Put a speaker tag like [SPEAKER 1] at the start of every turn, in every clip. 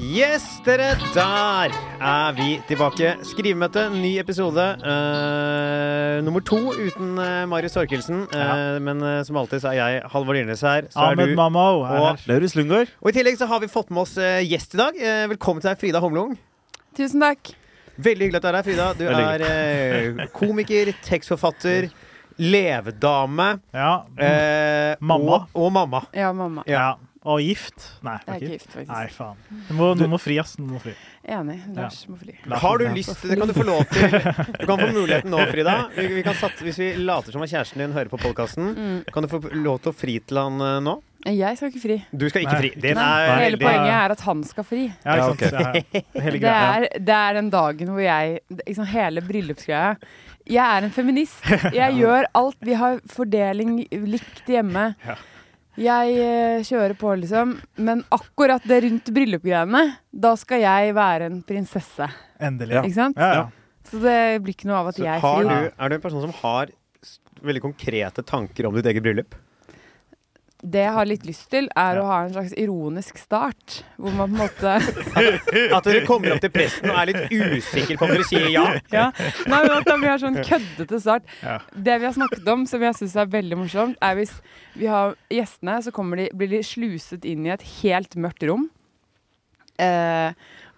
[SPEAKER 1] Yes, dere! Der er vi tilbake. Skrivemøte, ny episode. eh, nummer to uten eh, Marius Thorkildsen. Eh,
[SPEAKER 2] Ja.
[SPEAKER 1] Men eh, som alltid så er jeg Halvor Dyrnes her. Så er
[SPEAKER 2] Ahmed
[SPEAKER 1] du.
[SPEAKER 2] Mamao er
[SPEAKER 1] Og-
[SPEAKER 2] her.
[SPEAKER 3] Laurus Lundgaard.
[SPEAKER 1] Og i tillegg så har vi fått med oss eh, gjest i dag. Eh, velkommen til deg, Frida Homlung.
[SPEAKER 4] Tusen takk.
[SPEAKER 1] Veldig hyggelig at du er her, Frida. Du
[SPEAKER 3] Veldig
[SPEAKER 1] er eh, komiker, tekstforfatter, levedame
[SPEAKER 2] Ja.
[SPEAKER 1] eh,
[SPEAKER 2] Mamma.
[SPEAKER 1] Og, og mamma.
[SPEAKER 4] Ja, mamma.
[SPEAKER 1] ja.
[SPEAKER 2] ja. Og gift? Nei,
[SPEAKER 4] Jeg
[SPEAKER 2] ikke
[SPEAKER 4] er ikke
[SPEAKER 2] gift.
[SPEAKER 4] gift, faktisk.
[SPEAKER 2] Nei, faen. Du må, nå må fri, ass. Nå må fri.
[SPEAKER 4] Enig. Lars må fly.
[SPEAKER 1] Har du lyst Det kan du få lov til. Du kan få muligheten nå, Frida. Vi, vi kan satse, hvis vi later som at kjæresten din hører på podkasten,
[SPEAKER 4] Mm.
[SPEAKER 1] kan du få lov til å fri til han eh, nå?
[SPEAKER 4] Jeg skal ikke fri.
[SPEAKER 1] Du skal ikke
[SPEAKER 2] Nei.
[SPEAKER 1] fri. Den
[SPEAKER 4] Nei,
[SPEAKER 1] er
[SPEAKER 2] veldig-
[SPEAKER 4] Hele
[SPEAKER 1] veldig
[SPEAKER 4] poenget er at han skal fri.
[SPEAKER 2] Ja,
[SPEAKER 3] Ja,
[SPEAKER 2] ikke sant. Ja, ja. Hele
[SPEAKER 4] Det
[SPEAKER 2] greia.
[SPEAKER 4] er, det er den dagen hvor jeg liksom Hele bryllupsgreia. Jeg er en feminist. Jeg gjør alt. Vi har fordeling likt hjemme.
[SPEAKER 2] Ja.
[SPEAKER 4] Jeg eh, kjører på, liksom. Men akkurat det rundt bryllupgreiene, da skal jeg være en prinsesse.
[SPEAKER 2] Endelig.
[SPEAKER 4] Ikke sant?
[SPEAKER 2] Ja, ja.
[SPEAKER 4] Så det blir ikke noe av at
[SPEAKER 1] Så
[SPEAKER 4] jeg
[SPEAKER 1] har du,
[SPEAKER 4] frir.
[SPEAKER 1] er du en person som har s- veldig konkrete tanker om ditt eget bryllup?
[SPEAKER 4] Det jeg har litt lyst til, er
[SPEAKER 2] Ja.
[SPEAKER 4] å ha en slags ironisk start. Hvor man på en måte
[SPEAKER 1] At dere kommer opp til presten og er litt usikker på om dere sier ja?
[SPEAKER 4] ja. Nei, men at vi har sånn køddete start.
[SPEAKER 2] Ja.
[SPEAKER 4] Det vi har snakket om, som jeg syns er veldig morsomt, er hvis vi har gjestene, så kommer de, blir de sluset inn i et helt mørkt rom. Eh,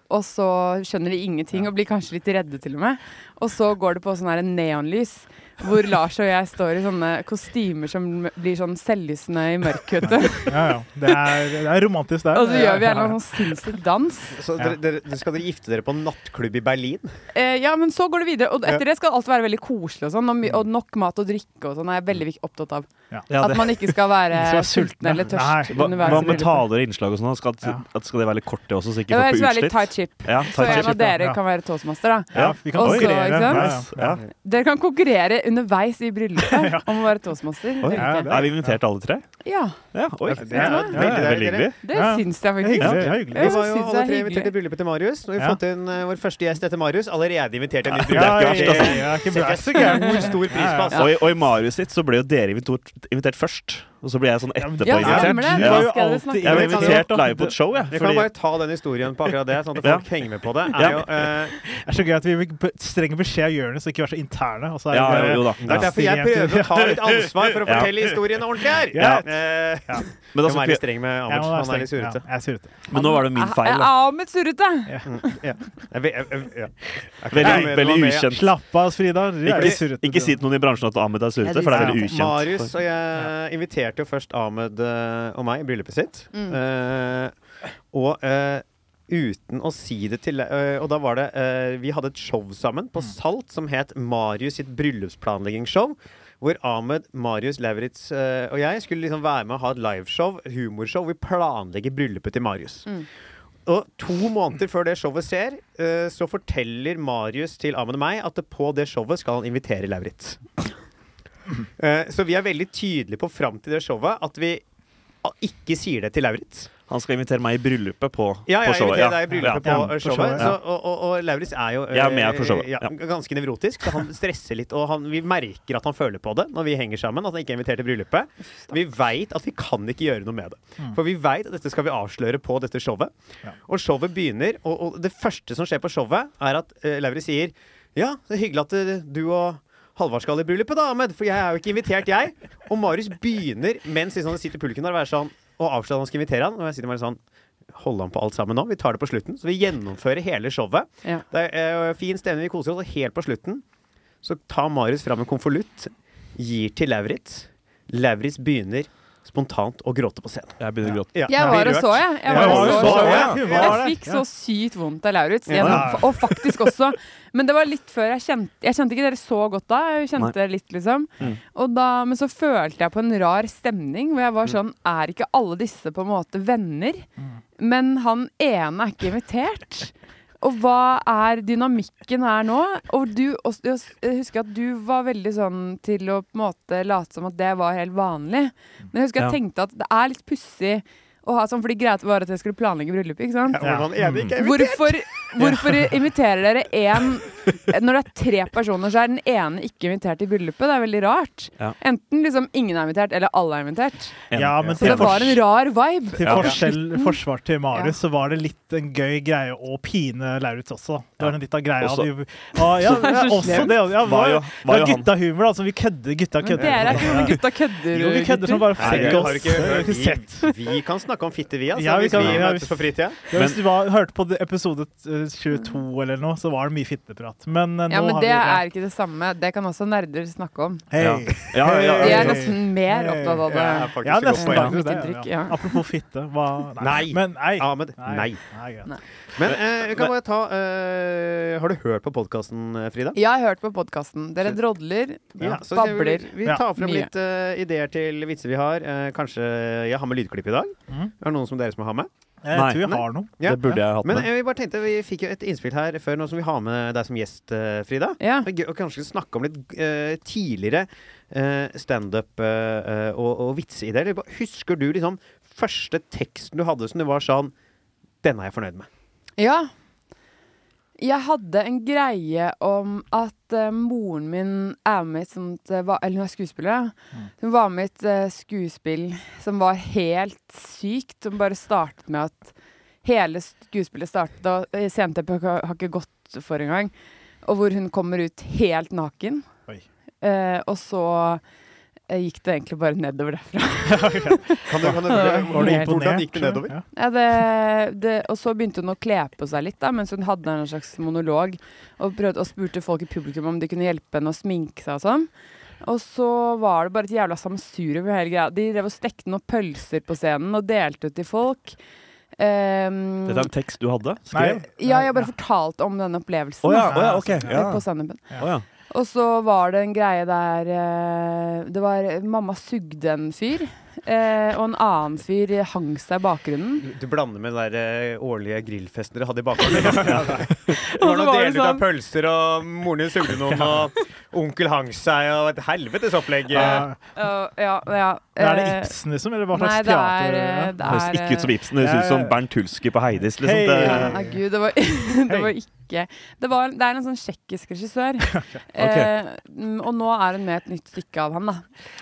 [SPEAKER 4] og så skjønner de ingenting og blir kanskje litt redde til og med. Og så går det på sånn her neonlys, hvor Lars og jeg står i sånne kostymer som blir sånn selvlysende i mørket. vet du.
[SPEAKER 2] ja, ja. Det, er, det er romantisk, det.
[SPEAKER 4] Og så gjør vi en eller annen sånn sinnssyk dans.
[SPEAKER 1] Så dere, dere, skal dere gifte dere på en nattklubb i Berlin?
[SPEAKER 4] Eh, ja, men så går det videre. Og etter det skal alt være veldig koselig og sånn. Og, my- og nok mat og drikke og sånn er jeg veldig vik- opptatt av.
[SPEAKER 3] Ja,
[SPEAKER 4] At man ikke skal være
[SPEAKER 2] Ikke skal være sulten,
[SPEAKER 4] sulten eller
[SPEAKER 2] ja.
[SPEAKER 4] tørst
[SPEAKER 3] hva,
[SPEAKER 4] underveis i
[SPEAKER 3] hva med
[SPEAKER 4] bryllupet.
[SPEAKER 3] taler og innslag og sånn? Skal,
[SPEAKER 2] Ja.
[SPEAKER 3] at skal det være litt kort, det også, så ikke
[SPEAKER 4] Det var
[SPEAKER 3] folk
[SPEAKER 4] helst
[SPEAKER 3] blir
[SPEAKER 4] være litt tight
[SPEAKER 3] utslitt?
[SPEAKER 4] chip.
[SPEAKER 3] Ja,
[SPEAKER 4] Så
[SPEAKER 3] tight
[SPEAKER 4] en
[SPEAKER 3] ship.
[SPEAKER 4] av dere
[SPEAKER 2] ja.
[SPEAKER 4] kan være toastmaster, da.
[SPEAKER 2] Ja, vi kan
[SPEAKER 4] Også,
[SPEAKER 2] konkurrere.
[SPEAKER 4] ikke sant?
[SPEAKER 2] Ja,
[SPEAKER 3] Ja.
[SPEAKER 2] ja.
[SPEAKER 4] Dere kan konkurrere underveis i bryllupet om å være toastmaster. Det
[SPEAKER 3] Oi,
[SPEAKER 4] liker jeg.
[SPEAKER 2] det
[SPEAKER 3] Er vi invitert alle tre?
[SPEAKER 4] Ja,
[SPEAKER 3] Ja, oi.
[SPEAKER 1] Det er
[SPEAKER 2] er- ja, ja.
[SPEAKER 3] Veldig hyggelig.
[SPEAKER 4] det
[SPEAKER 2] Ja. Det er
[SPEAKER 4] syns jeg faktisk.
[SPEAKER 2] hyggelig. Det er hyggelig.
[SPEAKER 1] Vi
[SPEAKER 4] Jeg
[SPEAKER 1] var jo
[SPEAKER 4] synes det er
[SPEAKER 1] alle tre
[SPEAKER 4] hyggelig.
[SPEAKER 1] invitert til bryllupet til Marius. Og vi har
[SPEAKER 2] Ja.
[SPEAKER 1] fått inn eh, vår første gjest etter Marius. Allerede invitert til et nytt
[SPEAKER 2] Ja,
[SPEAKER 1] bryllup.
[SPEAKER 2] det er ikke
[SPEAKER 1] Det
[SPEAKER 2] verst, altså. Det er ikke
[SPEAKER 1] setter jeg
[SPEAKER 2] verst, ikke sant?
[SPEAKER 1] stor, stor pris på. Altså.
[SPEAKER 3] Og, i, og i Marius sitt så ble jo dere invitert, invitert først. Og så ble jeg sånn etterpå
[SPEAKER 4] Ja,
[SPEAKER 3] invitert.
[SPEAKER 4] stemmer det.
[SPEAKER 2] Du er jo
[SPEAKER 4] Hva skal dere
[SPEAKER 2] alltid
[SPEAKER 3] Jeg ble
[SPEAKER 1] kan jo-
[SPEAKER 3] invitert live på et show, jeg.
[SPEAKER 1] Vi kan
[SPEAKER 3] Fordi,
[SPEAKER 1] bare ta den historien på akkurat det, sånn at
[SPEAKER 3] Ja.
[SPEAKER 1] folk henger med på det. Er
[SPEAKER 3] Ja.
[SPEAKER 1] jo, eh,
[SPEAKER 2] Det er så gøy at vi fikk be- streng beskjed av Jonis å ikke være så interne. Og så er
[SPEAKER 3] ja,
[SPEAKER 2] det
[SPEAKER 3] jo,
[SPEAKER 2] bare-
[SPEAKER 3] jo da.
[SPEAKER 1] det er
[SPEAKER 3] Ja.
[SPEAKER 1] derfor jeg prøver å ta litt ansvar for å
[SPEAKER 3] Ja.
[SPEAKER 1] fortelle historien ordentlig her.
[SPEAKER 2] Ja.
[SPEAKER 1] Eh,
[SPEAKER 3] Men, da
[SPEAKER 1] jeg må
[SPEAKER 3] skal
[SPEAKER 1] være
[SPEAKER 3] vi,
[SPEAKER 1] litt streng med
[SPEAKER 2] Jeg
[SPEAKER 1] Amund.
[SPEAKER 2] må være
[SPEAKER 1] Han er litt
[SPEAKER 2] streng. Ja,
[SPEAKER 1] surrete.
[SPEAKER 2] jeg er surrete.
[SPEAKER 3] men nå var det
[SPEAKER 4] Ah,
[SPEAKER 3] min feil, da.
[SPEAKER 4] Ahmed Surrete!
[SPEAKER 1] Jeg vet- jeg- jeg- ja. Jeg kan være
[SPEAKER 3] Veldig,
[SPEAKER 1] med-
[SPEAKER 3] veldig
[SPEAKER 1] være med, ja.
[SPEAKER 3] ukjent.
[SPEAKER 2] Slapp av, Frida. Du er
[SPEAKER 3] Ikke,
[SPEAKER 2] litt surrete, du
[SPEAKER 3] ikke si til noen i bransjen at Ahmed er surrete, for det er veldig ukjent.
[SPEAKER 1] Marius og jeg inviterte jo først Ahmed eh, og meg i bryllupet sitt. Eh, og eh, uten å si det til eh, Og da var det eh, Vi hadde et show sammen på Salt som het Marius sitt bryllupsplanleggingsshow. Hvor Ahmed, Marius, Lauritz eh, og jeg skulle liksom være med og ha et liveshow, humorshow. hvor Vi planlegger bryllupet til Marius. Og to måneder før det showet ser, eh, så forteller Marius til Ahmed og meg at det på det showet skal han invitere Lauritz. Eh, Så vi er veldig tydelige på fram til det showet at vi a- ikke sier det til Lauritz.
[SPEAKER 3] Han skal invitere meg i bryllupet på,
[SPEAKER 1] Ja,
[SPEAKER 3] på
[SPEAKER 1] jeg
[SPEAKER 3] showet.
[SPEAKER 1] inviterer deg i bryllupet
[SPEAKER 2] Ja,
[SPEAKER 1] på
[SPEAKER 2] på
[SPEAKER 1] eh, showet.
[SPEAKER 2] showet,
[SPEAKER 1] Så, og, og, og Lauritz er jo eh,
[SPEAKER 3] Jeg er med på showet,
[SPEAKER 1] ja,
[SPEAKER 3] ja.
[SPEAKER 1] ganske nevrotisk, så han stresser litt. Og han, vi merker at han føler på det når vi henger sammen, at han ikke er invitert til bryllupet. Vi veit at vi kan ikke gjøre noe med det. For vi veit at dette skal vi avsløre på dette showet.
[SPEAKER 2] Mm. Ja.
[SPEAKER 1] Og showet begynner, og, og det første som skjer på showet, er at uh, Lauritz sier Ja, det er hyggelig at eh, du og Halvard skal i bryllupet, da, Ahmed, for jeg er jo ikke invitert, jeg. Og Marius begynner, mens liksom han sitter i publikum der, å være sånn og avsløre at han skal invitere han. Og jeg sitter bare sånn Holder han på alt sammen nå? Vi tar det på slutten. Så vi gjennomfører hele showet.
[SPEAKER 4] Ja.
[SPEAKER 1] Det er eh, fin stemning, vi koser oss. Og helt på slutten så tar Marius fram en konvolutt, gir til Lauritz. Lauritz begynner spontant å gråte på scenen.
[SPEAKER 3] Jeg begynner å gråte.
[SPEAKER 1] Ja,
[SPEAKER 4] Jeg
[SPEAKER 1] blir
[SPEAKER 4] var og
[SPEAKER 1] rørt.
[SPEAKER 4] så, jeg. Jeg
[SPEAKER 2] Ja,
[SPEAKER 4] var og
[SPEAKER 2] du
[SPEAKER 4] så
[SPEAKER 2] så
[SPEAKER 4] showet.
[SPEAKER 2] det. Du var
[SPEAKER 4] Jeg
[SPEAKER 2] det.
[SPEAKER 4] fikk så sykt vondt av Lauritz.
[SPEAKER 1] Ja.
[SPEAKER 4] gjennom- Og faktisk også. Men det var litt før jeg kjente Jeg kjente ikke dere så godt da. Jeg
[SPEAKER 3] Nei.
[SPEAKER 4] kjente dere litt, liksom. Og da, men så følte jeg på en rar stemning hvor jeg var sånn Er ikke alle disse på en måte venner? Men han ene er ikke invitert. Og hva er dynamikken her nå? Og du, og, jeg husker at du var veldig sånn til å på en måte late som at det var helt vanlig. Men jeg husker jeg
[SPEAKER 3] Ja.
[SPEAKER 4] tenkte at det er litt pussig å ha sånn, for de greia var at jeg skulle planlegge bryllupet, ikke sant?
[SPEAKER 1] Ja, hvordan er det ikke?
[SPEAKER 4] Hvorfor, hvorfor inviterer dere én Når det er tre personer, så er den ene ikke invitert til bryllupet. Det er veldig rart.
[SPEAKER 3] Ja.
[SPEAKER 4] Enten liksom ingen er invitert, eller alle er invitert.
[SPEAKER 2] Ja, men
[SPEAKER 4] Så
[SPEAKER 2] til,
[SPEAKER 4] det var en
[SPEAKER 2] fors
[SPEAKER 4] rar vibe.
[SPEAKER 2] til
[SPEAKER 3] Ja.
[SPEAKER 2] forskjell forsvar til
[SPEAKER 4] Ja.
[SPEAKER 2] Marius, så var det litt en gøy greie å pine Lauritz også. Det var en litt av greia.
[SPEAKER 3] Også-
[SPEAKER 2] Også, ah, ja,
[SPEAKER 4] Så-
[SPEAKER 2] ja, også det. Ja,
[SPEAKER 3] Var jo,
[SPEAKER 2] det
[SPEAKER 3] var
[SPEAKER 2] var
[SPEAKER 3] jo han
[SPEAKER 2] guttahumor, da. Altså, vi kødder, gutta
[SPEAKER 4] Men
[SPEAKER 2] kødder.
[SPEAKER 4] dere er ikke noen
[SPEAKER 2] Ja.
[SPEAKER 4] gutta kødder.
[SPEAKER 2] Jo, vi kødder som bare
[SPEAKER 1] Nei,
[SPEAKER 2] fuck
[SPEAKER 1] jeg
[SPEAKER 2] oss.
[SPEAKER 1] har ikke
[SPEAKER 2] Jeg har
[SPEAKER 1] hørt
[SPEAKER 2] ikke sett.
[SPEAKER 1] vi, vi kan snakke om fitte, vi, altså,
[SPEAKER 2] Ja, vi
[SPEAKER 1] hvis
[SPEAKER 2] kan-
[SPEAKER 1] vi
[SPEAKER 2] ja,
[SPEAKER 1] møtes
[SPEAKER 2] hvis-
[SPEAKER 1] på fritida.
[SPEAKER 2] Ja, hvis
[SPEAKER 3] Men-
[SPEAKER 2] du var, hørte på det- episode eh, 22 eller noe, så var det mye fitteprat. Men eh, nå
[SPEAKER 4] Ja, men
[SPEAKER 2] har vi
[SPEAKER 4] det er ikke det samme. Det kan også nerder snakke om.
[SPEAKER 2] Hei.
[SPEAKER 3] Ja. Ja, ja,
[SPEAKER 4] De
[SPEAKER 3] ja,
[SPEAKER 2] Hey.
[SPEAKER 4] er nesten mer opptatt av det.
[SPEAKER 1] Jeg er faktisk
[SPEAKER 2] Ja,
[SPEAKER 1] et godt
[SPEAKER 2] nesten.
[SPEAKER 1] poeng.
[SPEAKER 4] var
[SPEAKER 2] faktisk
[SPEAKER 4] mitt
[SPEAKER 2] det,
[SPEAKER 4] inntrykk,
[SPEAKER 2] ja.
[SPEAKER 4] ja.
[SPEAKER 2] Apropos fitte. Hva
[SPEAKER 1] Nei.
[SPEAKER 2] Men nei.
[SPEAKER 1] Ahmed, nei.
[SPEAKER 2] nei greit.
[SPEAKER 1] Men eh, vi kan bare ta eh, Har du hørt på podkasten, Frida?
[SPEAKER 4] Jeg har hørt på podkasten. Dere drodler.
[SPEAKER 2] Ja.
[SPEAKER 1] så skal
[SPEAKER 4] Babler.
[SPEAKER 1] Vi, vi
[SPEAKER 2] Ja.
[SPEAKER 1] tar frem
[SPEAKER 4] Mye.
[SPEAKER 1] litt eh, ideer til vitser vi har. Eh, kanskje jeg har med lydklipp i dag.
[SPEAKER 2] Mhm.
[SPEAKER 1] Er det noen som dere som har med?
[SPEAKER 2] Jeg
[SPEAKER 3] Nei.
[SPEAKER 2] tror jeg har noe.
[SPEAKER 1] Ja.
[SPEAKER 3] det burde jeg hatt
[SPEAKER 1] Men
[SPEAKER 3] med.
[SPEAKER 1] eh, vi bare tenkte vi fikk jo et innspill her før, nå som vi har med deg som gjest, eh, Frida.
[SPEAKER 4] Ja.
[SPEAKER 1] Det er gøy å kanskje snakke om litt eh, tidligere eh, standup eh, eh, og, og vitseideer. Eller bare- Husker du liksom første teksten du hadde som du var sånn Denne er jeg fornøyd med.
[SPEAKER 4] Ja. Jeg hadde en greie om at eh, moren min er med i et sånt eh, va- Eller hun er skuespiller, ja. Hun var med i et eh, skuespill som var helt sykt. Som bare startet med at hele skuespillet startet, og eh, CNTP har har ikke gått for engang. Og hvor hun kommer ut helt naken.
[SPEAKER 2] Oi.
[SPEAKER 4] Eh, og så eh, gikk det egentlig bare nedover derfra.
[SPEAKER 1] Kan du, kan du,
[SPEAKER 2] Var du
[SPEAKER 4] Helt.
[SPEAKER 2] imponert?
[SPEAKER 1] Hvordan gikk det nedover?
[SPEAKER 2] Ja.
[SPEAKER 4] Ja, det, det, og så begynte hun å kle på seg litt, da, mens hun hadde en slags monolog. Og, prøvde, og spurte folk i publikum om de kunne hjelpe henne å sminke seg og sånn. Og så var det bare et jævla sammensurium over hele greia. De drev og stekte noen pølser på scenen og delte ut til folk. Ehm,
[SPEAKER 3] Dette er en tekst du hadde?
[SPEAKER 2] Nei.
[SPEAKER 3] Skrev?
[SPEAKER 4] ja, jeg bare fortalte om denne opplevelsen
[SPEAKER 3] Å ja,
[SPEAKER 4] da,
[SPEAKER 3] å ja, ok. Ja.
[SPEAKER 4] sånn på standupen.
[SPEAKER 3] Å ja.
[SPEAKER 4] Og så var det en greie der eh, Det var mamma sugde en fyr, eh, og en annen fyr hang seg i bakgrunnen.
[SPEAKER 1] Du, du blander med den der eh, årlige grillfesten dere hadde i bakgården. ja. Når
[SPEAKER 4] Og så
[SPEAKER 1] noen
[SPEAKER 4] var det
[SPEAKER 1] delte ut av
[SPEAKER 4] sånn-
[SPEAKER 1] pølser, og moren din sugde noen, og onkel hang seg, og et helvetes opplegg. eh.
[SPEAKER 2] Ja.
[SPEAKER 4] Ja, ja, ja.
[SPEAKER 2] Men er det
[SPEAKER 4] Eh,
[SPEAKER 2] Ibsen, liksom? Eller hva
[SPEAKER 4] Nei,
[SPEAKER 2] slags
[SPEAKER 4] det er,
[SPEAKER 2] teater?
[SPEAKER 4] eh, eh,
[SPEAKER 2] ja?
[SPEAKER 4] det
[SPEAKER 3] Det høres
[SPEAKER 4] er
[SPEAKER 3] ikke ut som Ibsen, det høres ut som Bernt Hulske på Heidis. Liksom.
[SPEAKER 2] Hei.
[SPEAKER 4] ja,
[SPEAKER 3] Det,
[SPEAKER 4] Nei, gud, det var, det var ikke det, var, det er en sånn tsjekkisk regissør. Eh, mm, og nå er hun med i et nytt stykke av han, da.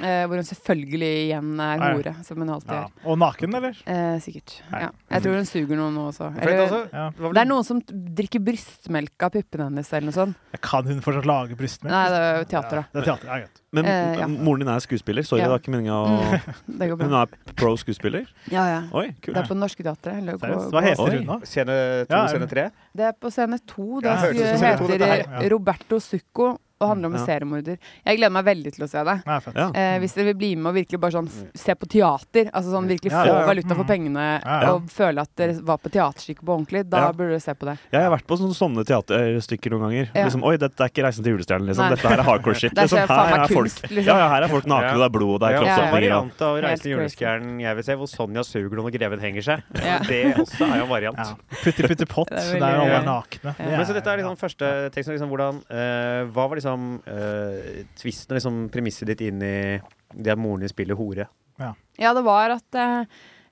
[SPEAKER 4] Eh, hvor hun selvfølgelig igjen er
[SPEAKER 2] Nei.
[SPEAKER 4] hore, som hun alltid
[SPEAKER 2] Ja.
[SPEAKER 4] gjør.
[SPEAKER 2] Og naken, eller?
[SPEAKER 4] Eh, sikkert.
[SPEAKER 2] Nei.
[SPEAKER 4] Ja. Jeg tror hun suger noen nå også.
[SPEAKER 1] For det,
[SPEAKER 4] Eller,
[SPEAKER 1] altså,
[SPEAKER 2] Ja.
[SPEAKER 1] hva
[SPEAKER 4] det
[SPEAKER 1] ble-
[SPEAKER 4] er noen som drikker brystmelk av puppene hennes, eller noe sånt.
[SPEAKER 2] Kan hun fortsatt lage brystmelk?
[SPEAKER 4] Nei, det er jo teater, da.
[SPEAKER 2] Ja, det er teater, ja, greit.
[SPEAKER 3] men
[SPEAKER 4] Eh, ja.
[SPEAKER 3] moren din er skuespiller. Sorry,
[SPEAKER 4] Ja.
[SPEAKER 3] det er ikke meninga å
[SPEAKER 4] Det går
[SPEAKER 3] Hun
[SPEAKER 4] bra.
[SPEAKER 3] er pro skuespiller?
[SPEAKER 4] Ja, ja.
[SPEAKER 3] Oi, kult.
[SPEAKER 4] Det er på Det Norske Teatret.
[SPEAKER 2] Seriøst, Hva heter
[SPEAKER 3] Oi.
[SPEAKER 2] hun da?
[SPEAKER 1] Scene to,
[SPEAKER 2] Ja,
[SPEAKER 1] scene tre?
[SPEAKER 4] Det er på scene to. Det
[SPEAKER 2] Ja,
[SPEAKER 1] hørtes ut som scene to,
[SPEAKER 4] heter
[SPEAKER 1] dette
[SPEAKER 2] her. Ja.
[SPEAKER 4] Roberto Zucco og handler om en
[SPEAKER 3] Ja.
[SPEAKER 4] seriemorder. Jeg gleder meg veldig til å se det.
[SPEAKER 2] Nei, fett.
[SPEAKER 3] Ja.
[SPEAKER 4] Eh, hvis dere vil bli med og virkelig bare sånn f se på teater, altså sånn virkelig
[SPEAKER 2] Ja,
[SPEAKER 4] få
[SPEAKER 2] ja, ja.
[SPEAKER 4] valuta for
[SPEAKER 2] Mm.
[SPEAKER 4] pengene
[SPEAKER 2] Ja, ja.
[SPEAKER 4] og føle at dere var på teaterstykket på ordentlig, da
[SPEAKER 3] Ja.
[SPEAKER 4] burde dere se på det.
[SPEAKER 3] Jeg har vært på sånne, sånne teaterstykker noen ganger.
[SPEAKER 4] Ja.
[SPEAKER 3] Liksom, Oi, dette er ikke 'Reisen til julestjernen', liksom.
[SPEAKER 4] Nei.
[SPEAKER 3] Dette her er hardcore shit.
[SPEAKER 4] Det er
[SPEAKER 3] Liksom.
[SPEAKER 4] ikke faen
[SPEAKER 3] Her,
[SPEAKER 4] meg
[SPEAKER 3] er folk,
[SPEAKER 4] kunst, liksom.
[SPEAKER 3] ja, ja, her er folk nakne,
[SPEAKER 1] Ja.
[SPEAKER 3] og det er blod, og det er
[SPEAKER 1] Ja,
[SPEAKER 4] kroppsåpninger,
[SPEAKER 3] kroppsåpninger. og-
[SPEAKER 1] variant av
[SPEAKER 4] Helt
[SPEAKER 1] 'Reisen til julestjernen', jeg vil se, hvor Sonja suger noen og greven henger seg.
[SPEAKER 4] Ja.
[SPEAKER 1] Det også er jo en variant.
[SPEAKER 2] Ja. Putti putti pott,
[SPEAKER 4] Det
[SPEAKER 2] der
[SPEAKER 4] er veldig
[SPEAKER 2] alle
[SPEAKER 1] gøy.
[SPEAKER 2] er nakne.
[SPEAKER 4] Ja.
[SPEAKER 2] Det
[SPEAKER 1] Men så dette er
[SPEAKER 2] ja.
[SPEAKER 1] liksom første teksten. Liksom, hvordan, eh, hva var liksom eh, tvisten og liksom premisset ditt inn i det at moren din spiller hore?
[SPEAKER 4] Ja, det var at eh,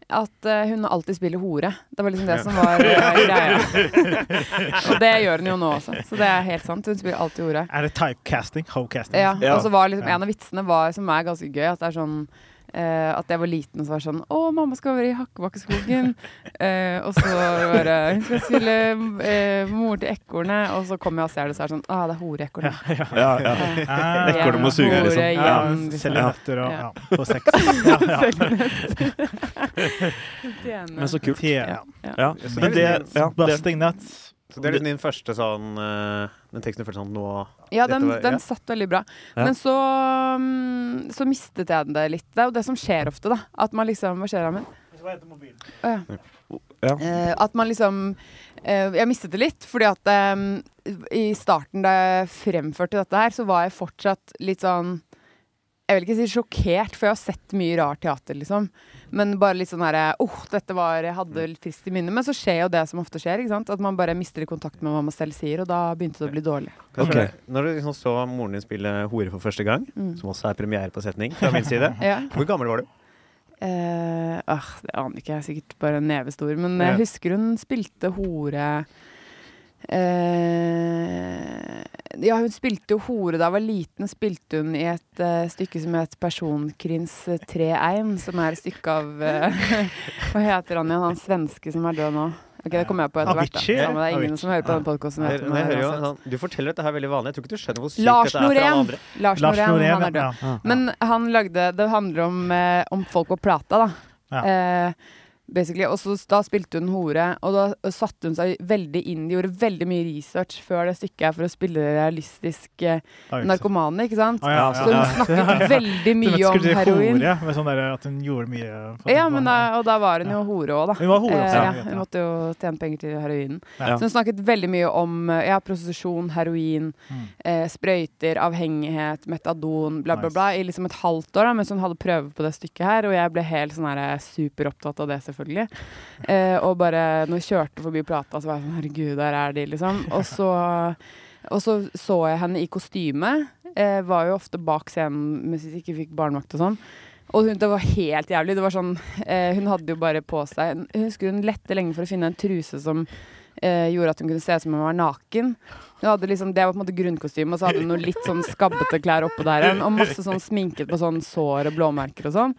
[SPEAKER 4] at eh, hun alltid spiller hore. Det var liksom det som var eh, greia. Og det gjør hun jo nå også, så det er helt sant. Hun spiller alltid hore.
[SPEAKER 2] Er det typecasting? Hocasting?
[SPEAKER 4] Ja,
[SPEAKER 3] Ja.
[SPEAKER 4] og så var liksom en av vitsene var, som er ganske gøy, at det er sånn eh, at jeg var liten og så var det sånn Å, mamma skal være i Hakkebakkeskogen. Eh, og så var det Hun skal spille eh, mor til ekornet. Og så kommer jeg og ser det, så er det sånn Å, ah, det er horeekornet.
[SPEAKER 3] Ja, ja.
[SPEAKER 2] Ah,
[SPEAKER 3] Ekornet må suge,
[SPEAKER 4] Hore
[SPEAKER 3] liksom.
[SPEAKER 2] Ja,
[SPEAKER 4] igjen, liksom.
[SPEAKER 2] Selge nøtter og
[SPEAKER 4] Ja.
[SPEAKER 2] ja. på sex. Ja, ja.
[SPEAKER 3] Men så kult.
[SPEAKER 2] Tjene.
[SPEAKER 3] Ja.
[SPEAKER 1] Så
[SPEAKER 3] Men
[SPEAKER 1] det
[SPEAKER 3] det,
[SPEAKER 1] er liksom-
[SPEAKER 3] ja, det,
[SPEAKER 2] Busting nuts.
[SPEAKER 1] Så det er liksom din første sånn eh, Den teksten du følte sånn Nå
[SPEAKER 4] Ja,
[SPEAKER 1] Dette
[SPEAKER 4] den,
[SPEAKER 1] var- ja.
[SPEAKER 4] den satt veldig bra.
[SPEAKER 3] Ja.
[SPEAKER 4] Men så, mm, så mistet jeg det litt. Det er jo det som skjer ofte, da. At man liksom Hva skjer, Amund? Å, ja.
[SPEAKER 3] ja.
[SPEAKER 4] Eh, at man liksom eh, Jeg mistet det litt, fordi at eh, i starten da jeg fremførte dette her, så var jeg fortsatt litt sånn Jeg vil ikke si sjokkert, for jeg har sett mye rart teater, liksom. Men bare litt sånn herre Åh, dette var Jeg hadde litt frist i minnet. Men så skjer jo det som ofte skjer, ikke sant. At man bare mister kontakt med hva man selv sier, og da begynte det å bli dårlig.
[SPEAKER 1] Kan jeg
[SPEAKER 3] Ok.
[SPEAKER 1] spørre, Når du liksom så moren din spille hore for første gang,
[SPEAKER 4] Mm.
[SPEAKER 1] som også er premiere på setning fra min side,
[SPEAKER 4] Ja.
[SPEAKER 1] hvor gammel var du?
[SPEAKER 4] Eh, ah, det aner ikke, jeg er sikkert bare en neve stor. Men jeg
[SPEAKER 2] Ja.
[SPEAKER 4] husker hun spilte hore eh, Ja, hun spilte jo hore da jeg var liten. Spilte hun i et eh, stykke som het Personkrins 3-1, som er et stykke av eh, Hva heter han igjen, han svenske som er død nå? Ok, Det kommer jeg på etter hvert. da.
[SPEAKER 2] Avicii?
[SPEAKER 4] Samme, det er ingen
[SPEAKER 2] Avicii.
[SPEAKER 4] som hører på den podkasten.
[SPEAKER 1] Jeg, men jeg hører jo, sånn- du forteller at dette er veldig vanlig. Jeg tror ikke du skjønner hvor sykt
[SPEAKER 4] Lars
[SPEAKER 1] dette er for alle
[SPEAKER 4] Norén!
[SPEAKER 1] andre.
[SPEAKER 4] Lars
[SPEAKER 2] Lars
[SPEAKER 4] Norén,
[SPEAKER 2] Norén,
[SPEAKER 4] han er død.
[SPEAKER 2] ja.
[SPEAKER 4] Men han lagde Det handler om, eh, om folk på plata, da.
[SPEAKER 2] Ja.
[SPEAKER 4] Eh, basically. Og så da spilte hun hore, og da satte hun seg veldig inn. De gjorde veldig mye research før det stykket her for å spille realistisk eh,
[SPEAKER 2] Ja, ikke sant.
[SPEAKER 4] narkomane, ikke sant?
[SPEAKER 2] Ah, ja,
[SPEAKER 4] Så hun
[SPEAKER 2] ja.
[SPEAKER 4] snakket veldig
[SPEAKER 2] Du vet,
[SPEAKER 4] mye om
[SPEAKER 2] skulle til
[SPEAKER 4] heroin.
[SPEAKER 2] Hore, med sånn der, at hun gjorde mye for
[SPEAKER 4] Ja,
[SPEAKER 2] at
[SPEAKER 4] men
[SPEAKER 2] man-
[SPEAKER 4] da, og da var hun jo hore òg, da.
[SPEAKER 2] Hun var hore også,
[SPEAKER 4] Eh,
[SPEAKER 2] ja.
[SPEAKER 4] ja, hun måtte jo tjene penger til heroinen.
[SPEAKER 2] Ja.
[SPEAKER 4] Så hun snakket veldig mye om eh, ja, prostitusjon, heroin,
[SPEAKER 2] Mm.
[SPEAKER 4] eh, sprøyter, avhengighet, metadon, bla, bla,
[SPEAKER 2] Nice.
[SPEAKER 4] bla, i liksom et halvt år da, mens hun hadde prøve på det stykket her, og jeg ble helt sånn her eh, superopptatt av det, selvfølgelig. Eh, og bare når jeg kjørte forbi plata, så var jeg sånn herregud, der er de, liksom. Og så, og så så jeg henne i kostyme. Eh, var jo ofte bak scenen mens vi ikke fikk barnevakt og sånn. Og hun, det var helt jævlig. Det var sånn, eh, hun hadde jo bare på seg en- Jeg husker hun lette lenge for å finne en truse som eh, gjorde at hun kunne se ut som om hun var naken. Hun hadde liksom, det var på en måte grunnkostyme, og så hadde hun noe litt sånn skabbete klær oppå der igjen. Og masse sånn sminket på sånn sår og blåmerker og sånn.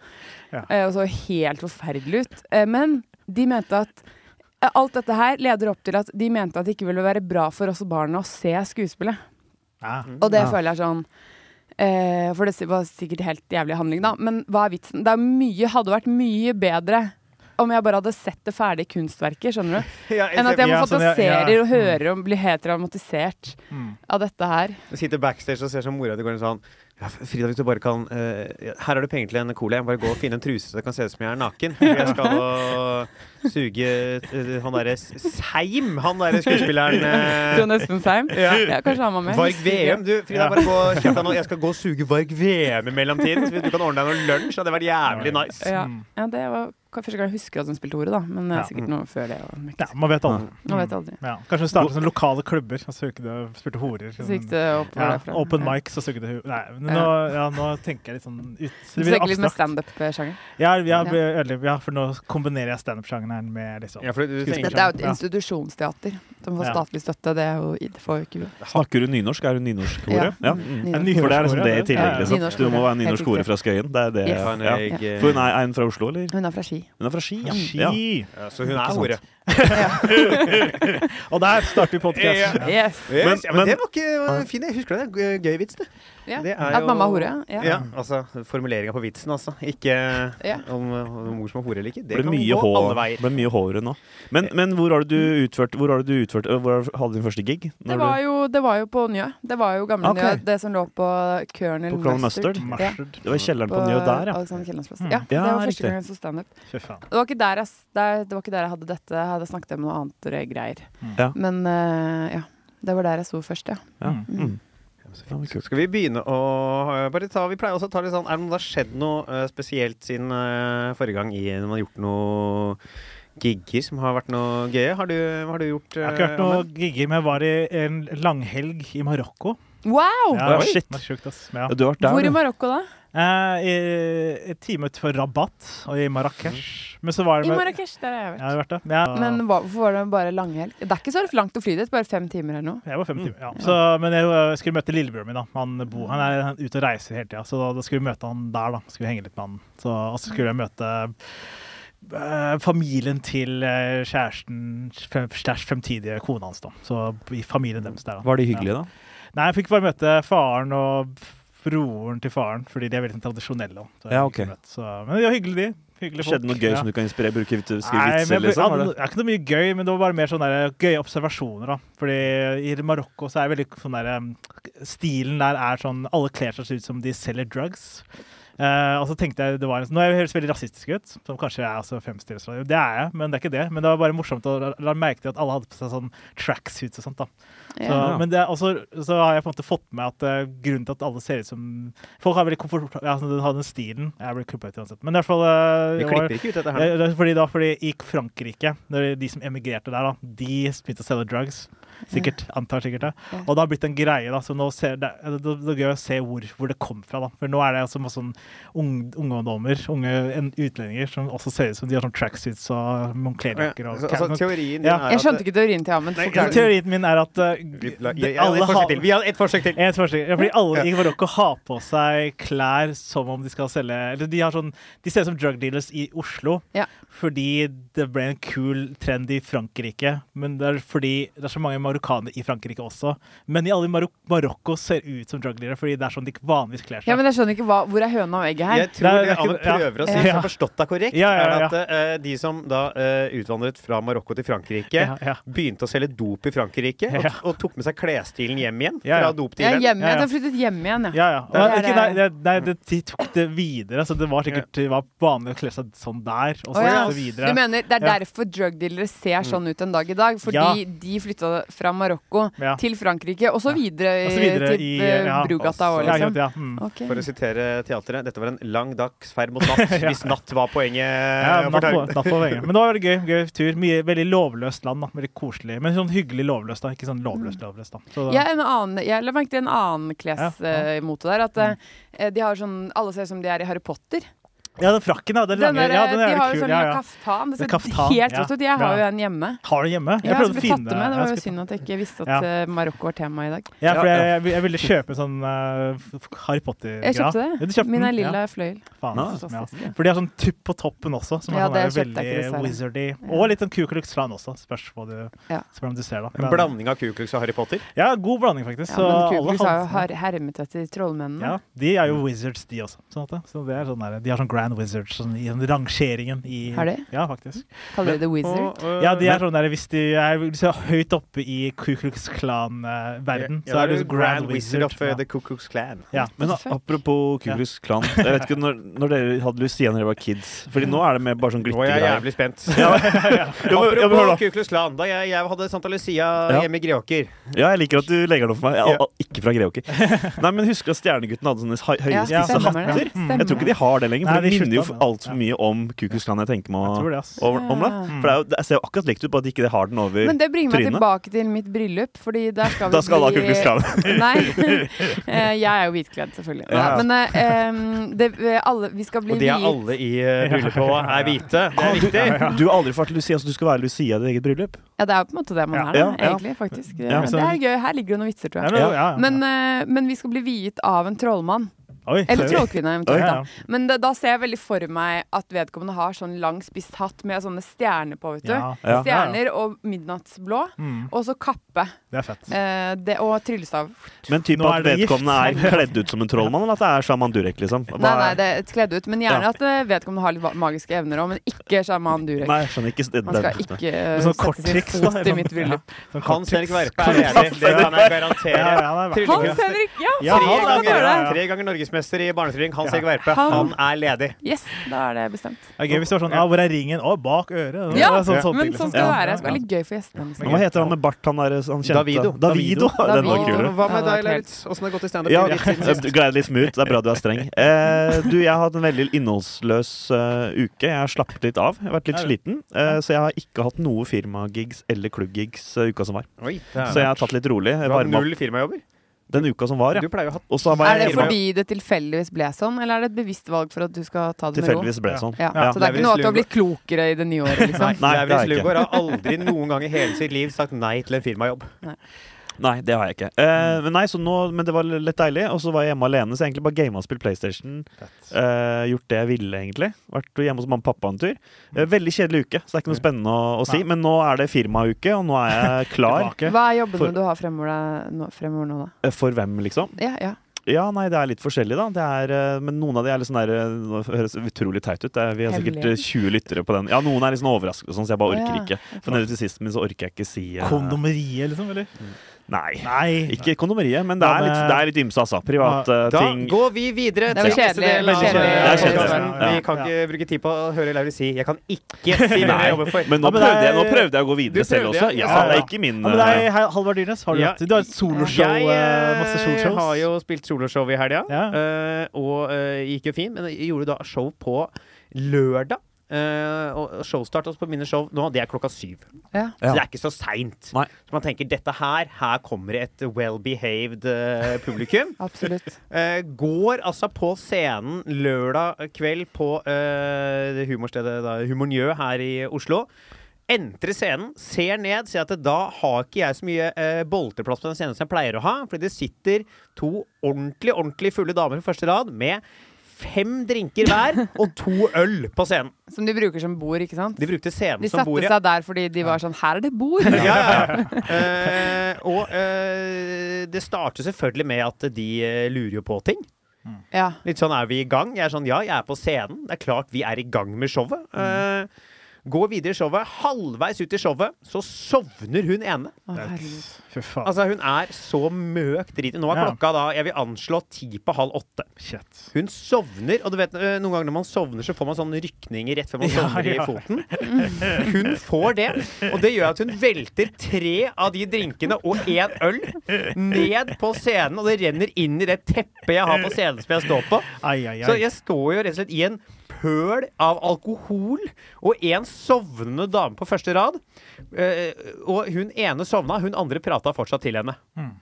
[SPEAKER 2] Ja.
[SPEAKER 4] Eh, og så helt forferdelig ut. Eh, men de mente at eh, alt dette her leder opp til at de mente at det ikke ville være bra for oss barna å se skuespillet.
[SPEAKER 2] Ja.
[SPEAKER 4] Og det
[SPEAKER 2] Ja.
[SPEAKER 4] føler jeg er sånn eh, For det var sikkert helt jævlig handling, da. Men hva er vitsen? Det er mye, hadde vært mye bedre om jeg bare hadde sett det ferdige kunstverket, skjønner du?
[SPEAKER 1] Ja,
[SPEAKER 4] Enn at jeg må
[SPEAKER 2] Ja, sånn, ja,
[SPEAKER 4] fantaserer
[SPEAKER 2] ja.
[SPEAKER 4] og hører og blir helt traumatisert
[SPEAKER 2] Mm.
[SPEAKER 4] av dette her.
[SPEAKER 1] jeg sitter backstage og ser som mora di går inn sånn ja, Frida, hvis du bare kan eh, Her er det penger til en cola. Jeg må bare gå og finne en truse så det kan se ut som jeg er naken. For jeg skal og suge eh, han derre Seim, han derre skuespilleren eh,
[SPEAKER 4] Trond Espen Seim.
[SPEAKER 1] ja.
[SPEAKER 4] Ja, kanskje han var med.
[SPEAKER 1] Varg VM. Du, Frida,
[SPEAKER 2] Ja.
[SPEAKER 1] bare gå og kjøp deg noe. Jeg skal gå og suge Varg VM i mellomtiden. Så du kan ordne deg noe lunsj. Hadde vært jævlig nice.
[SPEAKER 4] Ja.
[SPEAKER 2] Mm.
[SPEAKER 4] ja, det var k- første gang jeg husker at hun spilte hore, da. Men det
[SPEAKER 2] Ja.
[SPEAKER 4] er sikkert noe før det. og
[SPEAKER 2] ja,
[SPEAKER 4] mye.
[SPEAKER 2] man vet aldri. Mm.
[SPEAKER 4] Man vet aldri.
[SPEAKER 2] Ja. Kanskje hun startet sånne lokale klubber og søkte, spilte horer.
[SPEAKER 4] Så gikk det oppover
[SPEAKER 2] ja,
[SPEAKER 4] derfra.
[SPEAKER 2] open
[SPEAKER 4] Ja.
[SPEAKER 2] mics og søkte ho- Nei, men nå,
[SPEAKER 4] Ja.
[SPEAKER 2] ja, nå tenker jeg litt sånn ut.
[SPEAKER 4] Du
[SPEAKER 2] blir
[SPEAKER 4] snakker litt med
[SPEAKER 2] abstrakt.
[SPEAKER 4] standup-sjangeren.
[SPEAKER 2] Ja, ja, jeg ble ødelagt, ja, for nå kombinerer jeg standup-sjangeren med liksom
[SPEAKER 1] Ja, for du, du
[SPEAKER 2] Skuespiller.
[SPEAKER 1] tenker
[SPEAKER 4] Dette er jo et
[SPEAKER 2] Ja.
[SPEAKER 4] institusjonsteater som får
[SPEAKER 2] Ja.
[SPEAKER 4] statlig støtte. Det, er jo, det får jo ikke vi.
[SPEAKER 3] Snakker hun nynorsk? Er hun nynorsk hore?
[SPEAKER 4] Ja.
[SPEAKER 3] Mm.
[SPEAKER 4] Nynorsk.
[SPEAKER 3] En ny- For det er liksom det i
[SPEAKER 2] Ja,
[SPEAKER 3] tillegg.
[SPEAKER 2] ja.
[SPEAKER 3] Liksom.
[SPEAKER 4] Nynorsk
[SPEAKER 3] Du må
[SPEAKER 4] hore.
[SPEAKER 3] være nynorsk
[SPEAKER 4] Helt riktig.
[SPEAKER 3] hore fra Skøyen. Det er det.
[SPEAKER 4] Yes.
[SPEAKER 1] Kan
[SPEAKER 3] Ja.
[SPEAKER 1] jeg, eh,
[SPEAKER 3] For hun er, er hun fra Oslo, eller?
[SPEAKER 4] Hun er fra Ski.
[SPEAKER 3] Hun er fra Ski. Ja.
[SPEAKER 2] Ski!
[SPEAKER 3] liksom. Ja.
[SPEAKER 1] ja, Så hun
[SPEAKER 3] Ikke
[SPEAKER 1] er
[SPEAKER 3] sant.
[SPEAKER 1] hore.
[SPEAKER 2] Og der starter vi podkasten.
[SPEAKER 4] Yes.
[SPEAKER 1] Yes, ja, men,
[SPEAKER 3] men-
[SPEAKER 1] det var ikke var en fin. Jeg husker det. Gøy, gøy vits, det.
[SPEAKER 4] Ja.
[SPEAKER 1] Det er
[SPEAKER 4] At
[SPEAKER 1] jo-
[SPEAKER 4] mamma er hore? Ja.
[SPEAKER 1] Ja, altså formuleringa på vitsen, altså. Ikke
[SPEAKER 4] Ja.
[SPEAKER 1] om, om mor som er hore eller ikke. Det
[SPEAKER 3] Det ble
[SPEAKER 1] kan
[SPEAKER 3] mye,
[SPEAKER 1] gå
[SPEAKER 3] hår,
[SPEAKER 1] alle veier.
[SPEAKER 3] ble mye håret nå. Men, men hvor har du utført Hvor har du utført øh, Hvor har- hadde du din første gig?
[SPEAKER 4] Det
[SPEAKER 3] Når
[SPEAKER 4] var,
[SPEAKER 3] du,
[SPEAKER 4] jo, det var jo på Njø. Det var jo gamle
[SPEAKER 3] Ok.
[SPEAKER 4] Njø. Det som lå på Colonel
[SPEAKER 3] På Colonel
[SPEAKER 4] Mustard.
[SPEAKER 3] Mustard?
[SPEAKER 4] Ja,
[SPEAKER 2] Marsjord.
[SPEAKER 3] det var i kjelleren
[SPEAKER 4] på
[SPEAKER 3] på Njø der, ja.
[SPEAKER 4] Alexander Kiellands plass.
[SPEAKER 2] Mm.
[SPEAKER 4] Ja, det
[SPEAKER 3] Ja,
[SPEAKER 4] var
[SPEAKER 3] riktig.
[SPEAKER 4] første gang jeg så standup.
[SPEAKER 2] Fy faen.
[SPEAKER 4] Det var ikke der jeg, s- der, det var ikke der jeg hadde dette. Jeg hadde snakket om noe annet røde greier.
[SPEAKER 2] Mm.
[SPEAKER 3] Ja.
[SPEAKER 4] Men eh, ja. Det var der jeg sto først, ja.
[SPEAKER 3] Ja.
[SPEAKER 2] Mm.
[SPEAKER 3] Mm. Ja, men kult.
[SPEAKER 1] Skal vi begynne å eh, bare ta, Vi pleier også å ta litt sånn Er det noe det har skjedd noe eh, spesielt siden eh, forrige gang i, når man har gjort noe gigger som har vært noe gøye? Har du, hva har du gjort?
[SPEAKER 2] Jeg har ikke
[SPEAKER 1] eh,
[SPEAKER 2] hørt noe
[SPEAKER 1] Amund?
[SPEAKER 2] gigger, men jeg var i en langhelg i Marokko.
[SPEAKER 4] Wow!
[SPEAKER 2] Ja,
[SPEAKER 3] oi.
[SPEAKER 2] shit. Det var sjukt, ass. Men Ja.
[SPEAKER 3] Ja, Du har vært der,
[SPEAKER 4] Hvor i
[SPEAKER 3] du.
[SPEAKER 4] Marokko da?
[SPEAKER 2] Eh, i- En time utenfor Rabat og i Marrakech. Men så var det
[SPEAKER 4] I
[SPEAKER 2] med-
[SPEAKER 4] Marrakech, der har jeg
[SPEAKER 2] Ja,
[SPEAKER 4] vært.
[SPEAKER 2] jeg har vært der. Men jeg-
[SPEAKER 4] Men hva- hvorfor var det bare langhelg? Det er ikke så langt å fly dit, bare fem timer eller noe.
[SPEAKER 2] Jeg var fem timer, Mm. ja. Så, men jeg eh, skulle møte lillebroren min. da. Han, bor, han er han er ute og reiser hele tida, så da, da skulle vi møte han der. da. Skulle henge litt med han. Så, og så skulle jeg møte eh, familien til eh, kjæresten, fem, stæsj fremtidige kona hans. da. Så i familien deres der. da.
[SPEAKER 3] Var de hyggelige, da?
[SPEAKER 2] Nei, jeg fikk bare møte faren og broren til faren, fordi de er veldig sånn tradisjonelle. da. Så jeg
[SPEAKER 3] Ja,
[SPEAKER 2] fikk ikke
[SPEAKER 3] ok.
[SPEAKER 2] møtt. Så, men de var hyggelige, de. Hyggelige folk.
[SPEAKER 3] Skjedde noe gøy som du kan inspirere? Bruke skrive
[SPEAKER 2] men
[SPEAKER 3] vitser,
[SPEAKER 2] jeg ble-
[SPEAKER 3] liksom? Var
[SPEAKER 2] ja,
[SPEAKER 3] det?
[SPEAKER 2] det er ikke noe mye gøy, men det var bare mer sånn der, gøye observasjoner. da. Fordi i Marokko så er veldig sånn der, um, Stilen der er sånn Alle kler seg ut som de selger drugs. Eh, og så tenkte jeg det var en, Nå er jeg- høres veldig rasistisk ut, som kanskje jeg også fremstilles som. Det er jeg, men det er ikke det. Men det var bare morsomt å la, la merke til at alle hadde på seg sånn tracksuits og sånt. da. Så,
[SPEAKER 4] Ja.
[SPEAKER 2] Men det er også, så har jeg på en måte fått med at eh, grunnen til at alle ser ut som Folk har veldig komfort... Ja, sånn, de har den stilen. Jeg blir klippet ut uansett. Men i hvert fall eh,
[SPEAKER 1] Vi
[SPEAKER 2] det var,
[SPEAKER 1] klipper ikke ut dette her.
[SPEAKER 2] det, det er fordi, da, fordi i Frankrike, når de som emigrerte der, da, de begynte å selge drugs. Sikkert, antar sikkert det.
[SPEAKER 4] Ja.
[SPEAKER 2] Og det har blitt en greie. da, så nå ser, det, det, det er gøy å se hvor, hvor det kom fra. da. For nå er det altså masse sånn ung, ungdommer, unge en- utlendinger, som også ser ut som de har sånn tracksuits og Moncler-jakker. og-
[SPEAKER 1] Så, altså, teorien din
[SPEAKER 2] Ja.
[SPEAKER 1] er
[SPEAKER 4] Jeg
[SPEAKER 1] at
[SPEAKER 4] skjønte ikke teorien til Ahmed.
[SPEAKER 1] Nei,
[SPEAKER 4] Forklar.
[SPEAKER 2] Teorien min er at uh,
[SPEAKER 1] vi, la,
[SPEAKER 2] de-
[SPEAKER 1] ja, ja,
[SPEAKER 2] alle
[SPEAKER 1] et
[SPEAKER 2] har-
[SPEAKER 1] forsøk til. Vi har et forsøk til.
[SPEAKER 2] Jeg tror ikke- ja, fordi alle i Marokko har på seg klær som om de skal selge Eller de, har sånn, de ser ut som drug dealers i Oslo
[SPEAKER 4] Ja.
[SPEAKER 2] fordi det ble en kul trend i Frankrike. Men det er fordi det er så mange marokkanere i Frankrike også. Men i alle i Marok Marokko ser ut som drug dealere fordi det er sånn de ikke vanligvis kler seg.
[SPEAKER 4] Ja, men jeg skjønner ikke hva, hvor er høna og egget her.
[SPEAKER 1] Jeg tror
[SPEAKER 2] Nei,
[SPEAKER 1] det
[SPEAKER 2] det er ikke-
[SPEAKER 1] Ahmed prøver å si,
[SPEAKER 2] ja.
[SPEAKER 1] hvis jeg
[SPEAKER 2] Ja.
[SPEAKER 1] har forstått deg korrekt,
[SPEAKER 2] Ja, ja,
[SPEAKER 1] er at eh, de som da eh, utvandret fra Marokko til Frankrike,
[SPEAKER 2] Ja, ja.
[SPEAKER 1] begynte å selge dop i Frankrike, og,
[SPEAKER 2] Ja.
[SPEAKER 1] og tok med seg klesstilen hjem igjen
[SPEAKER 2] Ja, ja.
[SPEAKER 1] fra
[SPEAKER 4] Jeg er
[SPEAKER 1] dopdealeren.
[SPEAKER 4] hjemme
[SPEAKER 2] Ja,
[SPEAKER 4] igjen.
[SPEAKER 2] ja.
[SPEAKER 4] Jeg har flyttet hjem igjen, jeg.
[SPEAKER 2] Ja, ja.
[SPEAKER 4] Det er-
[SPEAKER 2] Nei, ikke, nei, det, nei det, de tok det videre. Så det var sikkert det var vanlig å kle seg sånn der, og så
[SPEAKER 4] Å, ja.
[SPEAKER 2] så
[SPEAKER 4] Du
[SPEAKER 2] videre.
[SPEAKER 4] mener Det er
[SPEAKER 2] Ja. Mm.
[SPEAKER 4] derfor drug dealere ser sånn ut en dag i dag? Fordi
[SPEAKER 2] Ja.
[SPEAKER 4] de flytta fra Marokko
[SPEAKER 2] Ja.
[SPEAKER 4] til Frankrike, og så
[SPEAKER 2] Ja.
[SPEAKER 4] videre,
[SPEAKER 2] Og så videre
[SPEAKER 4] til
[SPEAKER 2] i,
[SPEAKER 4] eh,
[SPEAKER 2] ja,
[SPEAKER 4] Brugata
[SPEAKER 1] og
[SPEAKER 4] òg,
[SPEAKER 1] så-
[SPEAKER 2] Ja, ikke sant,
[SPEAKER 4] liksom.
[SPEAKER 2] ja. Mm.
[SPEAKER 4] Ok.
[SPEAKER 1] For å sitere teatret, dette var en lang dags ferd mot natt, hvis natt var poenget. Eh,
[SPEAKER 2] Ja, natt på,
[SPEAKER 1] fortalt.
[SPEAKER 2] natt på venger. Men det var veldig gøy, gøy tur. Mye, veldig lovløst land. da. Veldig koselig. Men sånn hyggelig lovløst, da. Ikke sånn lovløst lovløst, da. Så,
[SPEAKER 4] Mm. Ja, en annen, jeg la merke til en annen
[SPEAKER 2] sånn. Ja, Mm. ja.
[SPEAKER 4] klesmote der. At eh, de har sånn Alle ser ut som de er i Harry Potter.
[SPEAKER 2] ja, den frakken, ja. Den,
[SPEAKER 4] Den
[SPEAKER 2] lange.
[SPEAKER 4] der,
[SPEAKER 2] ja, den
[SPEAKER 4] de
[SPEAKER 2] er
[SPEAKER 4] har
[SPEAKER 2] veldig
[SPEAKER 4] jo
[SPEAKER 2] kul.
[SPEAKER 4] sånn
[SPEAKER 2] Ja, ja.
[SPEAKER 4] kaftan. Det
[SPEAKER 2] Det
[SPEAKER 4] ser
[SPEAKER 2] kaftan,
[SPEAKER 4] helt
[SPEAKER 2] ja.
[SPEAKER 4] rått ut. Jeg
[SPEAKER 2] Ja.
[SPEAKER 4] har jo en hjemme.
[SPEAKER 2] Har du den hjemme?
[SPEAKER 4] Jeg, jeg
[SPEAKER 2] prøvde å
[SPEAKER 4] ble tatt
[SPEAKER 2] finne
[SPEAKER 4] med. Det var
[SPEAKER 2] jeg
[SPEAKER 4] jo
[SPEAKER 2] skulle-
[SPEAKER 4] synd at jeg ikke visste
[SPEAKER 2] Ja.
[SPEAKER 4] at eh, Marokko var tema i dag.
[SPEAKER 2] Ja, for
[SPEAKER 1] Ja,
[SPEAKER 2] jeg, jeg, jeg ville kjøpe en sånn eh, f- Harry Potter-greie.
[SPEAKER 4] Jeg kjøpte det.
[SPEAKER 2] Ja, du kjøpte
[SPEAKER 4] Min
[SPEAKER 2] den,
[SPEAKER 4] er
[SPEAKER 2] ja.
[SPEAKER 4] lilla fløyel.
[SPEAKER 2] Faen,
[SPEAKER 3] Ja.
[SPEAKER 2] sånn, ja.
[SPEAKER 4] Fantastisk. ja.
[SPEAKER 2] For de har sånn tupp på toppen også, som
[SPEAKER 4] Ja,
[SPEAKER 2] er sånn
[SPEAKER 4] det kjøpte jeg
[SPEAKER 2] der
[SPEAKER 4] ikke,
[SPEAKER 2] veldig wizardy. Og litt sånn kukeluksland også, spørs hva du,
[SPEAKER 4] Ja.
[SPEAKER 2] spør om du ser. da.
[SPEAKER 1] En blanding av Ku Klux og Harry Potter.
[SPEAKER 2] Ja, god blanding, faktisk.
[SPEAKER 4] Ja,
[SPEAKER 2] så
[SPEAKER 4] men
[SPEAKER 2] alle
[SPEAKER 4] Kuklus har jo
[SPEAKER 2] halsene-
[SPEAKER 4] har- hermet etter trollmennene.
[SPEAKER 2] Ja, de er jo wizards, de også. Sånn at det, så det er sånn der, de har sånn grand wizards sånn, i den rangeringen. I,
[SPEAKER 4] Har de?
[SPEAKER 2] Ja, faktisk.
[SPEAKER 4] Kaller de det wizard?
[SPEAKER 1] Og, øh,
[SPEAKER 2] Ja, de
[SPEAKER 1] men-
[SPEAKER 2] er sånn der, Hvis du er hvis du er høyt oppe i Ku Klux Klan-verden,
[SPEAKER 1] Ja,
[SPEAKER 2] så
[SPEAKER 1] da
[SPEAKER 2] er du
[SPEAKER 1] det
[SPEAKER 2] grand wizard.
[SPEAKER 1] of uh, the Ku Klux Klan.
[SPEAKER 2] Ja.
[SPEAKER 3] Men a- apropos Kukrus Klan. Jeg vet ikke når, når dere hadde Lucia når dere var kids. Fordi nå er det med bare sånn
[SPEAKER 1] Nå er jeg
[SPEAKER 3] glittergreier.
[SPEAKER 1] jævlig spent.
[SPEAKER 3] Ja, ja, men- ja, men hør
[SPEAKER 1] Apropos
[SPEAKER 3] da.
[SPEAKER 1] Ku Klux Klan. Da jeg, jeg hadde Santa Lucia
[SPEAKER 3] Ja.
[SPEAKER 1] hjemme i Greåker.
[SPEAKER 3] ja, jeg liker at du legger det opp for meg. Jeg,
[SPEAKER 1] Ja.
[SPEAKER 3] er Ikke fra Greåker. Nei, men husker du at Stjernegutten hadde sånne hø- høye
[SPEAKER 4] Ja,
[SPEAKER 2] spisse
[SPEAKER 3] spisse
[SPEAKER 4] stemmer
[SPEAKER 3] hatter?
[SPEAKER 4] det.
[SPEAKER 2] Mm.
[SPEAKER 4] Stemmer
[SPEAKER 3] Jeg tror ikke de har det lenger,
[SPEAKER 2] Nei,
[SPEAKER 3] for det
[SPEAKER 2] de
[SPEAKER 3] minner jo
[SPEAKER 2] slutta med det.
[SPEAKER 3] altfor mye om Kukus Klan jeg tenker meg
[SPEAKER 2] Jeg
[SPEAKER 3] å-
[SPEAKER 2] tror det, ass. Mm.
[SPEAKER 3] over, om. da. For det, er jo, det ser jo akkurat likt ut, bare at de ikke har den over
[SPEAKER 4] Men det bringer meg
[SPEAKER 3] trynet.
[SPEAKER 4] tilbake til mitt bryllup, fordi der skal vi
[SPEAKER 3] Da skal da
[SPEAKER 4] bli-
[SPEAKER 3] Kukus Klan.
[SPEAKER 4] Nei. Eh, Jeg er jo hvitkledd, selvfølgelig.
[SPEAKER 3] Ja.
[SPEAKER 4] Men eh, em, det, eh, alle, vi skal bli
[SPEAKER 1] Og de er
[SPEAKER 4] viet.
[SPEAKER 1] alle i uh, bryllupet og er hvite. Det er viktig.
[SPEAKER 3] Du har aldri vært Lucia, så du skal være Lucia i ditt eget bryllup?
[SPEAKER 4] Ja, det er jo på en måte det man
[SPEAKER 2] Ja,
[SPEAKER 4] er, da.
[SPEAKER 3] ja, ja.
[SPEAKER 4] Egentlig, faktisk.
[SPEAKER 3] Ja,
[SPEAKER 4] Men
[SPEAKER 2] så-
[SPEAKER 4] det er gøy. Her ligger det noen vitser, tror jeg.
[SPEAKER 2] ja, ja.
[SPEAKER 4] Men, eh, men vi skal bli viet av en trollmann.
[SPEAKER 2] Oi,
[SPEAKER 4] Eller
[SPEAKER 2] sorry.
[SPEAKER 4] trollkvinne,
[SPEAKER 2] Ja,
[SPEAKER 4] eventuelt.
[SPEAKER 2] ja.
[SPEAKER 4] da. Men da, da ser jeg veldig for meg at vedkommende har sånn lang, spist hatt med sånne stjerner på, vet du.
[SPEAKER 2] Ja,
[SPEAKER 3] Ja.
[SPEAKER 4] Stjerner og midnattsblå.
[SPEAKER 2] Mm,
[SPEAKER 4] Og så kappe.
[SPEAKER 2] det er fett.
[SPEAKER 4] Eh, det, og tryllestav.
[SPEAKER 3] Men type
[SPEAKER 2] Nå er
[SPEAKER 3] at
[SPEAKER 2] det gift.
[SPEAKER 3] vedkommende er kledd ut som en trollmann, eller at det er Shaman Durek, liksom? Hva
[SPEAKER 4] Nei, nei,
[SPEAKER 3] er-
[SPEAKER 4] det er kledd ut. Men gjerne
[SPEAKER 3] Ja.
[SPEAKER 4] at eh, vedkommende har litt va- magiske evner òg, men ikke sjaman Durek.
[SPEAKER 3] Nei, jeg skjønner ikke det-
[SPEAKER 4] Han skal
[SPEAKER 3] det-
[SPEAKER 4] ikke eh,
[SPEAKER 2] Men sånn kort
[SPEAKER 4] sette sin
[SPEAKER 2] triks, da.
[SPEAKER 4] fot i mitt bryllup.
[SPEAKER 2] Sånn
[SPEAKER 1] Hans Henrik
[SPEAKER 2] korttips.
[SPEAKER 1] Verpe er enig. Det kan jeg garantere.
[SPEAKER 2] Ja, ja, det er verdt det.
[SPEAKER 1] Tryllekunst.
[SPEAKER 4] Hans Henrik! Ja!
[SPEAKER 2] Ja,
[SPEAKER 1] Tre
[SPEAKER 2] han er-
[SPEAKER 1] ganger,
[SPEAKER 2] ja, ja.
[SPEAKER 1] tre ganger norgesmester i barnetrylling, Hans Erik Verpe.
[SPEAKER 4] Han-
[SPEAKER 1] Han er ledig.
[SPEAKER 4] Yes, da er det bestemt.
[SPEAKER 2] Det er gøy hvis det var sånn ah, 'Hvor er ringen?' Å, bak øret.
[SPEAKER 4] Ja,
[SPEAKER 2] sånn, sånn
[SPEAKER 4] Men
[SPEAKER 2] ting,
[SPEAKER 4] sånn
[SPEAKER 2] liksom.
[SPEAKER 4] skal det
[SPEAKER 2] Ja,
[SPEAKER 4] være.
[SPEAKER 2] ja,
[SPEAKER 4] Det skal være litt gøy for gjestene.
[SPEAKER 3] Men
[SPEAKER 4] Liksom.
[SPEAKER 3] Hva heter han med bart han der eh, han kjente?
[SPEAKER 1] Davido.
[SPEAKER 3] Davido. Den var
[SPEAKER 4] Davido.
[SPEAKER 3] kulere.
[SPEAKER 1] Hva med
[SPEAKER 4] Ja, det
[SPEAKER 1] deg,
[SPEAKER 4] er
[SPEAKER 1] Lauritz? Åssen har det gått i standup?
[SPEAKER 3] Ja,
[SPEAKER 1] litt siden sist?
[SPEAKER 3] du gleder litt smooth. Det er bra du er streng. Eh, du, jeg har hatt en veldig innholdsløs eh, uke. Jeg har slappet litt av. Jeg har vært litt
[SPEAKER 2] Er
[SPEAKER 3] sliten. Eh, så jeg har ikke hatt noe firmagigs eller klubbgigs eh, uka som var.
[SPEAKER 1] Oi,
[SPEAKER 3] Så jeg har tatt litt rolig.
[SPEAKER 1] du har
[SPEAKER 3] Varma opp
[SPEAKER 1] null firmajobber?
[SPEAKER 3] den uka som var,
[SPEAKER 1] Du
[SPEAKER 3] ja.
[SPEAKER 1] pleier jo å ha
[SPEAKER 3] Og så var
[SPEAKER 4] Er
[SPEAKER 3] jeg
[SPEAKER 4] det
[SPEAKER 3] firma-
[SPEAKER 4] fordi det tilfeldigvis ble sånn, eller er det et bevisst valg for at du skal ta det med ro?
[SPEAKER 3] Tilfeldigvis ble det sånn.
[SPEAKER 4] Ja.
[SPEAKER 3] Ja.
[SPEAKER 4] Så det er ikke noe at du har blitt klokere i det nye året, liksom?
[SPEAKER 3] Nei,
[SPEAKER 1] Lauritz
[SPEAKER 3] det har jeg ikke.
[SPEAKER 1] Lugård har aldri noen gang i hele sitt liv sagt nei til en firmajobb.
[SPEAKER 3] Nei, det har jeg ikke.
[SPEAKER 1] Mm.
[SPEAKER 3] Eh, men nei, så nå, men det var litt deilig. Og så var jeg hjemme alene, så jeg egentlig bare gama og spilt PlayStation. Eh, gjort det jeg ville, egentlig. Vært hjemme hos mamma og pappa en tur.
[SPEAKER 1] Mm.
[SPEAKER 3] Eh, veldig kjedelig uke, så det er ikke noe spennende å, å si.
[SPEAKER 2] Nei.
[SPEAKER 3] Men nå er det firmauke, og nå er jeg klar.
[SPEAKER 2] Tilbake.
[SPEAKER 4] Hva er jobbene
[SPEAKER 3] For-
[SPEAKER 4] du har fremover, deg nå, fremover nå, da?
[SPEAKER 3] Eh, For hvem, liksom?
[SPEAKER 4] Ja, ja.
[SPEAKER 3] Ja, nei, det er litt forskjellig, da. Det er, eh, men noen av de er litt sånn der eh, Nå høres det utrolig teit ut. Det er, vi har sikkert eh, 20 lyttere på den. Ja, noen er litt sånn overrasket og sånn, så jeg bare
[SPEAKER 4] Å,
[SPEAKER 3] orker
[SPEAKER 4] ja.
[SPEAKER 3] ikke. For nede til sist min så orker jeg ikke si eh,
[SPEAKER 2] Kondomeriet, liksom? Eller?
[SPEAKER 3] Nei.
[SPEAKER 2] Nei.
[SPEAKER 3] Ikke kondomeriet, men det er litt, det er litt ymse, altså. Private
[SPEAKER 1] Da
[SPEAKER 3] ting.
[SPEAKER 1] går vi videre
[SPEAKER 4] Det er
[SPEAKER 1] til
[SPEAKER 4] vel
[SPEAKER 1] neste
[SPEAKER 4] kjedelig,
[SPEAKER 1] del av
[SPEAKER 4] veldig kjedelig.
[SPEAKER 1] eh,
[SPEAKER 3] Det er kjedelig.
[SPEAKER 1] podcasten.
[SPEAKER 3] Ja.
[SPEAKER 1] Vi kan ikke bruke tid på å høre Lauritz si 'jeg kan ikke si hvem jeg
[SPEAKER 3] Nei.
[SPEAKER 1] jobber for'.
[SPEAKER 3] Men
[SPEAKER 2] Ja,
[SPEAKER 3] nå
[SPEAKER 2] men det
[SPEAKER 3] prøvde, jeg, nå
[SPEAKER 2] er-
[SPEAKER 3] prøvde jeg å gå
[SPEAKER 1] Du
[SPEAKER 3] videre selv
[SPEAKER 1] prøvde,
[SPEAKER 3] også.
[SPEAKER 1] ja.
[SPEAKER 3] Ja,
[SPEAKER 2] Ja, ja.
[SPEAKER 3] det er ikke min
[SPEAKER 2] Ja, men det
[SPEAKER 3] eh,
[SPEAKER 2] er Hal- Halvard Dyrnes, har du
[SPEAKER 1] Ja.
[SPEAKER 2] hatt Du har et soloshow,
[SPEAKER 1] Jeg
[SPEAKER 2] eh, masse
[SPEAKER 1] eh,
[SPEAKER 2] soloshows.
[SPEAKER 1] har jo spilt soloshow i helga,
[SPEAKER 2] Ja.
[SPEAKER 1] eh, og eh, gikk jo fint. Men jeg gjorde da show på lørdag eh, og og showstart også på mine show nå, det er klokka syv.
[SPEAKER 4] Ja.
[SPEAKER 1] Så
[SPEAKER 3] Ja.
[SPEAKER 1] det er ikke så seint.
[SPEAKER 3] Nei.
[SPEAKER 1] Så man tenker dette her, her kommer et well-behaved eh, publikum.
[SPEAKER 4] Absolutt.
[SPEAKER 1] Eh, går altså på scenen lørdag kveld på eh, det humorstedet da, Humornjø her i Oslo. Entrer scenen, ser ned, ser at det, da har ikke jeg så mye eh, bolteplass på den scenen som jeg pleier å ha. Fordi det sitter to ordentlig, ordentlig fulle damer på første rad med fem drinker hver og to øl på scenen.
[SPEAKER 4] Som de bruker som bord, ikke sant?
[SPEAKER 1] De brukte scenen
[SPEAKER 4] De
[SPEAKER 1] som bord.
[SPEAKER 4] satte seg der fordi de var sånn Her er det bord!
[SPEAKER 1] Ja, ja, ja. Eh, og eh, det starter selvfølgelig med at de eh, lurer jo på ting.
[SPEAKER 4] Ja.
[SPEAKER 1] Litt sånn er vi i gang. Jeg er sånn, ja, jeg er på scenen. Det er klart vi er i gang med showet. Eh, går videre i showet. Halvveis ut i showet, så sovner hun ene.
[SPEAKER 4] Å, herregud.
[SPEAKER 2] Fy faen.
[SPEAKER 1] Altså, hun er så møk drit. Nå er
[SPEAKER 2] Ja.
[SPEAKER 1] klokka da, jeg vil anslå ti på halv åtte.
[SPEAKER 2] Shit.
[SPEAKER 1] Hun sovner, og du vet, eh, noen ganger når man sovner, så får man sånne rykninger rett før man
[SPEAKER 2] Ja,
[SPEAKER 1] sovner
[SPEAKER 2] ja.
[SPEAKER 1] i foten. Hun får det, og det gjør at hun velter tre av de drinkene og én øl ned på scenen, og det renner inn i det teppet jeg har på scenen som jeg står på.
[SPEAKER 2] Ai, ai,
[SPEAKER 1] Så
[SPEAKER 2] ai.
[SPEAKER 1] jeg står jo rett og slett i en pøl av alkohol og en sovnende dame på første rad. Eh, og hun ene sovna, hun andre prata fortsatt til henne.
[SPEAKER 2] Mm.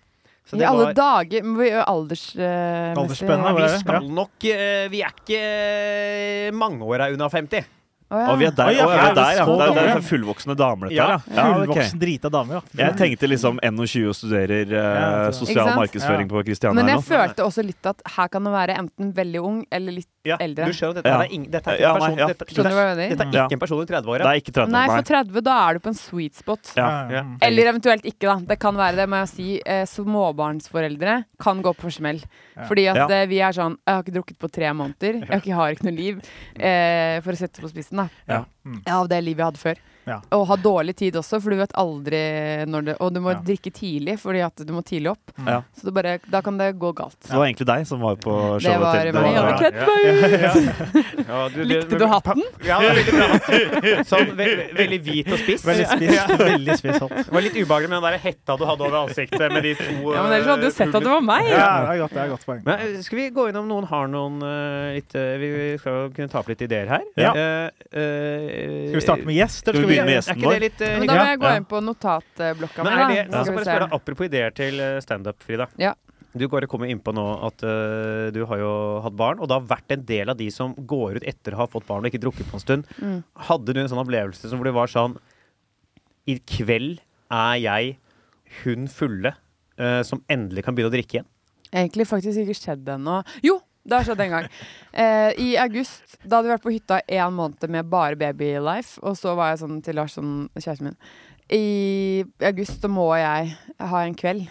[SPEAKER 1] Så
[SPEAKER 4] I
[SPEAKER 1] det
[SPEAKER 4] alle
[SPEAKER 1] var
[SPEAKER 4] dager må vi gjøre aldersmessig
[SPEAKER 2] Aldersspennet,
[SPEAKER 1] vi
[SPEAKER 2] hva er det?
[SPEAKER 1] skal nok eh, Vi er ikke eh, mangeåra unna 50.
[SPEAKER 4] Å, ja.
[SPEAKER 3] Og vi er der,
[SPEAKER 2] Oi, ja,
[SPEAKER 3] og vi
[SPEAKER 2] ja,
[SPEAKER 3] er der, ja.
[SPEAKER 2] så
[SPEAKER 3] Det er, det
[SPEAKER 2] gamle.
[SPEAKER 3] er fullvoksne damer, dette
[SPEAKER 1] Ja,
[SPEAKER 3] her. Ja. Ja, ok.
[SPEAKER 2] Fullvoksen drita dame, ja.
[SPEAKER 3] Jeg tenkte liksom 21 og studerer eh,
[SPEAKER 2] Ja, det-
[SPEAKER 3] sosial
[SPEAKER 4] Ikke sant?
[SPEAKER 3] markedsføring på Kristiania
[SPEAKER 4] Men
[SPEAKER 3] her
[SPEAKER 4] jeg
[SPEAKER 3] nå.
[SPEAKER 4] følte også litt at her kan det være enten veldig ung eller litt Eldre.
[SPEAKER 1] Du skjønner at dette,
[SPEAKER 3] Ja.
[SPEAKER 1] her er ing, dette er ikke
[SPEAKER 3] Ja,
[SPEAKER 1] en
[SPEAKER 3] nei,
[SPEAKER 1] person,
[SPEAKER 3] ja.
[SPEAKER 1] dette,
[SPEAKER 4] Skjønner du hva jeg mener?
[SPEAKER 1] dette er
[SPEAKER 3] Ja.
[SPEAKER 1] ikke en person i
[SPEAKER 3] Det
[SPEAKER 1] 30-åra.
[SPEAKER 3] er ikke 30.
[SPEAKER 4] Nei,
[SPEAKER 3] nei.
[SPEAKER 4] for 30 da er du på en sweet spot.
[SPEAKER 3] Ja.
[SPEAKER 2] Ja, ja.
[SPEAKER 4] Eller eventuelt ikke, da. Det kan være det, må jeg si. Eh, småbarnsforeldre kan gå på smell.
[SPEAKER 2] Ja.
[SPEAKER 4] Fordi at
[SPEAKER 3] Ja.
[SPEAKER 4] eh, vi er sånn Jeg har ikke drukket på tre måneder. Jeg har ikke, har ikke noe liv. Eh, for å sette det på spissen, da.
[SPEAKER 2] Ja. Mm.
[SPEAKER 4] Ja, Av det livet jeg hadde før.
[SPEAKER 2] Ja.
[SPEAKER 4] Og ha dårlig tid også, for du vet aldri når det Og du må
[SPEAKER 2] Ja.
[SPEAKER 4] drikke tidlig, fordi at du må tidlig opp.
[SPEAKER 3] Ja.
[SPEAKER 4] Så det bare, da kan det gå galt.
[SPEAKER 3] Så det var egentlig deg som var på showet
[SPEAKER 4] Det var
[SPEAKER 3] til
[SPEAKER 4] meg. Jeg hadde
[SPEAKER 2] ja.
[SPEAKER 4] kledd meg ut! Likte du hatten?
[SPEAKER 1] Ja, det var veldig bra hatt. Sånn ve ve veldig hvit og spiss.
[SPEAKER 2] Veldig spist. Veldig spist hatt.
[SPEAKER 1] Det var litt ubehagelig med den der hetta du hadde over ansiktet med de to
[SPEAKER 4] Ja, men ellers hadde du sett at det var meg!
[SPEAKER 2] Ja, det er godt, det er et godt poeng.
[SPEAKER 1] Men eh, skal vi gå innom noen har noen eh, litt eh, Vi vi skal jo kunne ta opp litt ideer her.
[SPEAKER 2] Ja.
[SPEAKER 1] Eh, eh,
[SPEAKER 2] Skal vi starte med gjest? eller
[SPEAKER 3] Skal vi begynne med
[SPEAKER 2] vi-
[SPEAKER 3] gjest?
[SPEAKER 1] Er ikke det litt eh,
[SPEAKER 4] Men
[SPEAKER 1] hyggelig?
[SPEAKER 4] da må jeg gå
[SPEAKER 3] Ja.
[SPEAKER 4] inn på notatblokka
[SPEAKER 1] Men
[SPEAKER 4] mi,
[SPEAKER 1] er det, nå skal
[SPEAKER 4] da.
[SPEAKER 1] jeg
[SPEAKER 4] Skal vi
[SPEAKER 1] bare
[SPEAKER 4] se.
[SPEAKER 1] spørre deg, Apropos ideer til eh, standup, Frida.
[SPEAKER 4] Ja.
[SPEAKER 1] Du bare kommer inn på nå at eh, du har jo hatt barn, og det har vært en del av de som går ut etter å ha fått barn og ikke drukket på en stund.
[SPEAKER 4] Mm.
[SPEAKER 1] Hadde du en sånn opplevelse som hvor du var sånn I kveld er jeg hun fulle eh, som endelig kan begynne å drikke igjen?
[SPEAKER 4] Egentlig faktisk ikke skjedd ennå. Jo, det har skjedd en gang. Eh, I august, da hadde vi vært på hytta en måned med bare babylife, og så var jeg sånn til Lars, sånn, kjæresten min I august så må jeg ha en kveld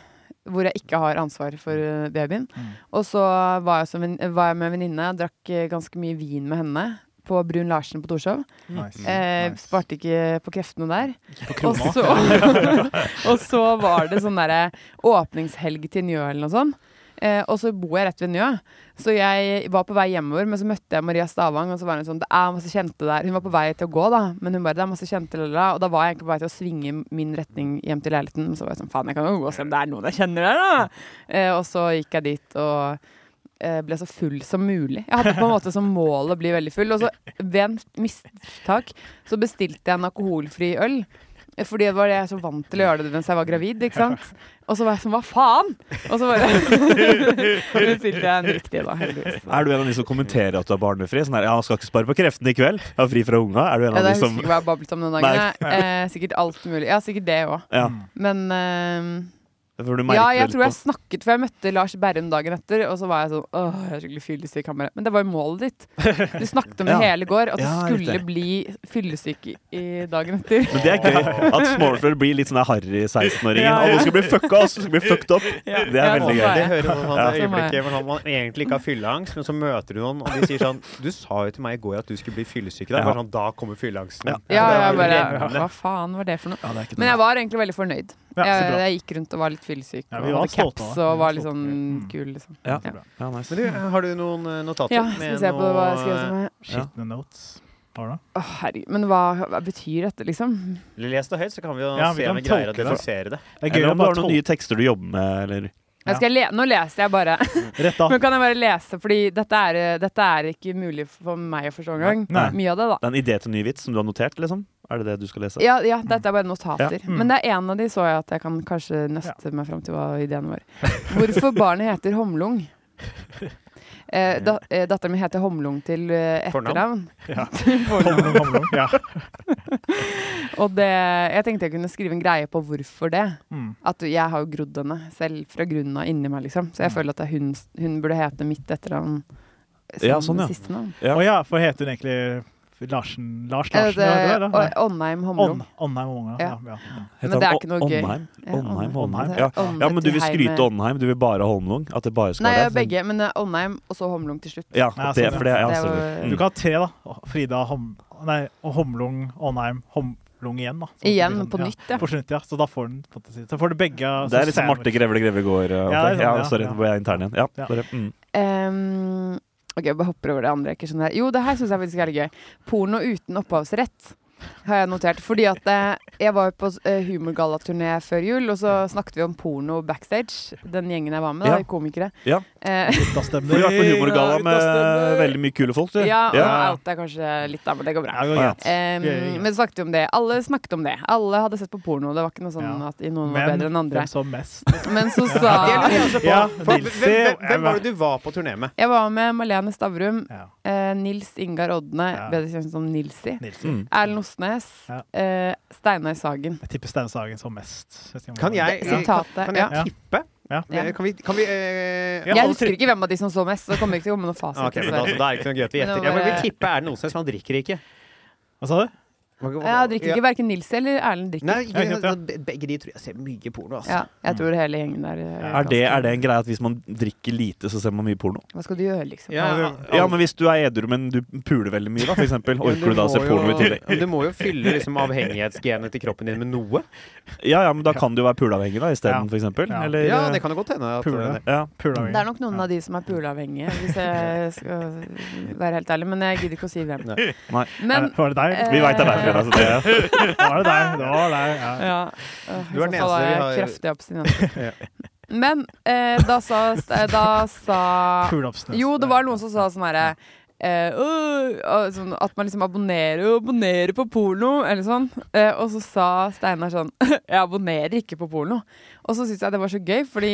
[SPEAKER 4] hvor jeg ikke har ansvar for eh, babyen.
[SPEAKER 1] Mm.
[SPEAKER 4] Og så var jeg, som en, var jeg med en venninne, jeg drakk eh, ganske mye vin med henne. På Brun Larsen på Torshov.
[SPEAKER 2] Nice.
[SPEAKER 4] Eh,
[SPEAKER 2] Nice.
[SPEAKER 4] Sparte ikke på kreftene der.
[SPEAKER 2] På
[SPEAKER 4] Og
[SPEAKER 2] krona.
[SPEAKER 4] så, og så var det sånn derre åpningshelg til Njø eller noe sånt. Eh, og så bor jeg rett ved Njø, så jeg var på vei hjemover. Men så møtte jeg Maria Stavang, og så var hun sånn Det er masse kjente der. Hun var på vei til å gå, da, men hun bare Det er masse kjente, lalala. Og da var jeg egentlig på vei til å svinge min retning hjem til leiligheten. Men så var jeg sånn Faen, jeg kan jo gå og se om det er noen jeg kjenner der, da. Eh, og så gikk jeg dit og eh, ble så full som mulig. Jeg hadde på en måte som mål å bli veldig full. Og så ved en mistak så bestilte jeg en alkoholfri øl. Fordi det var det jeg så vant til å gjøre det mens jeg var gravid. ikke sant? Og så var jeg sånn, hva faen? Og så bare bestilte jeg en riktig, da, heldigvis.
[SPEAKER 3] Er du en av de som kommenterer at du er barnefri? Sånn her, ja, han skal ikke spare på kreftene i kveld. Jeg har fri fra unga. Er du en
[SPEAKER 4] Ja, jeg
[SPEAKER 3] av de
[SPEAKER 4] husker
[SPEAKER 3] som
[SPEAKER 4] ikke hva jeg bablet om den dagen. Eh, sikkert alt mulig. Ja, sikkert det òg.
[SPEAKER 3] Ja,
[SPEAKER 4] Men eh,
[SPEAKER 3] for du merker
[SPEAKER 4] ja, jeg
[SPEAKER 3] vel
[SPEAKER 4] tror jeg
[SPEAKER 3] på-
[SPEAKER 4] snakket For jeg møtte Lars Berrum dagen etter, og så var jeg sånn Åh, jeg er skikkelig fyllesyk. Han bare Men det var jo målet ditt. Du snakket om det
[SPEAKER 3] Ja.
[SPEAKER 4] hele i går, at du
[SPEAKER 3] Ja,
[SPEAKER 4] skulle
[SPEAKER 3] riktig.
[SPEAKER 4] bli fyllesyk i- i dagen etter.
[SPEAKER 3] Men det er gøy at småfrøer blir litt sånn der harry 16-åringen.
[SPEAKER 4] Ja, ja.
[SPEAKER 3] Alle skal bli fucka, alle skal bli fucked opp. Det er
[SPEAKER 4] Ja,
[SPEAKER 3] veldig
[SPEAKER 4] sånn
[SPEAKER 3] gøy.
[SPEAKER 4] var
[SPEAKER 1] Det
[SPEAKER 4] jeg.
[SPEAKER 1] hører man
[SPEAKER 3] Ja.
[SPEAKER 1] sånn det øyeblikket hvor man egentlig ikke har fylleangst, men så møter du noen, og de sier sånn Du sa jo til meg i går at du skulle bli fyllesyk i dag.
[SPEAKER 3] Ja.
[SPEAKER 1] Bare sånn, da kommer fylleangsten.
[SPEAKER 3] Ja.
[SPEAKER 4] Ja,
[SPEAKER 1] Det
[SPEAKER 4] jeg
[SPEAKER 1] var
[SPEAKER 4] bare
[SPEAKER 1] revnende.
[SPEAKER 4] Hva faen var det for noe?
[SPEAKER 3] Ja, det er ikke
[SPEAKER 4] Men
[SPEAKER 3] noe.
[SPEAKER 4] jeg var egentlig veldig fornøyd.
[SPEAKER 2] Ja, så
[SPEAKER 4] jeg,
[SPEAKER 2] bra.
[SPEAKER 4] jeg gikk rundt og var litt fyllesyk.
[SPEAKER 2] Ja,
[SPEAKER 4] og
[SPEAKER 2] vi var
[SPEAKER 4] hadde
[SPEAKER 2] stolte av
[SPEAKER 4] caps
[SPEAKER 2] det.
[SPEAKER 4] og var
[SPEAKER 2] Vi
[SPEAKER 4] litt
[SPEAKER 2] var
[SPEAKER 4] sånn
[SPEAKER 2] stolte. Mm.
[SPEAKER 4] kul, liksom.
[SPEAKER 3] Ja.
[SPEAKER 2] Så
[SPEAKER 4] Ja.
[SPEAKER 2] bra.
[SPEAKER 3] Ja, nice.
[SPEAKER 1] Men du, har du noen eh, notater?
[SPEAKER 4] Ja, skal vi se på hva jeg skrev som er
[SPEAKER 2] Skitne notes. Har du det?
[SPEAKER 4] Å, herregud. Men hva, hva betyr dette, liksom?
[SPEAKER 1] Les det høyt, så kan vi jo
[SPEAKER 2] Ja, vi
[SPEAKER 1] se
[SPEAKER 2] kan
[SPEAKER 1] om vi greier å
[SPEAKER 2] tolke det.
[SPEAKER 1] defisere det.
[SPEAKER 2] Det er gøy
[SPEAKER 3] Eller
[SPEAKER 2] å
[SPEAKER 3] om du
[SPEAKER 2] bare
[SPEAKER 3] har noen nye
[SPEAKER 2] tolke
[SPEAKER 3] tekster du jobber med, eller
[SPEAKER 4] Jeg skal le nå leser jeg bare.
[SPEAKER 2] Rett da.
[SPEAKER 4] Men kan jeg bare lese, fordi dette er, eh, dette er ikke mulig for meg å forstå engang.
[SPEAKER 2] Nei.
[SPEAKER 4] Mye av det, da.
[SPEAKER 3] Det er en idé til en ny vits som du har notert, liksom? Er det det du skal lese?
[SPEAKER 4] Ja, ja, dette er bare notater.
[SPEAKER 2] Mm.
[SPEAKER 4] Men det er en av de så jeg at jeg kan kanskje nøste meg fram til hva ideen var. Hvorfor barnet heter Homlung? Eh, da, eh, Datteren min heter Homlung til eh, etternavn.
[SPEAKER 1] Fornavn?
[SPEAKER 2] Ja.
[SPEAKER 4] Fornavn.
[SPEAKER 2] Homlung, homlung. Ja.
[SPEAKER 4] Og det, jeg tenkte jeg kunne skrive en greie på hvorfor det.
[SPEAKER 2] Mm.
[SPEAKER 4] At jeg har jo grodd henne selv fra grunnen av inni meg, liksom. Så jeg
[SPEAKER 2] Mm.
[SPEAKER 4] føler at det er hun, hun burde hete mitt etternavn eh, som
[SPEAKER 3] Ja, sånn, ja.
[SPEAKER 4] siste navn.
[SPEAKER 3] Ja.
[SPEAKER 2] Å ja, for heter hun egentlig Larsen? Lars
[SPEAKER 4] Eh,
[SPEAKER 2] Larsen? eller hva
[SPEAKER 4] det-
[SPEAKER 2] det var, eller?
[SPEAKER 4] Åndheim Homlung.
[SPEAKER 2] Ånd- Åndheim og Ånga. Ja. Ja,
[SPEAKER 4] Men det er ikke noe
[SPEAKER 3] Å-
[SPEAKER 4] gøy.
[SPEAKER 3] Åndheim?
[SPEAKER 4] Ja,
[SPEAKER 3] Åndheim,
[SPEAKER 2] Åndheim.
[SPEAKER 3] Åndheim. Ja. ja, men du vil skryte Åndheim. Du vil bare ha Holmlung? At det bare skal
[SPEAKER 4] Nei,
[SPEAKER 3] være det?
[SPEAKER 4] begge. Men eh, Åndheim og så Homlung til slutt.
[SPEAKER 3] Ja,
[SPEAKER 2] Ja,
[SPEAKER 3] det,
[SPEAKER 2] sånn,
[SPEAKER 3] for det, ja,
[SPEAKER 4] Det er jo-
[SPEAKER 3] selvfølgelig.
[SPEAKER 2] Du kan
[SPEAKER 3] Mm.
[SPEAKER 2] ha tre, da. Å, Frida Hom nei, og Homlung, Ånheim, Homlung igjen. da. Så
[SPEAKER 4] Igjen,
[SPEAKER 2] det blir
[SPEAKER 4] på
[SPEAKER 2] sånn,
[SPEAKER 4] nytt, ja.
[SPEAKER 2] Ja. På slutt, ja. Så da får, den, på en måte si- så får du begge
[SPEAKER 3] Det
[SPEAKER 2] så
[SPEAKER 3] er litt sånn Marte
[SPEAKER 2] sandwich.
[SPEAKER 3] Grevle Grevle går.
[SPEAKER 2] Ja,
[SPEAKER 3] eh,
[SPEAKER 2] det er
[SPEAKER 3] opplegg.
[SPEAKER 2] sånn,
[SPEAKER 3] Ja,
[SPEAKER 2] ja,
[SPEAKER 3] sorry,
[SPEAKER 2] ja.
[SPEAKER 3] nå ble jeg intern igjen.
[SPEAKER 2] Ja.
[SPEAKER 3] Ja, sorry. Mm.
[SPEAKER 4] Ehm, ok, jeg bare hopper over det andre. jeg Ikke skjønner. Jo, det her syns jeg faktisk er litt gøy. Porno uten opphavsrett har jeg notert. Fordi at eh, jeg var på eh, humorgallaturné før jul, og så snakket vi om porno backstage. Den gjengen jeg var med, da,
[SPEAKER 3] Ja.
[SPEAKER 4] de komikere.
[SPEAKER 3] Ja.
[SPEAKER 4] Eh,
[SPEAKER 3] For du har vært på Humorgalla med veldig mye kule folk, du.
[SPEAKER 4] ja, og
[SPEAKER 3] Ja.
[SPEAKER 4] out er kanskje litt, da, men det går bra.
[SPEAKER 2] Ja, det går greit.
[SPEAKER 4] Ehm,
[SPEAKER 2] Gøy.
[SPEAKER 4] men så snakket vi om det. Alle snakket om det. Alle hadde sett på porno. Det var ikke noe sånn
[SPEAKER 2] Ja.
[SPEAKER 4] at noen var
[SPEAKER 2] Men
[SPEAKER 4] bedre enn andre.
[SPEAKER 2] hvem som mest?
[SPEAKER 4] Men så sa
[SPEAKER 2] Ja,
[SPEAKER 1] For, hvem,
[SPEAKER 2] Nilsi,
[SPEAKER 1] hvem, hvem var
[SPEAKER 2] Emma.
[SPEAKER 1] det du var på turné med?
[SPEAKER 4] Jeg var med Malene Stavrum,
[SPEAKER 2] Ja,
[SPEAKER 4] eh, Nils Ingar Odne,
[SPEAKER 2] Ja.
[SPEAKER 4] bedre kjent som Nilsi.
[SPEAKER 2] Nilsen.
[SPEAKER 3] Mm.
[SPEAKER 4] Erlend Osnes,
[SPEAKER 2] Ja.
[SPEAKER 4] eh, Steinar Sagen.
[SPEAKER 2] Jeg tipper Stein Sagen som mest. Hvis jeg må-
[SPEAKER 1] Kan jeg,
[SPEAKER 4] Det-
[SPEAKER 1] eh,
[SPEAKER 4] sitatet,
[SPEAKER 1] kan, kan jeg
[SPEAKER 2] ja.
[SPEAKER 1] tippe?
[SPEAKER 2] Ja.
[SPEAKER 1] Men Kan vi, kan vi eh,
[SPEAKER 2] Ja,
[SPEAKER 4] Jeg
[SPEAKER 2] alle
[SPEAKER 4] husker
[SPEAKER 2] tre-
[SPEAKER 4] ikke hvem av de som så mest, så det kommer ikke til å komme noen fasit.
[SPEAKER 1] ah, ok, men da,
[SPEAKER 4] dessverre.
[SPEAKER 1] da er det ikke noe gøy at vi
[SPEAKER 4] Men
[SPEAKER 1] gjetter.
[SPEAKER 4] det
[SPEAKER 1] Jeg
[SPEAKER 4] var-
[SPEAKER 1] vil tippe er det noen som han drikker ikke.
[SPEAKER 2] Hva sa du?
[SPEAKER 4] jeg drikker ikke verken Nilsi eller Erlend. drikker
[SPEAKER 1] Nei,
[SPEAKER 2] Ja, ikke sant,
[SPEAKER 1] be- begge de tror jeg ser mye porno, altså.
[SPEAKER 4] ja, Jeg tror hele gjengen der eh,
[SPEAKER 2] Ja,
[SPEAKER 3] Er det,
[SPEAKER 4] ganske-
[SPEAKER 3] er det en greie at hvis man drikker lite, så ser man mye porno?
[SPEAKER 4] Hva skal du gjøre, liksom?
[SPEAKER 1] Ja,
[SPEAKER 2] Ja,
[SPEAKER 1] al-
[SPEAKER 3] Ja, men hvis du er edru, men du puler veldig mye, da, for eksempel.
[SPEAKER 1] men
[SPEAKER 3] Orker du da å se
[SPEAKER 1] må
[SPEAKER 3] porno i
[SPEAKER 1] jo-
[SPEAKER 3] tillegg?
[SPEAKER 1] Du må jo fylle liksom avhengighetsgenet til kroppen din med noe.
[SPEAKER 3] Ja, ja, men da kan du jo være puleavhengig,
[SPEAKER 2] Ja.
[SPEAKER 3] da, isteden, for eksempel.
[SPEAKER 2] Ja.
[SPEAKER 3] Eller eh,
[SPEAKER 1] Ja, det kan jo godt hende. At eh,
[SPEAKER 2] Pule.
[SPEAKER 3] ja.
[SPEAKER 2] Pula
[SPEAKER 4] Det er nok noen av de som er puleavhengige, hvis jeg skal være helt ærlig. Men jeg gidder ikke å si hvem.
[SPEAKER 1] Nei.
[SPEAKER 3] Nei.
[SPEAKER 4] Men
[SPEAKER 2] Var det deg?
[SPEAKER 4] Eh,
[SPEAKER 3] Vi veit det er deg, Frida. Så det,
[SPEAKER 2] Var det deg? Det var deg. Ja.
[SPEAKER 4] ja, øh,
[SPEAKER 1] Du er
[SPEAKER 4] I
[SPEAKER 1] den
[SPEAKER 4] så
[SPEAKER 1] eneste
[SPEAKER 4] fall har
[SPEAKER 1] vi
[SPEAKER 4] jeg
[SPEAKER 1] har-
[SPEAKER 4] kraftig abstinens. Men eh, da sa, da sa
[SPEAKER 2] Pull-ups.
[SPEAKER 4] Jo, det var noen som sa sånn herre eh, «Åh», og sånn, At man liksom abonnerer og abonnerer på porno, eller sånn. Eh, og så sa Steinar sånn Jeg abonnerer ikke på porno. Og så syns jeg det var så gøy, fordi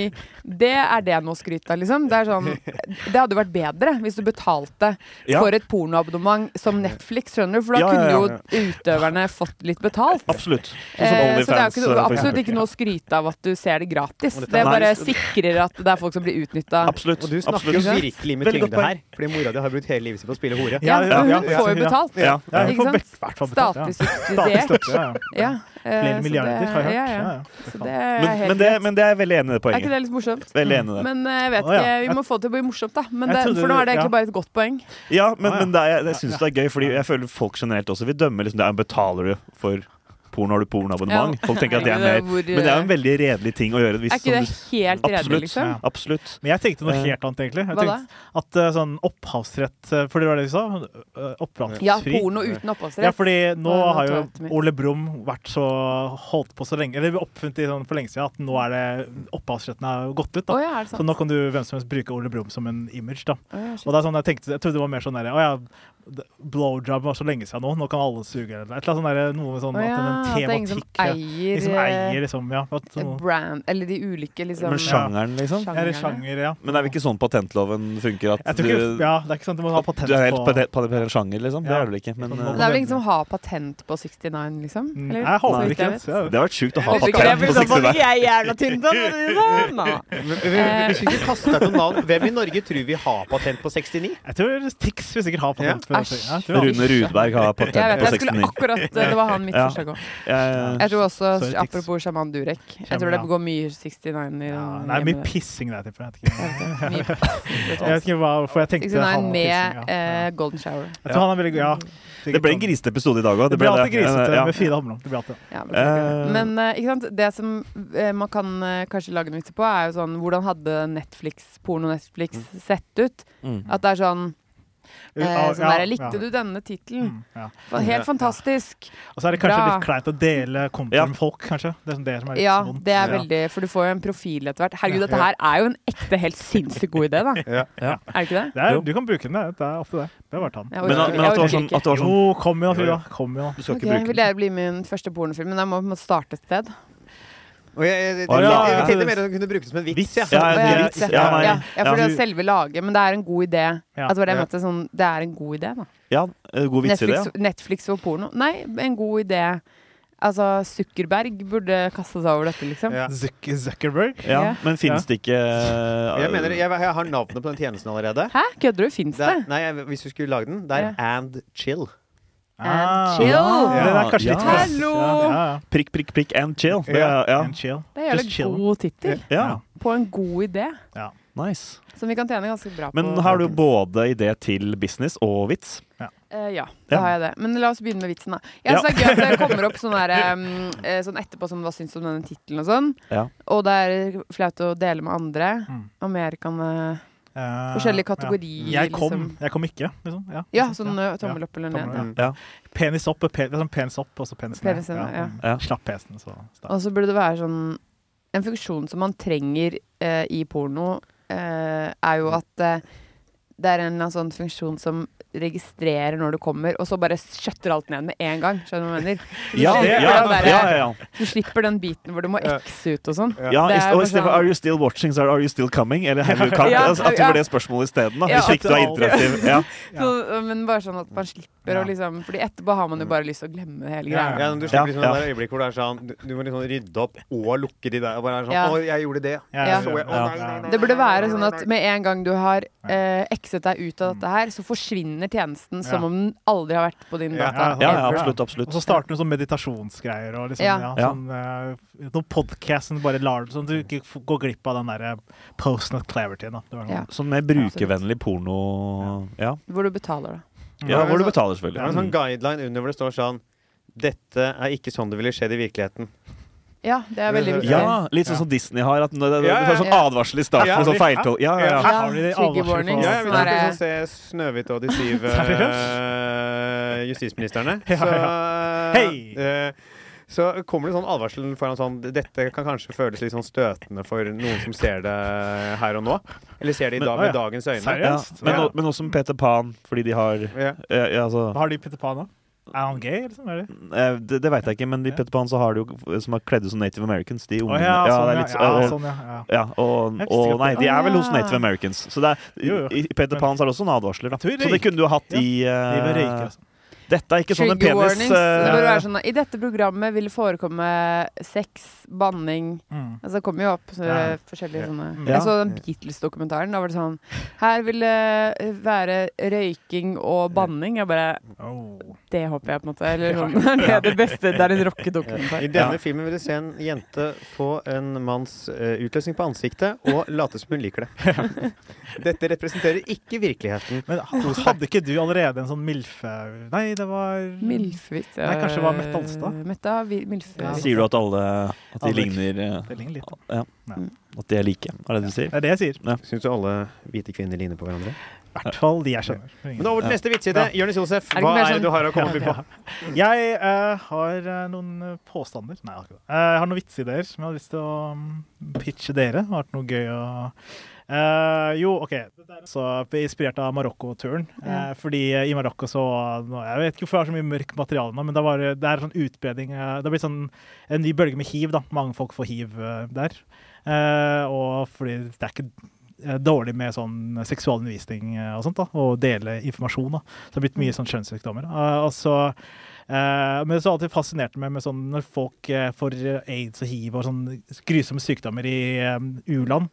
[SPEAKER 4] det er det noe å skryte av, liksom. Det, er sånn, det hadde jo vært bedre hvis du betalte
[SPEAKER 3] Ja.
[SPEAKER 4] for et pornoabonnement som Netflix, skjønner du? For da
[SPEAKER 3] Ja, ja, ja.
[SPEAKER 4] kunne jo utøverne fått litt betalt.
[SPEAKER 3] absolutt.
[SPEAKER 4] Eh, så
[SPEAKER 3] Sånn som
[SPEAKER 4] det er jo
[SPEAKER 3] OnlyFans,
[SPEAKER 4] ikke noe,
[SPEAKER 3] for
[SPEAKER 4] absolutt
[SPEAKER 3] eksempel.
[SPEAKER 4] ikke noe å skryte av at du ser det gratis.
[SPEAKER 1] Og dette
[SPEAKER 4] Det
[SPEAKER 1] er
[SPEAKER 4] bare
[SPEAKER 1] nice.
[SPEAKER 4] sikrer at det er folk som blir utnytta.
[SPEAKER 3] Absolutt.
[SPEAKER 1] Og du snakker jo
[SPEAKER 3] absolutt.
[SPEAKER 1] virkelig med
[SPEAKER 3] Veldig godt
[SPEAKER 1] tyngde her. Fordi mora di har brukt hele livet sitt på å spille hore.
[SPEAKER 4] Ja,
[SPEAKER 2] Ja,
[SPEAKER 4] hun
[SPEAKER 2] ja, ja,
[SPEAKER 4] får jo
[SPEAKER 2] ja.
[SPEAKER 4] betalt.
[SPEAKER 3] Ja.
[SPEAKER 2] ja,
[SPEAKER 4] Ikke sant?
[SPEAKER 2] Hvert fall betalt, ja.
[SPEAKER 4] Statlig
[SPEAKER 2] Statlig
[SPEAKER 4] subsidiert.
[SPEAKER 2] støtte. Ja.
[SPEAKER 4] Ja, eh,
[SPEAKER 2] Flere
[SPEAKER 4] så
[SPEAKER 2] milliarder,
[SPEAKER 4] det-
[SPEAKER 2] har jeg hørt.
[SPEAKER 4] Ja, ja.
[SPEAKER 2] Ja, ja.
[SPEAKER 4] Så det er
[SPEAKER 3] Men,
[SPEAKER 4] helt
[SPEAKER 3] men, det,
[SPEAKER 4] greit.
[SPEAKER 3] men det er jeg veldig enig i det
[SPEAKER 4] Er ikke
[SPEAKER 3] poenget.
[SPEAKER 4] det litt morsomt?
[SPEAKER 3] Veldig enig i det.
[SPEAKER 4] Men eh, jeg vet
[SPEAKER 2] Å, ja.
[SPEAKER 4] ikke, vi
[SPEAKER 2] Jeg-
[SPEAKER 4] må få det til å bli morsomt, da. Men
[SPEAKER 2] Jeg
[SPEAKER 4] det,
[SPEAKER 2] trodde
[SPEAKER 4] for nå
[SPEAKER 2] du-
[SPEAKER 4] er
[SPEAKER 2] ja.
[SPEAKER 4] det egentlig bare et godt poeng.
[SPEAKER 3] Ja, men,
[SPEAKER 2] Ah, ja.
[SPEAKER 3] men det er, jeg- jeg syns det er gøy, fordi jeg føler folk generelt også vil dømme. Liksom, det er, betaler du for porno? Har du pornoabonnement?
[SPEAKER 4] Ja.
[SPEAKER 3] Folk tenker at det er
[SPEAKER 4] Hvor,
[SPEAKER 3] mer. Men det er jo en veldig redelig ting å gjøre. Hvis,
[SPEAKER 4] er ikke det
[SPEAKER 3] som du-
[SPEAKER 4] helt redelig,
[SPEAKER 3] Absolutt.
[SPEAKER 4] liksom?
[SPEAKER 2] Ja.
[SPEAKER 3] Absolutt.
[SPEAKER 2] Men jeg tenkte noe
[SPEAKER 3] Eh.
[SPEAKER 2] helt annet, egentlig. Jeg
[SPEAKER 4] Hva da?
[SPEAKER 2] tenkte At eh, sånn opphavsrett eh, For det var det du sa? eh, Opphavsfri.
[SPEAKER 4] Ja, porno uten
[SPEAKER 2] Ja,
[SPEAKER 4] opphavsrett.
[SPEAKER 2] fordi nå
[SPEAKER 4] Hva er
[SPEAKER 2] har
[SPEAKER 4] notatet
[SPEAKER 2] jo
[SPEAKER 4] mitt?
[SPEAKER 2] Ole Brumm vært så holdt på så lenge Eller oppfunnet i sånn for lenge siden at nå er det opphavsretten har gått ut.
[SPEAKER 4] Å
[SPEAKER 2] da
[SPEAKER 4] ja, er det
[SPEAKER 2] Så
[SPEAKER 4] sant?
[SPEAKER 2] nå kan du hvem som helst bruke Ole Brumm som en image. da
[SPEAKER 4] Å, ja,
[SPEAKER 2] Og
[SPEAKER 4] shit.
[SPEAKER 2] det er sånn Jeg tenkte Jeg trodde det var mer sånn der, Å ja, d- blowjob var så lenge siden nå, nå kan alle suge eller et eller annet sånn der, noe med sånn
[SPEAKER 4] Å, ja,
[SPEAKER 2] at
[SPEAKER 4] at
[SPEAKER 2] en
[SPEAKER 4] det er ingen som
[SPEAKER 2] tematikk
[SPEAKER 4] eier,
[SPEAKER 2] liksom, eier
[SPEAKER 4] eh,
[SPEAKER 2] liksom, ja, at, noe-
[SPEAKER 4] brand Eller de ulike, liksom.
[SPEAKER 3] Men sjangeren, liksom.
[SPEAKER 4] sjangerne.
[SPEAKER 2] ja, eller sjanger, ja.
[SPEAKER 3] Men det er vel ikke sånn patentloven funker? At
[SPEAKER 2] Jeg tror ikke,
[SPEAKER 3] du,
[SPEAKER 2] ja, det er ikke sant, du må ha patent
[SPEAKER 3] du er helt
[SPEAKER 2] på
[SPEAKER 3] patent på en sjanger, liksom? Det
[SPEAKER 2] Ja.
[SPEAKER 3] er det vel ikke. Men
[SPEAKER 2] Sånn
[SPEAKER 3] eh,
[SPEAKER 4] Men det er vel ingen som har patent på 69, liksom?
[SPEAKER 2] Mm,
[SPEAKER 4] Eller?
[SPEAKER 2] Jeg
[SPEAKER 4] Så
[SPEAKER 2] håper
[SPEAKER 4] vidt
[SPEAKER 2] ikke
[SPEAKER 4] jeg
[SPEAKER 2] det.
[SPEAKER 4] vet.
[SPEAKER 2] så jeg-
[SPEAKER 3] det sånn har vært sjukt å
[SPEAKER 4] sånn Jeg
[SPEAKER 3] ha
[SPEAKER 4] håper ikke det,
[SPEAKER 3] patent
[SPEAKER 4] for
[SPEAKER 3] på
[SPEAKER 4] da får
[SPEAKER 3] 69.
[SPEAKER 4] ikke jeg jævla tynn på altså, det, da.
[SPEAKER 1] Hvis vi ikke kaster noen navn, hvem i Norge tror vi har patent på 69?
[SPEAKER 2] Jeg tror Tix vil sikkert ha patent. på
[SPEAKER 4] Ja.
[SPEAKER 2] det.
[SPEAKER 4] Æsj.
[SPEAKER 2] Ja, jeg tror han-
[SPEAKER 3] Rune Rudberg har
[SPEAKER 4] Jeg
[SPEAKER 3] patent
[SPEAKER 4] vet,
[SPEAKER 3] på
[SPEAKER 4] jeg skulle
[SPEAKER 3] 69.
[SPEAKER 4] akkurat eh, Det var han mitt
[SPEAKER 3] Ja.
[SPEAKER 4] forslag òg.
[SPEAKER 3] Jeg-
[SPEAKER 4] Jeg tror også,
[SPEAKER 2] Sorry, Tix.
[SPEAKER 4] apropos sjaman Durek, jeg
[SPEAKER 2] Sjaman,
[SPEAKER 4] tror det
[SPEAKER 2] ja.
[SPEAKER 4] går mye 69 i
[SPEAKER 2] Ja,
[SPEAKER 4] den
[SPEAKER 2] det er mye
[SPEAKER 4] hjemme der.
[SPEAKER 2] pissing der, tipper jeg. Jeg vet ikke.
[SPEAKER 4] Jeg vet det, mye
[SPEAKER 2] Jeg vet ikke hva, hvorfor jeg tenkte
[SPEAKER 4] 69
[SPEAKER 2] han var
[SPEAKER 4] med
[SPEAKER 2] pissing, ja.
[SPEAKER 4] eh, golden shower.
[SPEAKER 2] Jeg tror han er veldig god, ja. sånn.
[SPEAKER 3] Det ble en grisete episode i dag òg.
[SPEAKER 2] Det blir alltid grisete
[SPEAKER 3] Ja.
[SPEAKER 2] med Frida Hamlung. Det blir alltid.
[SPEAKER 4] Ja, beklager.
[SPEAKER 3] Eh.
[SPEAKER 4] Men eh, ikke sant, det som eh, man kan eh, kanskje lage en vits på, er jo sånn Hvordan hadde Netflix, porno-Netflix sett ut?
[SPEAKER 3] Mm.
[SPEAKER 4] At det er sånn
[SPEAKER 2] Mm. Ja,
[SPEAKER 4] Eh, sånn der,
[SPEAKER 2] ja,
[SPEAKER 4] likte
[SPEAKER 2] ja.
[SPEAKER 4] du denne tittelen?
[SPEAKER 2] Mm, ja.
[SPEAKER 4] Fa- Helt fantastisk.
[SPEAKER 2] Og så er det kanskje
[SPEAKER 4] Bra.
[SPEAKER 2] litt kleint å dele konto
[SPEAKER 3] Ja.
[SPEAKER 2] med folk, kanskje. Det er sånn det som er litt
[SPEAKER 4] Ja,
[SPEAKER 2] vondt.
[SPEAKER 4] det er
[SPEAKER 2] Ja.
[SPEAKER 4] veldig For du får jo en profil etter hvert. Herregud,
[SPEAKER 2] Ja.
[SPEAKER 4] dette her er jo en ekte helt sinnssykt god idé, da.
[SPEAKER 1] Ja.
[SPEAKER 3] Ja.
[SPEAKER 4] Er det ikke det?
[SPEAKER 2] Det er,
[SPEAKER 3] Jo.
[SPEAKER 2] du kan bruke den, det er- det er opp til deg. Det er bare å ta den.
[SPEAKER 4] Jeg
[SPEAKER 3] Men, at-
[SPEAKER 4] orker-
[SPEAKER 3] men
[SPEAKER 4] jeg
[SPEAKER 3] at det var
[SPEAKER 4] orker
[SPEAKER 3] sånn,
[SPEAKER 4] ikke.
[SPEAKER 3] at det var sånn
[SPEAKER 2] Jo, kom igjen,
[SPEAKER 3] Jo, jo.
[SPEAKER 2] Frida. Kom igjen.
[SPEAKER 3] Du skal
[SPEAKER 4] Ok,
[SPEAKER 3] ikke bruke
[SPEAKER 4] vil jeg bli med i min første pornofilm, men jeg må på en måte starte et sted.
[SPEAKER 1] Og jeg, jeg, jeg,
[SPEAKER 3] Å,
[SPEAKER 1] jeg,
[SPEAKER 3] ja,
[SPEAKER 1] jeg
[SPEAKER 3] ja.
[SPEAKER 1] tenkte mer at du kunne bruke det som en vits.
[SPEAKER 3] Vits,
[SPEAKER 1] Ja.
[SPEAKER 3] ja.
[SPEAKER 4] Å,
[SPEAKER 3] det-
[SPEAKER 4] ja, vits, ja.
[SPEAKER 3] ja, nei,
[SPEAKER 4] ja, ja, for
[SPEAKER 3] ja.
[SPEAKER 4] det er selve laget, men det er en god idé.
[SPEAKER 2] Ja.
[SPEAKER 4] At det var det jeg
[SPEAKER 1] Ja.
[SPEAKER 4] mente. Sånn, det er en god idé, da.
[SPEAKER 3] Ja, eh, god vits i det.
[SPEAKER 4] Netflix, Netflix og porno. Nei, en god idé. Altså, Zuckerberg burde kaste seg over dette, liksom.
[SPEAKER 1] Ja.
[SPEAKER 2] Zuck Zuckerberg.
[SPEAKER 3] Ja,
[SPEAKER 4] Ja.
[SPEAKER 3] men finnes det ikke eh,
[SPEAKER 1] Jeg, mener, jeg, jeg har navnet på den tjenesten allerede.
[SPEAKER 4] Hæ? Kødder du? Fins
[SPEAKER 1] Det
[SPEAKER 4] det?
[SPEAKER 1] er, nei, jeg, hvis du skulle lage den, det er And Chill.
[SPEAKER 4] And chill.
[SPEAKER 2] Ah. Ja, Den er kanskje
[SPEAKER 3] Ja.
[SPEAKER 2] litt fast.
[SPEAKER 4] Hallo.
[SPEAKER 2] Ja, ja, ja.
[SPEAKER 3] Prikk, prikk, prikk and chill. Det,
[SPEAKER 1] Ja.
[SPEAKER 3] er- ja.
[SPEAKER 2] And chill.
[SPEAKER 4] Det er
[SPEAKER 2] Just chill.
[SPEAKER 4] jævlig god tittel
[SPEAKER 3] ja,
[SPEAKER 4] på en god idé,
[SPEAKER 3] nice.
[SPEAKER 4] som vi kan tjene ganske bra
[SPEAKER 3] Men
[SPEAKER 4] på.
[SPEAKER 3] har du både idé til business og vits?
[SPEAKER 4] Eh, ja, da
[SPEAKER 3] Ja.
[SPEAKER 4] har jeg det. Men la oss begynne med vitsen, da. Jeg synes
[SPEAKER 3] Ja.
[SPEAKER 4] det er gøy at det kommer opp sånn, der, um, eh, sånn etterpå som hva syns du om denne tittelen og sånn.
[SPEAKER 3] Ja.
[SPEAKER 4] Og det er flaut å dele med andre.
[SPEAKER 2] Mm.
[SPEAKER 4] Og mer kan eh,
[SPEAKER 2] Eh,
[SPEAKER 4] Forskjellige kategorier,
[SPEAKER 2] Ja. Jeg kom,
[SPEAKER 4] liksom.
[SPEAKER 2] jeg kom ikke, liksom. Ja,
[SPEAKER 4] Ja,
[SPEAKER 2] liksom,
[SPEAKER 4] sånn eh, tommel opp eller ned.
[SPEAKER 2] Tommel
[SPEAKER 4] Ja.
[SPEAKER 1] Mm.
[SPEAKER 2] ja. Penis opp, og pen, liksom penis opp, og så penis ned.
[SPEAKER 4] Penis ned, ja.
[SPEAKER 2] mm.
[SPEAKER 3] Ja.
[SPEAKER 2] Slapp pesen, så start.
[SPEAKER 4] Og så burde det være sånn En funksjon som man trenger eh, i porno, eh, er jo at eh, det er en eller annen sånn funksjon som registrerer når du kommer, og så bare skjøtter alt ned med en gang. Skjønner du hva jeg mener?
[SPEAKER 3] Ja,
[SPEAKER 4] Så du
[SPEAKER 3] ja,
[SPEAKER 4] slipper
[SPEAKER 3] ja,
[SPEAKER 4] den der- eh,
[SPEAKER 3] ja, ja.
[SPEAKER 4] Du slipper den biten hvor du må
[SPEAKER 1] Ja.
[SPEAKER 4] X ut og sånn.
[SPEAKER 3] ja
[SPEAKER 4] Det er
[SPEAKER 3] ist-
[SPEAKER 4] bare
[SPEAKER 3] og istedenfor
[SPEAKER 4] sånn-
[SPEAKER 3] 'Are you still watching?' så er det 'Are you still coming?' Eller 'Have you come?'
[SPEAKER 4] Ja,
[SPEAKER 3] altså, at du
[SPEAKER 4] ja.
[SPEAKER 3] får det spørsmålet isteden, da,
[SPEAKER 4] Ja.
[SPEAKER 3] hvis ikke du er interaktiv. Ja.
[SPEAKER 2] Ja.
[SPEAKER 4] Så, men bare sånn at man slipper
[SPEAKER 2] Ja.
[SPEAKER 4] å liksom Fordi etterpå har man jo bare lyst til å glemme hele
[SPEAKER 2] Ja,
[SPEAKER 4] greia.
[SPEAKER 1] Ja, men du
[SPEAKER 3] Ja,
[SPEAKER 1] slipper liksom
[SPEAKER 3] ja.
[SPEAKER 1] det der øyeblikket hvor det er sånn Du, du må liksom rydde opp og lukke de der. Og bare er sånn
[SPEAKER 4] Ja.
[SPEAKER 1] 'Å, jeg gjorde det'.
[SPEAKER 4] Ja.
[SPEAKER 1] Så jeg, å, nei, nei, nei,
[SPEAKER 4] Det
[SPEAKER 1] nei,
[SPEAKER 4] burde
[SPEAKER 1] nei,
[SPEAKER 4] være
[SPEAKER 1] nei,
[SPEAKER 4] sånn
[SPEAKER 1] nei,
[SPEAKER 4] at
[SPEAKER 1] nei.
[SPEAKER 4] med en gang du har eh, ekset deg ut av dette her, så forsvinner tjenesten som
[SPEAKER 2] Ja.
[SPEAKER 4] om den aldri har vært på din
[SPEAKER 1] Ja,
[SPEAKER 4] data.
[SPEAKER 3] Ja, ja,
[SPEAKER 4] ever.
[SPEAKER 3] absolutt.
[SPEAKER 2] Og så
[SPEAKER 3] absolutt
[SPEAKER 2] starter du sånn meditasjonsgreier og liksom,
[SPEAKER 4] Ja.
[SPEAKER 2] ja.
[SPEAKER 3] Ja.
[SPEAKER 2] sånn eh, Noen podcasts som bare lar sånn at du ikke f- går glipp av den der eh, post not clarity. Da. Det var
[SPEAKER 4] Ja.
[SPEAKER 2] noe.
[SPEAKER 3] Sånn mer brukervennlig porno Ja,
[SPEAKER 4] Hvor du betaler, da.
[SPEAKER 3] ja hvor du betaler,
[SPEAKER 1] Det er en sånn
[SPEAKER 3] selvfølgelig.
[SPEAKER 1] guideline under hvor det står sånn Dette er ikke sånn det ville skjedd i virkeligheten.
[SPEAKER 4] Ja, det er veldig viktig.
[SPEAKER 3] Ja, litt sånn som Disney har. At når det, det,
[SPEAKER 1] Ja, ja,
[SPEAKER 3] det er sånn
[SPEAKER 4] ja.
[SPEAKER 3] advarsel i starten,
[SPEAKER 1] Ja,
[SPEAKER 3] og så
[SPEAKER 2] litt-
[SPEAKER 3] feiltolk. Ja, ja, ja.
[SPEAKER 2] Her har vi de
[SPEAKER 4] Ja, trigger
[SPEAKER 2] advarsler
[SPEAKER 4] warnings.
[SPEAKER 1] Ja,
[SPEAKER 2] på-
[SPEAKER 1] jeg vet ikke
[SPEAKER 4] Sånn
[SPEAKER 1] om se Snøhvit og de syv eh, justisministerne.
[SPEAKER 2] Ja,
[SPEAKER 1] Så,
[SPEAKER 2] Hei!
[SPEAKER 1] eh, så kommer det sånn advarsel foran sånn Dette kan kanskje føles litt sånn støtende for noen som ser det her og nå. Eller ser det i
[SPEAKER 3] Men-
[SPEAKER 1] dag
[SPEAKER 2] å, ja.
[SPEAKER 1] med dagens øyne.
[SPEAKER 3] ja.
[SPEAKER 2] Seriøst?
[SPEAKER 3] Men,
[SPEAKER 1] Ja.
[SPEAKER 3] o- men også med Peter Pan, fordi de har
[SPEAKER 1] Ja.
[SPEAKER 3] eh, ja, altså,
[SPEAKER 2] Hva har de i Peter Pan, da? Er han gay, liksom? Er det?
[SPEAKER 3] eh, Det, det veit jeg ikke, men i
[SPEAKER 2] Ja.
[SPEAKER 3] Peter Pan så har de jo som er kledd ut som Native Americans. De
[SPEAKER 2] Å
[SPEAKER 3] ungene.
[SPEAKER 2] ja,
[SPEAKER 3] Ja,
[SPEAKER 2] sånn,
[SPEAKER 3] det
[SPEAKER 2] ja,
[SPEAKER 3] er litt, eh,
[SPEAKER 2] ja,
[SPEAKER 3] og-
[SPEAKER 2] sånn, ja, ja.
[SPEAKER 3] Ja, og,
[SPEAKER 2] Jeg visste
[SPEAKER 3] og
[SPEAKER 2] ikke
[SPEAKER 3] nei,
[SPEAKER 2] at
[SPEAKER 3] de
[SPEAKER 4] det-
[SPEAKER 3] er vel
[SPEAKER 4] Å,
[SPEAKER 3] hos
[SPEAKER 4] ja.
[SPEAKER 3] Native Americans. Så det er,
[SPEAKER 2] Jo, jo.
[SPEAKER 3] i Peter
[SPEAKER 2] Men-
[SPEAKER 3] Pan så er det også en advarsler. Da.
[SPEAKER 2] Jeg tror
[SPEAKER 3] Så det
[SPEAKER 2] røyk-
[SPEAKER 3] kunne du ha hatt
[SPEAKER 2] Ja.
[SPEAKER 3] i
[SPEAKER 2] De
[SPEAKER 3] eh,
[SPEAKER 2] vil røyke, altså.
[SPEAKER 3] Dette er ikke sånn en
[SPEAKER 4] Trigger
[SPEAKER 3] penis
[SPEAKER 4] warnings.
[SPEAKER 3] eh,
[SPEAKER 4] det burde være sånn at I dette programmet vil forekomme sex, banning
[SPEAKER 2] Mm.
[SPEAKER 4] Altså, det kommer jo opp så,
[SPEAKER 2] Ja.
[SPEAKER 4] forskjellige sånne
[SPEAKER 2] Ja.
[SPEAKER 4] Jeg så den Beatles-dokumentaren. Da var det sånn Her vil det eh, være røyking og banning. Jeg bare
[SPEAKER 2] Oh.
[SPEAKER 4] Det håper jeg, på en måte. Eller sånn. Det er det beste. Det er en rockedokumentar.
[SPEAKER 1] I denne filmen vil du se en jente få en manns eh, utløsning på ansiktet og late som hun liker det. Dette representerer ikke virkeligheten.
[SPEAKER 2] Men hadde ikke du allerede en sånn milfe... Nei, det var
[SPEAKER 4] Milfhvitt.
[SPEAKER 2] Nei, kanskje det var Mette Alstad?
[SPEAKER 4] eh, Mette vi- Milfe.
[SPEAKER 2] Ja.
[SPEAKER 3] Sier du at alle At de
[SPEAKER 2] Alle-
[SPEAKER 3] ligner eh,
[SPEAKER 2] Det ligner litt. da.
[SPEAKER 3] At de er like? Er det det du sier?
[SPEAKER 2] Det er det jeg sier.
[SPEAKER 1] Syns du alle hvite kvinner ligner på hverandre?
[SPEAKER 2] I hvert fall de jeg kjenner.
[SPEAKER 1] Men over til neste vitsside. Jonis Josef,
[SPEAKER 4] Er det ikke
[SPEAKER 1] hva
[SPEAKER 4] mer
[SPEAKER 1] er
[SPEAKER 4] sånn-
[SPEAKER 1] det du har å komme opp i på?
[SPEAKER 2] Jeg eh, har eh, noen eh, påstander Nei, jeg har ikke det. Eh, jeg har noen vitsidéer som jeg har lyst til å mm, pitche dere. Det har vært noe gøy å Eh, jo, OK. Så jeg ble inspirert av Marokko-turen. Eh, Fordi eh, i Marokko så nå, Jeg vet ikke hvorfor jeg har så mye mørkt materiale nå, men det, var, det er sånn utbredning eh, Det har blitt sånn en ny bølge med hiv. da Mange folk får hiv eh, der. Eh, og fordi det er ikke eh, dårlig med sånn seksualundervisning eh, og sånt, da, og dele informasjon. da Så det har blitt mye sånn kjønnssykdommer. Eh, og så Eh, men så har det alltid fascinert meg med sånn når folk eh, får aids og hiv og sånn grusomme sykdommer i eh, u-land,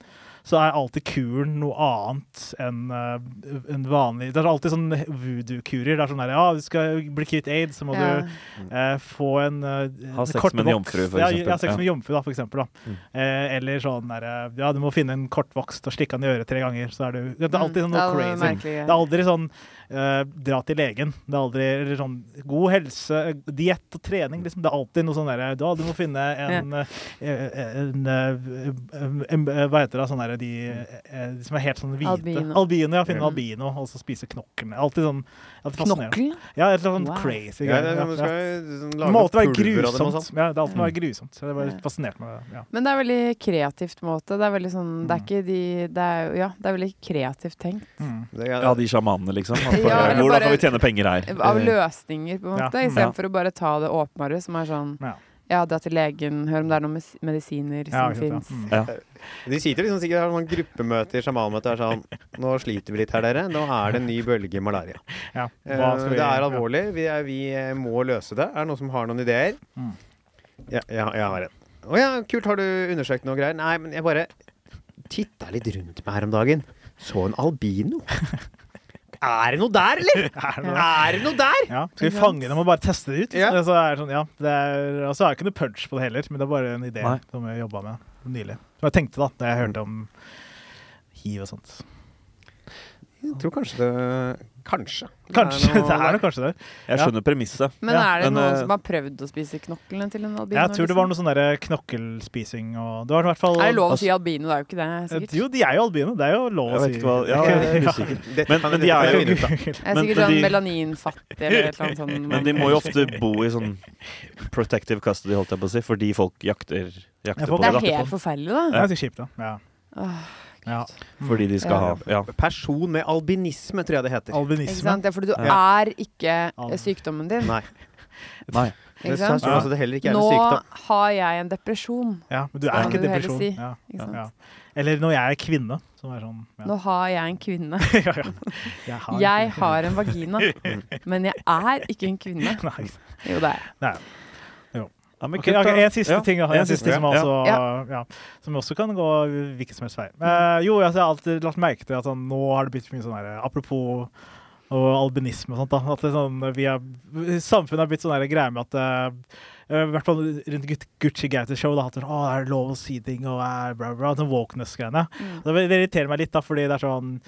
[SPEAKER 2] så er alltid kuren noe annet enn eh, en vanlig Det er alltid sånn voodoo-kurer. Det er sånn der, ja, du skal bli kvitt aids, så må
[SPEAKER 4] Ja.
[SPEAKER 2] du eh, få en eh,
[SPEAKER 3] Ha sex
[SPEAKER 2] kort
[SPEAKER 3] med en
[SPEAKER 2] voks-
[SPEAKER 3] jomfru, for
[SPEAKER 2] ja,
[SPEAKER 3] eksempel.
[SPEAKER 2] Ja, sex
[SPEAKER 3] Ja.
[SPEAKER 2] med en jomfru, da, for eksempel. Da.
[SPEAKER 3] Mm.
[SPEAKER 2] Eh, eller sånn der, eh, ja, du må finne en kortvokst og stikke han i øret tre ganger, så er du Det er alltid sånn noe
[SPEAKER 4] Mm, det er
[SPEAKER 2] crazy.
[SPEAKER 4] merkelig,
[SPEAKER 2] Det er
[SPEAKER 4] ja.
[SPEAKER 2] aldri sånn eh, dra til legen. Det er aldri eller sånn god helse, helse, diett og trening. Liksom. Det er alltid noe sånn derre Da, du må finne en, eh, en, eh, en, eh, Hva heter det? Sånn derre de, eh, de som er helt sånn hvite.
[SPEAKER 4] Albino.
[SPEAKER 2] albino ja, finne
[SPEAKER 4] Mm.
[SPEAKER 2] albino, og så spise knoklene. Alltid sånn alltid fascinerende.
[SPEAKER 4] Knokkel?
[SPEAKER 2] Ja, et eller annet
[SPEAKER 4] Wow.
[SPEAKER 2] sånn crazy
[SPEAKER 1] Ja,
[SPEAKER 2] greier.
[SPEAKER 1] det,
[SPEAKER 2] Ja,
[SPEAKER 1] man
[SPEAKER 2] ja.
[SPEAKER 1] skal jo sånn
[SPEAKER 2] Det
[SPEAKER 1] lage
[SPEAKER 2] må alltid være
[SPEAKER 1] pulver av dem og
[SPEAKER 2] grusomt.
[SPEAKER 1] sånn.
[SPEAKER 2] Ja, det er alltid være grusomt. Så jeg
[SPEAKER 4] Ja.
[SPEAKER 2] var fascinert med det. Ja.
[SPEAKER 4] Men det er veldig kreativt på en måte. Det er veldig sånn Det er
[SPEAKER 2] Mm.
[SPEAKER 4] ikke de det er, jo- Ja, det er veldig kreativt tenkt.
[SPEAKER 2] Mm.
[SPEAKER 1] sånn? Det er-
[SPEAKER 3] Ja, de sjamanene, liksom. At
[SPEAKER 4] Ja,
[SPEAKER 3] bare,
[SPEAKER 4] eller
[SPEAKER 3] Hvordan
[SPEAKER 4] bare-
[SPEAKER 3] kan vi tjene penger her? Eh,
[SPEAKER 4] Av løsninger, på en
[SPEAKER 2] Eh, Ja.
[SPEAKER 4] måte,
[SPEAKER 2] Mm.
[SPEAKER 4] istedenfor for å bare ta det åpenbare, som er sånn
[SPEAKER 2] Ja.
[SPEAKER 4] Ja, dra til legen, hør om det er noen mes- medisiner
[SPEAKER 2] Ja,
[SPEAKER 4] som
[SPEAKER 2] ikke sant, ja.
[SPEAKER 4] fins.
[SPEAKER 2] Mm.
[SPEAKER 1] De sitter liksom sikkert og har sånn gruppemøter, sjamanmøter er sånn Nå sliter vi litt her, dere. Nå er det en ny bølge malaria.
[SPEAKER 2] Ja.
[SPEAKER 1] Eh,
[SPEAKER 2] Hva skal vi-
[SPEAKER 1] det er alvorlig. Vi, er, vi eh, må løse det. Er det noen som har noen ideer?
[SPEAKER 2] Mm.
[SPEAKER 1] Ja, ja, jeg har en. Å ja, kult. Har du undersøkt noe greier? Nei, men jeg bare titta litt rundt meg her om dagen. Så en albino. Er det noe der, eller?
[SPEAKER 2] Ja. Er
[SPEAKER 1] Er
[SPEAKER 2] det noe?
[SPEAKER 1] det noe der?
[SPEAKER 2] Ja, skal vi
[SPEAKER 4] Ikke
[SPEAKER 2] fange
[SPEAKER 4] sant?
[SPEAKER 2] dem og bare teste det ut?
[SPEAKER 1] Ja.
[SPEAKER 2] Så er det sånn, ja, det er, og så er det ikke noe punch på det heller, men det er bare en idé
[SPEAKER 3] Nei.
[SPEAKER 2] som jeg jobba med nylig. Som jeg tenkte da da jeg hørte om hiv og sånt.
[SPEAKER 1] Jeg tror kanskje det Kanskje.
[SPEAKER 2] Kanskje, det
[SPEAKER 1] der.
[SPEAKER 2] er nok kanskje det.
[SPEAKER 3] Jeg
[SPEAKER 2] Ja.
[SPEAKER 3] skjønner premisset.
[SPEAKER 4] Men
[SPEAKER 2] Ja,
[SPEAKER 4] er det
[SPEAKER 3] men,
[SPEAKER 4] noen
[SPEAKER 3] eh,
[SPEAKER 4] som har prøvd å spise knoklene til en albino?
[SPEAKER 2] Jeg tror det var
[SPEAKER 4] liksom?
[SPEAKER 2] noe sånn der knokkelspising og det var i hvert fall
[SPEAKER 4] Er det lov å
[SPEAKER 3] Altså-
[SPEAKER 4] si albino? Det er jo ikke det, sikkert.
[SPEAKER 2] Eh, Jo, de er jo albino. Det er jo lov
[SPEAKER 3] Jeg
[SPEAKER 2] å
[SPEAKER 3] vet
[SPEAKER 2] si.
[SPEAKER 3] ikke hva Ja, jeg er usikker.
[SPEAKER 1] Dette
[SPEAKER 3] Men-
[SPEAKER 1] kan-
[SPEAKER 3] men de
[SPEAKER 1] dette
[SPEAKER 3] er
[SPEAKER 1] kan vi
[SPEAKER 3] jo-
[SPEAKER 1] finne ut av.
[SPEAKER 4] Jeg er
[SPEAKER 3] Men-
[SPEAKER 4] sikktig
[SPEAKER 3] men
[SPEAKER 4] sånn
[SPEAKER 3] de-
[SPEAKER 4] melaninfattig eller et eller annet sånn.
[SPEAKER 3] Men de må jo ofte bo i sånn protective custody, holdt jeg på å si, fordi folk jakter,
[SPEAKER 2] Jeg
[SPEAKER 3] jakter på
[SPEAKER 2] får-
[SPEAKER 4] Det
[SPEAKER 3] det.
[SPEAKER 4] er
[SPEAKER 3] da.
[SPEAKER 4] helt forferdelig, da.
[SPEAKER 2] Det er ganske kjipt, da. Ja.
[SPEAKER 4] Åh,
[SPEAKER 2] Ja.
[SPEAKER 3] Fordi de skal ha Ja.
[SPEAKER 1] Person med albinisme, tror jeg det heter.
[SPEAKER 4] ikke
[SPEAKER 2] Albinisme.
[SPEAKER 4] sant? Ja, fordi du
[SPEAKER 1] Ja.
[SPEAKER 4] er ikke
[SPEAKER 2] Al-
[SPEAKER 4] eh, sykdommen din.
[SPEAKER 1] Nei.
[SPEAKER 3] Nei.
[SPEAKER 1] Det
[SPEAKER 4] Ikke
[SPEAKER 1] sa-
[SPEAKER 4] sant?
[SPEAKER 1] tror jeg altså det heller ikke er en
[SPEAKER 4] Nå
[SPEAKER 1] sykdom.
[SPEAKER 4] har jeg en depresjon.
[SPEAKER 2] Ja, men du
[SPEAKER 4] Skal
[SPEAKER 2] er ikke
[SPEAKER 4] du heller
[SPEAKER 2] depresjon.
[SPEAKER 4] si,
[SPEAKER 2] ja,
[SPEAKER 4] ikke
[SPEAKER 2] ja,
[SPEAKER 4] sant?
[SPEAKER 2] ja. Eller når jeg er kvinne, som er sånn ja.
[SPEAKER 4] Nå har jeg en kvinne.
[SPEAKER 2] ja, ja. Jeg har,
[SPEAKER 4] Jeg har en vagina, men jeg er ikke en kvinne.
[SPEAKER 2] Nei, ikke sant.
[SPEAKER 4] Jo, det er jeg.
[SPEAKER 3] Ja, men
[SPEAKER 2] Ok,
[SPEAKER 3] kult,
[SPEAKER 2] ok,
[SPEAKER 3] da.
[SPEAKER 2] en siste
[SPEAKER 3] Ja,
[SPEAKER 2] ting, da.
[SPEAKER 3] en
[SPEAKER 2] en siste
[SPEAKER 3] siste,
[SPEAKER 2] ting altså. som,
[SPEAKER 3] ja.
[SPEAKER 2] også, ja. som også kan gå hvilken som helst vei. Eh, jo, altså, jeg har alltid lagt merke til at sånn, nå har det blitt for mye sånn her Apropos og albinisme og sånt. da, at det er sånn, vi er, Samfunnet har blitt sånn her greie med at eh, I hvert fall rundt Gut- Gucci Gauter-show. da, at det, å, er det lov å si ting og eh, bla, bla, bla, sånn wokeness-greiene.
[SPEAKER 4] Mm.
[SPEAKER 2] Det det irriterer meg litt, da, fordi det er sånn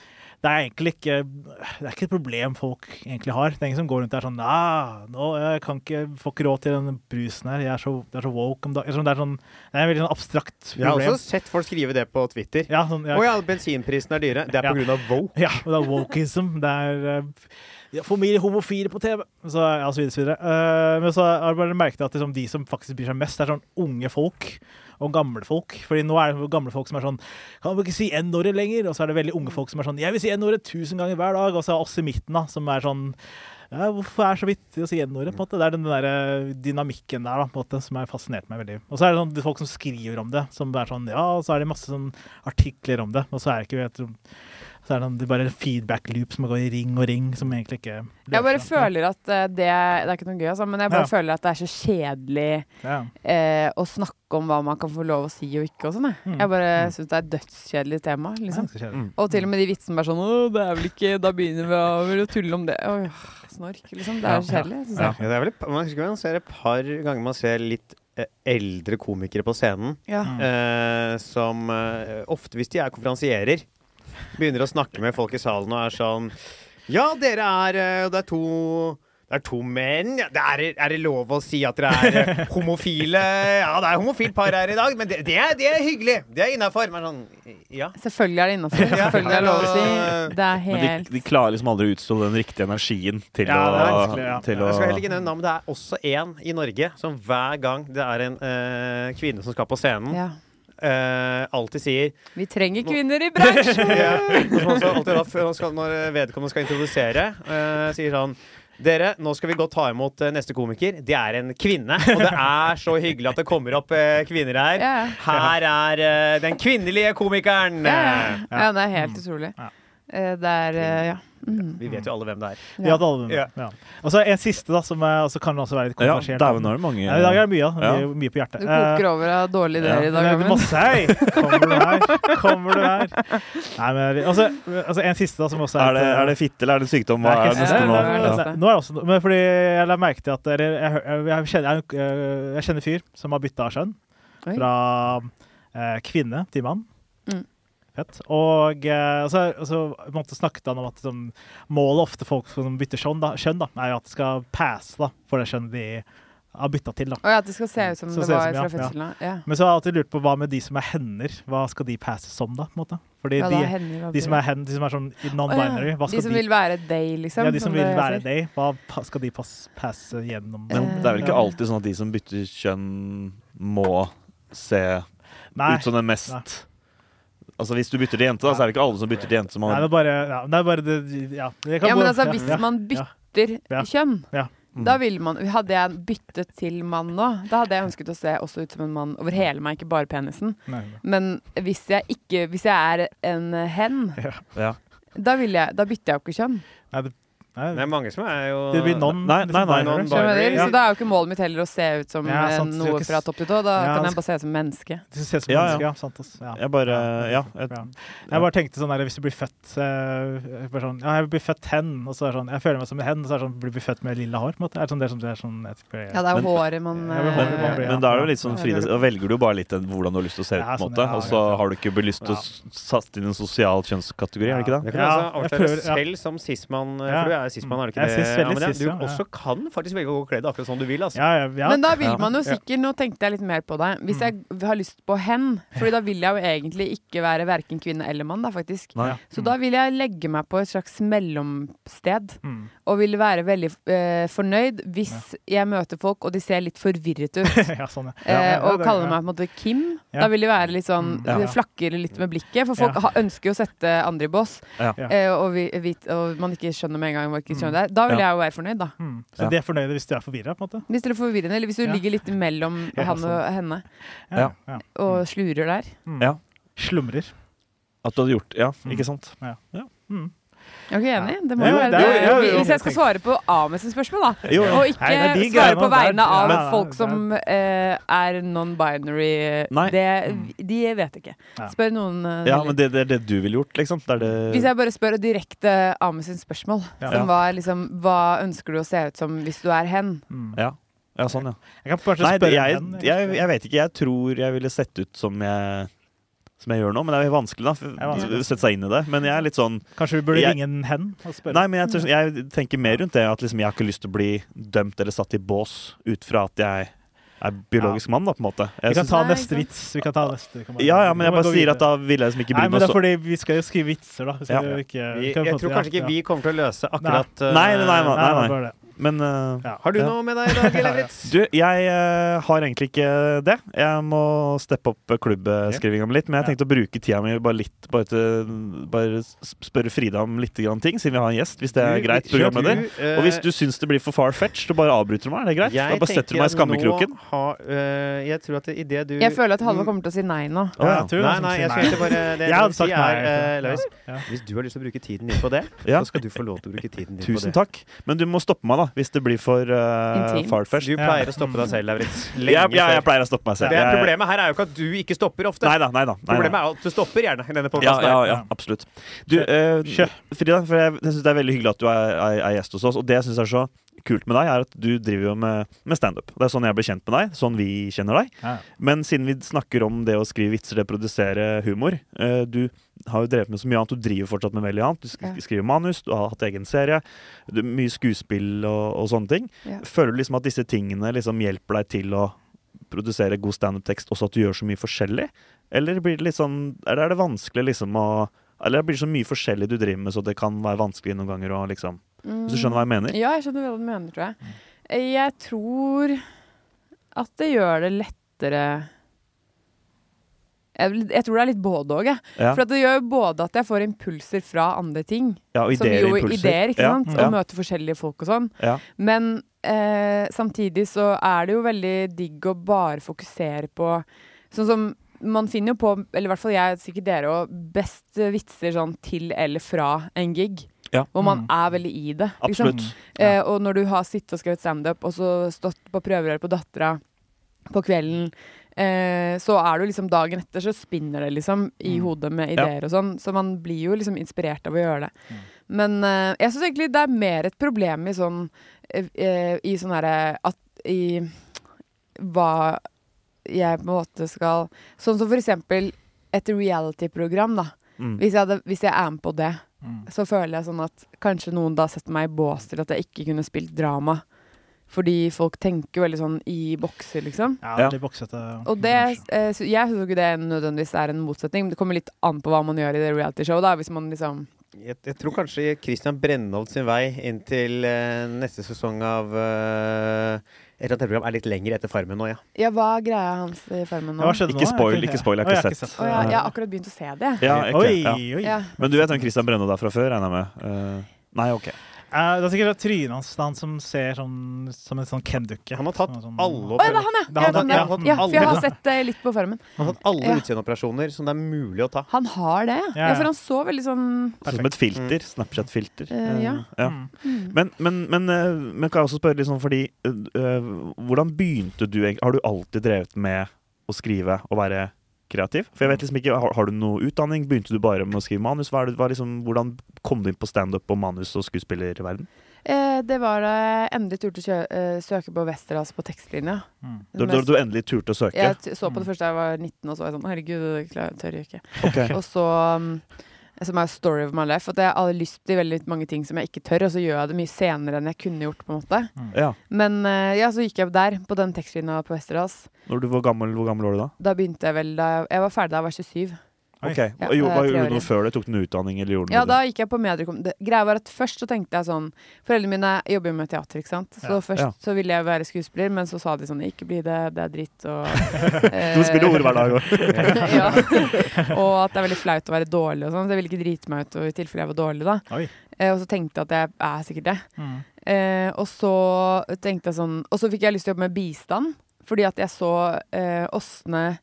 [SPEAKER 2] det er egentlig ikke det er ikke et problem folk egentlig har. Det er ingen som går rundt der sånn Nei, nå jeg kan ikke, får ikke råd til den brusen her. Jeg er så, det er så woke om dagen. Eller sånn, Det er, sånn, det er en veldig sånn abstrakt
[SPEAKER 1] Jeg har også
[SPEAKER 2] problem.
[SPEAKER 1] sett folk skrive det på Twitter.
[SPEAKER 2] Ja, sånn,
[SPEAKER 1] Å
[SPEAKER 2] ja,
[SPEAKER 1] ja, bensinprisene er dyre. Det er
[SPEAKER 2] Ja.
[SPEAKER 1] på grunn av Vogue.
[SPEAKER 2] ja, og det er wokeism. Det er eh, ja, for mye homofile på TV, så, ja, så videre. Så videre. Eh, men så har jeg bare merket at liksom, de som faktisk bryr seg mest, det er sånn unge folk og gamle folk. Fordi nå er det gamle folk som er sånn Kan vi ikke si n-ordet lenger? Og så er det veldig unge folk som er sånn Jeg vil si n-ordet tusen ganger hver dag. Og så er oss i midten, da, som er sånn ja, Hvorfor er det så viktig å si n-ordet? på en måte? Det er den der eh, dynamikken der da, på en måte, som har fascinert meg veldig. Og så er det sånn, de folk som skriver om det, som er sånn Ja, og så er det masse sånn artikler om det, og så er det ikke jeg tror, så er det, sånn, det er bare en feedback loop som går i ring og ring, som egentlig ikke
[SPEAKER 4] Jeg bare
[SPEAKER 2] løser det.
[SPEAKER 4] føler at eh, det Det er ikke noe gøy, altså, men jeg
[SPEAKER 2] Ja.
[SPEAKER 4] bare føler at det er så kjedelig
[SPEAKER 2] Ja.
[SPEAKER 4] eh, å snakke om hva man kan få lov å si og ikke og sånn. Jeg,
[SPEAKER 2] Mm.
[SPEAKER 4] jeg bare syns det er et dødskjedelig tema,
[SPEAKER 2] Ja,
[SPEAKER 4] liksom.
[SPEAKER 2] det er kjedelig.
[SPEAKER 3] Mm.
[SPEAKER 4] Og til og med de vitsene bare sånn Å, det er vel ikke Da begynner vi å- vel å tulle om det. Åh, snork, liksom. Det er så
[SPEAKER 2] Ja.
[SPEAKER 4] kjedelig. Synes
[SPEAKER 1] Ja.
[SPEAKER 4] jeg.
[SPEAKER 1] det er vel, et par- man husker man ser et par ganger man ser litt eh, eldre komikere på scenen
[SPEAKER 4] Ja.
[SPEAKER 2] Mm.
[SPEAKER 1] eh, som eh, ofte, hvis de er konferansierer, begynner å snakke med folk i salen og er sånn Ja, dere er eh, Det er to det er to menn. Ja, det er, er det lov å si at dere er eh, homofile? Ja, det er homofilt par her i dag, men det, det, er, det er hyggelig. Det er innafor. Men sånn Ja.
[SPEAKER 4] Selvfølgelig er det innafor. Selvfølgelig er det lov å si. Det er
[SPEAKER 3] Men
[SPEAKER 4] helt
[SPEAKER 3] de, de klarer liksom aldri å utstå den riktige energien til
[SPEAKER 2] Ja, det er
[SPEAKER 3] å,
[SPEAKER 2] vanskelig, ja.
[SPEAKER 3] til å
[SPEAKER 1] Jeg skal heller ikke nevne navn, men det er også én i Norge som hver gang det er en eh, kvinne som skal på scenen,
[SPEAKER 4] Ja.
[SPEAKER 1] eh, alltid sier
[SPEAKER 4] Vi trenger kvinner i bransjen!
[SPEAKER 1] Ja, og som også alltid da, før han skal, Når vedkommende skal introdusere, eh, sier sånn dere, nå skal vi godt ta imot eh, neste komiker. Det er en kvinne. Og det er så hyggelig at det kommer opp eh, kvinner her.
[SPEAKER 4] Ja,
[SPEAKER 1] Her er eh, den kvinnelige komikeren.
[SPEAKER 4] ja,
[SPEAKER 1] Eh,
[SPEAKER 4] ja. ja det er helt utrolig.
[SPEAKER 2] Mm. Ja.
[SPEAKER 4] Eh, Det er eh, Ja. Mm.
[SPEAKER 1] Vi vet jo alle hvem det er.
[SPEAKER 2] Vi hadde alle
[SPEAKER 1] Ja.
[SPEAKER 2] den. Ja. Og så en siste, da, som eh, også kan også være litt
[SPEAKER 3] Ja,
[SPEAKER 2] kontroversiell.
[SPEAKER 3] dæven, nå er det mange
[SPEAKER 2] Ja, I dag er det mye, da.
[SPEAKER 3] Ja.
[SPEAKER 2] Mye, mye på hjertet.
[SPEAKER 4] Du koker over av dårlige
[SPEAKER 3] Ja.
[SPEAKER 4] ideer i dag,
[SPEAKER 2] Nei, Eh, det er
[SPEAKER 4] Amund.
[SPEAKER 2] masse hei! Kommer du her? Kommer du her? Nei, men altså, altså en siste, da, som også
[SPEAKER 3] Er det,
[SPEAKER 2] et, eh,
[SPEAKER 3] er det fitte, eller er det sykdom? Hva
[SPEAKER 2] Nei, ikke
[SPEAKER 3] er det
[SPEAKER 2] sant?
[SPEAKER 3] neste
[SPEAKER 4] sykdom.
[SPEAKER 3] nå?
[SPEAKER 2] Nei, nei, nei,
[SPEAKER 3] Ja.
[SPEAKER 4] Ja.
[SPEAKER 2] nei. Nå er det også, men fordi jeg la merke til at dere, jeg, jeg, jeg, kjenner, jeg, jeg kjenner fyr som har bytta kjønn.
[SPEAKER 4] Oi.
[SPEAKER 2] Fra eh, kvinne til mann.
[SPEAKER 4] Mm.
[SPEAKER 2] Fett. Og eh, og så, og så på en måte snakket han om at sånn, målet ofte folk som bytter kjønn, da, kjønn da, er jo at de skal passe da, for det kjønnet de har bytta til. Da.
[SPEAKER 4] Å ja, at det skal se ut som
[SPEAKER 2] Så
[SPEAKER 4] det
[SPEAKER 2] ser ut
[SPEAKER 4] var
[SPEAKER 2] som,
[SPEAKER 4] fra
[SPEAKER 2] ja,
[SPEAKER 4] fødselen av. Ja.
[SPEAKER 2] Men så har jeg alltid lurt på hva med de som er hender? Hva skal de passes som, da? på en måte? Fordi
[SPEAKER 4] Ja, da
[SPEAKER 2] de,
[SPEAKER 4] hender det
[SPEAKER 2] de som er hen, de som er sånn non-binary, hva
[SPEAKER 4] De
[SPEAKER 2] skal
[SPEAKER 4] som
[SPEAKER 2] de
[SPEAKER 4] vil være deg, liksom.
[SPEAKER 2] Ja, de som
[SPEAKER 4] det
[SPEAKER 2] vil være
[SPEAKER 4] heter.
[SPEAKER 2] deg, hva pa- skal de pass, passe gjennom?
[SPEAKER 3] Men
[SPEAKER 4] Eh,
[SPEAKER 3] det er vel ikke
[SPEAKER 2] ja.
[SPEAKER 3] alltid sånn at de som bytter kjønn, må se
[SPEAKER 2] Nei.
[SPEAKER 3] ut som den mest
[SPEAKER 2] Nei.
[SPEAKER 3] Altså Hvis du bytter til jente, da, så er det ikke alle som bytter til jente. som
[SPEAKER 2] Nei,
[SPEAKER 3] har
[SPEAKER 2] det er bare Ja, det er bare det, ja. Jeg kan
[SPEAKER 4] Ja, men
[SPEAKER 2] bare-
[SPEAKER 4] altså,
[SPEAKER 2] ja,
[SPEAKER 4] hvis
[SPEAKER 2] ja.
[SPEAKER 4] man bytter
[SPEAKER 2] ja.
[SPEAKER 4] kjønn,
[SPEAKER 2] Ja.
[SPEAKER 3] Mm.
[SPEAKER 4] da ville man Hadde jeg byttet til mann nå, da hadde jeg ønsket å se også ut som en mann over hele meg, ikke bare penisen.
[SPEAKER 2] Nei, nei.
[SPEAKER 4] Men hvis jeg ikke Hvis jeg er en hen,
[SPEAKER 3] Ja.
[SPEAKER 4] da, vil jeg, da bytter jeg jo ikke kjønn.
[SPEAKER 2] Nei,
[SPEAKER 1] Det er mange som er jo
[SPEAKER 2] Det blir non. liksom
[SPEAKER 3] Nei, nei, nei.
[SPEAKER 2] non
[SPEAKER 4] Skjønner du hva jeg vil?
[SPEAKER 1] Ja.
[SPEAKER 4] Så da er jo ikke målet mitt heller å se ut som
[SPEAKER 2] Ja,
[SPEAKER 4] eh,
[SPEAKER 2] sant, så
[SPEAKER 4] noe
[SPEAKER 2] ikke s-
[SPEAKER 4] fra topp til tå.
[SPEAKER 2] Ja,
[SPEAKER 4] Da
[SPEAKER 2] altså
[SPEAKER 4] kan
[SPEAKER 2] det
[SPEAKER 4] jeg bare se ut som menneske.
[SPEAKER 2] Du ser ut som
[SPEAKER 3] Ja,
[SPEAKER 2] menneske,
[SPEAKER 3] ja.
[SPEAKER 2] ja. Sant, ass. Ja.
[SPEAKER 3] Jeg bare Ja. Jeg,
[SPEAKER 2] Ja. Jeg bare tenkte sånn der, hvis du blir født eh, bare sånn, Ja, jeg blir født hen, og så er det sånn Jeg føler meg som en hen, og så er det sånn Blir du født med lilla hår? på en måte? Er det sånn det som det er sånn jeg tror jeg-
[SPEAKER 4] Ja, det er
[SPEAKER 3] Men-
[SPEAKER 4] jo håret man
[SPEAKER 2] Ja, men
[SPEAKER 3] men,
[SPEAKER 2] håret man
[SPEAKER 4] eh,
[SPEAKER 2] blir-
[SPEAKER 3] men da er det jo litt sånn fri, da velger du jo bare litt den, hvordan du har lyst til å se ut, på
[SPEAKER 2] Ja,
[SPEAKER 3] en
[SPEAKER 2] sånn,
[SPEAKER 3] måte.
[SPEAKER 2] ja,
[SPEAKER 3] Og så
[SPEAKER 2] ja.
[SPEAKER 3] har du ikke bare lyst til å s- satt inn en sosial kjønnskategori, er det ikke det?
[SPEAKER 1] Det kan
[SPEAKER 2] Ja,
[SPEAKER 1] altså
[SPEAKER 2] jeg
[SPEAKER 1] avsløre
[SPEAKER 2] prøver- ja.
[SPEAKER 1] selv som sismann, eh,
[SPEAKER 2] Ja.
[SPEAKER 1] for du er sismann, er du ikke
[SPEAKER 2] Jeg
[SPEAKER 1] det?
[SPEAKER 2] er sis, veldig
[SPEAKER 1] Amalie?
[SPEAKER 2] sis,
[SPEAKER 1] du
[SPEAKER 2] ja.
[SPEAKER 1] også kan faktisk velge å gå kledd akkurat som du vil, altså.
[SPEAKER 2] Ja, ja, ja. Mm.
[SPEAKER 4] Men da vil
[SPEAKER 3] Ja.
[SPEAKER 4] man jo sikkert Nå tenkte jeg litt mer på deg. Hvis jeg har lyst på hen, Fordi da vil jeg jo egentlig ikke være verken kvinne eller mann, da, faktisk.
[SPEAKER 3] Nei.
[SPEAKER 4] Så da vil jeg legge meg på et slags mellomsted,
[SPEAKER 2] mm.
[SPEAKER 4] og vil være veldig eh, fornøyd hvis jeg møter folk og de ser litt forvirret ut.
[SPEAKER 2] ja, sånn, ja.
[SPEAKER 4] Eh,
[SPEAKER 2] ja,
[SPEAKER 4] og
[SPEAKER 2] det-
[SPEAKER 4] kaller
[SPEAKER 2] ja.
[SPEAKER 4] meg på en måte Kim.
[SPEAKER 2] Ja.
[SPEAKER 4] Da vil de være litt sånn
[SPEAKER 2] Mm, ja.
[SPEAKER 4] Flakker litt med blikket. For folk
[SPEAKER 2] Ja.
[SPEAKER 4] ha, ønsker jo å sette andre i bås.
[SPEAKER 3] Ja.
[SPEAKER 2] Ja.
[SPEAKER 4] Eh, og, vi, vit- og man ikke skjønner med en gang hva ikke skjønner det er. Da vil jeg jo være fornøyd, da.
[SPEAKER 2] Mm. Så
[SPEAKER 3] Ja.
[SPEAKER 2] de er fornøyde hvis du er forvirra, på en måte?
[SPEAKER 4] Hvis dere er forvirrende, eller hvis du
[SPEAKER 2] Ja.
[SPEAKER 4] ligger litt mellom
[SPEAKER 2] Ja,
[SPEAKER 4] han og
[SPEAKER 2] sånn.
[SPEAKER 4] henne
[SPEAKER 3] Ja.
[SPEAKER 2] ja.
[SPEAKER 4] og slurer der.
[SPEAKER 2] Mm.
[SPEAKER 3] Ja.
[SPEAKER 2] Slumrer.
[SPEAKER 3] At du hadde gjort Ja,
[SPEAKER 2] Mm.
[SPEAKER 3] ikke sant?
[SPEAKER 2] Mm.
[SPEAKER 4] Er dere enig? Det må
[SPEAKER 2] Ja,
[SPEAKER 4] jo
[SPEAKER 2] jo,
[SPEAKER 4] være
[SPEAKER 2] det
[SPEAKER 4] det.
[SPEAKER 2] er- ja, jo, jo.
[SPEAKER 4] Hvis jeg skal svare på Ahmed sitt spørsmål, da.
[SPEAKER 3] Jo,
[SPEAKER 4] Og ikke
[SPEAKER 2] Nei, det er de
[SPEAKER 4] svare
[SPEAKER 2] greiene
[SPEAKER 4] på
[SPEAKER 2] der.
[SPEAKER 4] vegne av
[SPEAKER 2] Ja, ja,
[SPEAKER 4] folk
[SPEAKER 2] ja.
[SPEAKER 4] som eh, er non-binary.
[SPEAKER 3] Nei.
[SPEAKER 4] Det,
[SPEAKER 2] Mm.
[SPEAKER 4] de vet jeg ikke.
[SPEAKER 2] Ja.
[SPEAKER 4] Spør noen. eh,
[SPEAKER 3] ja men det det er det du ville gjort, liksom. Det er det
[SPEAKER 4] Hvis jeg bare spør direkte Ahmed sitt spørsmål,
[SPEAKER 2] Ja.
[SPEAKER 4] som var liksom Hva ønsker du å se ut som hvis du er hen?
[SPEAKER 2] Mm.
[SPEAKER 3] Ja. Ja, sånn, ja.
[SPEAKER 2] Jeg kan kanskje
[SPEAKER 3] Nei, det,
[SPEAKER 2] spørre
[SPEAKER 3] jeg,
[SPEAKER 2] en,
[SPEAKER 3] jeg, jeg vet ikke. Jeg tror jeg ville sett ut som jeg som jeg gjør nå, men det er jo vanskelig da
[SPEAKER 2] vanskelig.
[SPEAKER 3] å sette seg inn i det. Men jeg er litt sånn
[SPEAKER 2] Kanskje vi burde
[SPEAKER 3] jeg-
[SPEAKER 2] ringe en hen og spørre?
[SPEAKER 3] Nei, men jeg, tror- jeg tenker mer rundt det at liksom, jeg har ikke lyst til å bli dømt eller satt i bås ut fra at jeg er biologisk mann, da, på en måte.
[SPEAKER 2] vi
[SPEAKER 3] Jeg
[SPEAKER 2] kan
[SPEAKER 3] synes-
[SPEAKER 2] ta
[SPEAKER 4] Nei,
[SPEAKER 2] neste
[SPEAKER 4] ikke sant.
[SPEAKER 2] vits. Vi kan ta neste. vi kan bare-
[SPEAKER 3] ja, ja, men
[SPEAKER 2] vi
[SPEAKER 3] jeg
[SPEAKER 2] kan
[SPEAKER 3] bare
[SPEAKER 2] gå
[SPEAKER 3] sier
[SPEAKER 2] videre.
[SPEAKER 3] at da ville jeg liksom
[SPEAKER 2] Nei,
[SPEAKER 3] ikke brydd
[SPEAKER 2] men
[SPEAKER 3] meg
[SPEAKER 2] det er
[SPEAKER 3] så
[SPEAKER 2] fordi vi skal jo skrive vitser, da. Vi skal
[SPEAKER 3] Ja.
[SPEAKER 2] jo ikke, vi
[SPEAKER 1] Jeg,
[SPEAKER 2] kan jo
[SPEAKER 1] jeg
[SPEAKER 2] få til-
[SPEAKER 1] tror kanskje ikke
[SPEAKER 2] ja.
[SPEAKER 1] vi kommer til å løse akkurat eh,
[SPEAKER 3] Nei, nei, nei, nei.
[SPEAKER 2] Nei, det var det.
[SPEAKER 3] Men eh,
[SPEAKER 2] Ja.
[SPEAKER 1] Har du
[SPEAKER 3] Ja.
[SPEAKER 1] noe med deg i dag, Elevritz?
[SPEAKER 3] Du, jeg eh, har egentlig ikke det. Jeg må steppe opp klubbeskrivinga mi litt. Men jeg tenkte å bruke tida mi bare litt Bare, til, bare s- spørre Frida om litt grann ting, siden vi har en gjest. Hvis det er greit, programleder.
[SPEAKER 1] eh,
[SPEAKER 3] Og hvis du syns det blir for far-fetched, så bare avbryter du meg. Er det greit? Da bare setter du meg i skammekroken.
[SPEAKER 1] eh, jeg tror at idet du Mm.
[SPEAKER 4] Jeg føler at
[SPEAKER 2] Mm.
[SPEAKER 4] Halvor kommer til å si nei nå.
[SPEAKER 3] Å, ja.
[SPEAKER 2] jeg tror
[SPEAKER 1] Nei,
[SPEAKER 2] han
[SPEAKER 1] nei,
[SPEAKER 2] sier
[SPEAKER 1] jeg skal egentlig bare Det
[SPEAKER 2] Jeg
[SPEAKER 1] jeg
[SPEAKER 2] hadde
[SPEAKER 1] vil si,
[SPEAKER 2] sagt
[SPEAKER 1] er,
[SPEAKER 2] nei.
[SPEAKER 1] eh, Elevritz,
[SPEAKER 2] Ja.
[SPEAKER 1] hvis du har lyst til å bruke tiden din på det,
[SPEAKER 3] Ja.
[SPEAKER 1] så skal du få lov til å bruke tiden din på
[SPEAKER 3] Tusen
[SPEAKER 1] det.
[SPEAKER 3] takk. Men du må stoppe meg, da, hvis det blir for uh,
[SPEAKER 4] Intimt.
[SPEAKER 3] far-fetched.
[SPEAKER 1] Du
[SPEAKER 2] Ja.
[SPEAKER 1] pleier å stoppe deg selv, Lauritz.
[SPEAKER 3] Jeg, jeg, jeg pleier å stoppe meg selv.
[SPEAKER 1] Det er
[SPEAKER 3] Jeg-
[SPEAKER 1] problemet her er jo ikke at du ikke stopper ofte.
[SPEAKER 3] Nei da, nei da. nei da.
[SPEAKER 1] Problemet er at du stopper gjerne i denne
[SPEAKER 3] Ja,
[SPEAKER 1] podcasten
[SPEAKER 3] ja,
[SPEAKER 1] her.
[SPEAKER 3] ja, absolutt. Du, eh,
[SPEAKER 2] Kjør.
[SPEAKER 3] Frida, for jeg, jeg synes det er veldig hyggelig at du er, er, er gjest hos oss. Og det jeg syns er så kult med deg, er at du driver jo med, med standup. Det er sånn jeg ble kjent med deg. Sånn vi kjenner deg.
[SPEAKER 2] Ja.
[SPEAKER 3] Men siden vi snakker om det å skrive vitser, det å produsere humor eh, Du har jo drevet med så mye annet. Du driver fortsatt med veldig annet. Du sk
[SPEAKER 4] Ja.
[SPEAKER 3] skriver manus, du har hatt egen serie. Du, mye skuespill og, og sånne ting.
[SPEAKER 4] Ja.
[SPEAKER 3] Føler du liksom at disse tingene liksom hjelper deg til å produsere god standup-tekst, også at du gjør så mye forskjellig? Eller blir det litt sånn Eller er det vanskelig liksom å Eller blir det så mye forskjellig du driver med, så det kan være vanskelig noen ganger å liksom Hvis du skjønner hva jeg mener?
[SPEAKER 4] Ja, jeg skjønner hva du mener, tror jeg. Jeg tror at det gjør det lettere Jeg, vil- jeg tror det er litt både òg, jeg.
[SPEAKER 3] Ja,
[SPEAKER 4] For at det gjør jo både at jeg får impulser fra andre ting,
[SPEAKER 3] ja og
[SPEAKER 4] som
[SPEAKER 3] ideer
[SPEAKER 4] jo
[SPEAKER 3] og impulser.
[SPEAKER 4] ideer, ikke sant?
[SPEAKER 3] Ja,
[SPEAKER 4] Og
[SPEAKER 3] ja,
[SPEAKER 4] møter forskjellige folk og sånn.
[SPEAKER 3] ja.
[SPEAKER 4] Men eh, samtidig så er det jo veldig digg å bare fokusere på Sånn som man finner jo på, eller i hvert fall jeg, sikkert dere òg, best eh, vitser sånn til eller fra en gig.
[SPEAKER 3] Ja.
[SPEAKER 4] Hvor man
[SPEAKER 2] Mm.
[SPEAKER 4] er veldig i det. ikke sant?
[SPEAKER 3] Absolutt.
[SPEAKER 4] Eh, og når du har sittet og skrevet standup, og så stått på prøverør på dattera på kvelden, eh, så er du liksom dagen etter, så spinner det liksom i
[SPEAKER 2] Mm.
[SPEAKER 4] hodet med
[SPEAKER 3] Ja.
[SPEAKER 4] ideer og sånn. Så man blir jo liksom inspirert av å gjøre det.
[SPEAKER 2] Mm.
[SPEAKER 4] Men eh, jeg syns egentlig det er mer et problem i sånn eh, eh, I sånn herre at i hva jeg på en måte skal Sånn som for eksempel et reality-program, da.
[SPEAKER 3] Mm.
[SPEAKER 4] Hvis jeg, hadde, hvis jeg er med på det,
[SPEAKER 2] Mm.
[SPEAKER 4] så føler jeg sånn at kanskje noen da setter meg i bås til at jeg ikke kunne spilt drama. Fordi folk tenker jo veldig sånn i bokser, liksom.
[SPEAKER 2] Ja,
[SPEAKER 3] Ja.
[SPEAKER 2] veldig boksete.
[SPEAKER 4] Og det, eh, så jeg syns jo ikke det nødvendigvis er en motsetning. men Det kommer litt an på hva man gjør i det realityshowet, da. Hvis man liksom
[SPEAKER 1] Jeg, jeg tror kanskje Christian Brennholt sin vei inn til eh, neste sesong av eh, et eller annet TV-program er litt lenger etter Farmen nå, ja.
[SPEAKER 4] Ja, hva er greia hans i Farmen
[SPEAKER 2] Ja,
[SPEAKER 4] nå?
[SPEAKER 2] hva skjedde
[SPEAKER 3] Ikke
[SPEAKER 2] nå?
[SPEAKER 3] spoil,
[SPEAKER 2] Jeg-
[SPEAKER 3] ikke spoil, jeg har
[SPEAKER 2] Å,
[SPEAKER 3] ikke sett.
[SPEAKER 4] Å ja, jeg har akkurat begynt å se det. jeg.
[SPEAKER 3] Ja, ok,
[SPEAKER 2] Oi,
[SPEAKER 3] ja.
[SPEAKER 2] oi.
[SPEAKER 4] Ja.
[SPEAKER 3] Men du vet han Christian Brenna der fra før, regner jeg med? Eh, nei, OK.
[SPEAKER 2] Eh, det er sikkert det trynet hans det er han som ser sånn, som en sånn Ken-dukke.
[SPEAKER 1] Han har tatt
[SPEAKER 2] Sånn- sånn-
[SPEAKER 1] alle
[SPEAKER 4] Å ja, det er han, ja!
[SPEAKER 2] Det er
[SPEAKER 4] Jeg vet
[SPEAKER 2] han,
[SPEAKER 4] om
[SPEAKER 2] ja.
[SPEAKER 4] det. ja, for jeg har sett eh, litt på Farmen.
[SPEAKER 1] Han har tatt alle
[SPEAKER 4] Ja.
[SPEAKER 1] utseendeoperasjoner som det er mulig å ta.
[SPEAKER 4] Han har det, ja.
[SPEAKER 2] Ja,
[SPEAKER 4] ja.
[SPEAKER 2] ja.
[SPEAKER 4] For han så veldig sånn
[SPEAKER 3] Som et filter. Snapchat-filter.
[SPEAKER 4] Eh, ja.
[SPEAKER 3] Eh, ja.
[SPEAKER 2] Mm.
[SPEAKER 3] Men, men, men, eh, men kan jeg også spørre litt sånn fordi eh, eh, Hvordan begynte du egentlig? Har du alltid drevet med å skrive og være kreativ? For jeg vet liksom ikke, har, har du noe utdanning? Begynte du bare med å skrive manus? Hva er det, hva er liksom, hvordan kom du inn på standup og manus og skuespillerverden?
[SPEAKER 4] eh, Det var da jeg endelig turte å kjø eh, søke på Westerdals på tekstlinja.
[SPEAKER 2] Mm.
[SPEAKER 3] Da da du endelig turte å søke?
[SPEAKER 4] Jeg t så
[SPEAKER 3] Mm.
[SPEAKER 4] på det første da jeg var 19, og så var jeg sånn Herregud, det klar- tør jeg ikke.
[SPEAKER 3] Ok.
[SPEAKER 4] Og så um, Som er story of my life. At jeg har lyst til veldig mange ting som jeg ikke tør, og så gjør jeg det mye senere enn jeg kunne gjort, på en måte.
[SPEAKER 2] mm,
[SPEAKER 3] Ja.
[SPEAKER 4] Men eh, ja, så gikk jeg der, på den tekstlinja på Westerdals.
[SPEAKER 3] Når du var gammel, hvor gammel var du da?
[SPEAKER 4] Da begynte jeg vel da jeg, jeg var ferdig da jeg var 27.
[SPEAKER 2] Oi.
[SPEAKER 3] Ok,
[SPEAKER 4] Ja,
[SPEAKER 3] og jo,
[SPEAKER 4] det er
[SPEAKER 3] Hva
[SPEAKER 4] tre
[SPEAKER 3] gjorde
[SPEAKER 4] år
[SPEAKER 3] du noe før det? Tok du noe utdanning? eller gjorde du
[SPEAKER 4] Ja,
[SPEAKER 3] noe?
[SPEAKER 4] da gikk jeg på mediekom... Det, greia var at først så tenkte jeg sånn Foreldrene mine jobber jo med teater, ikke sant. Så
[SPEAKER 2] Ja.
[SPEAKER 4] først
[SPEAKER 3] Ja.
[SPEAKER 4] så ville jeg være skuespiller, men så sa de sånn Ikke bli det, det er dritt og eh,
[SPEAKER 3] Du spiller ord hver dag også.
[SPEAKER 4] ja. Og at det er veldig flaut å være dårlig og sånn. Så jeg ville ikke drite meg ut og i tilfelle jeg var dårlig, da.
[SPEAKER 2] Oi.
[SPEAKER 4] Eh, og så tenkte jeg at jeg er sikkert det.
[SPEAKER 2] Mm.
[SPEAKER 4] Eh, og så tenkte jeg sånn Og så fikk jeg lyst til å jobbe med bistand, fordi at jeg så eh, Åsne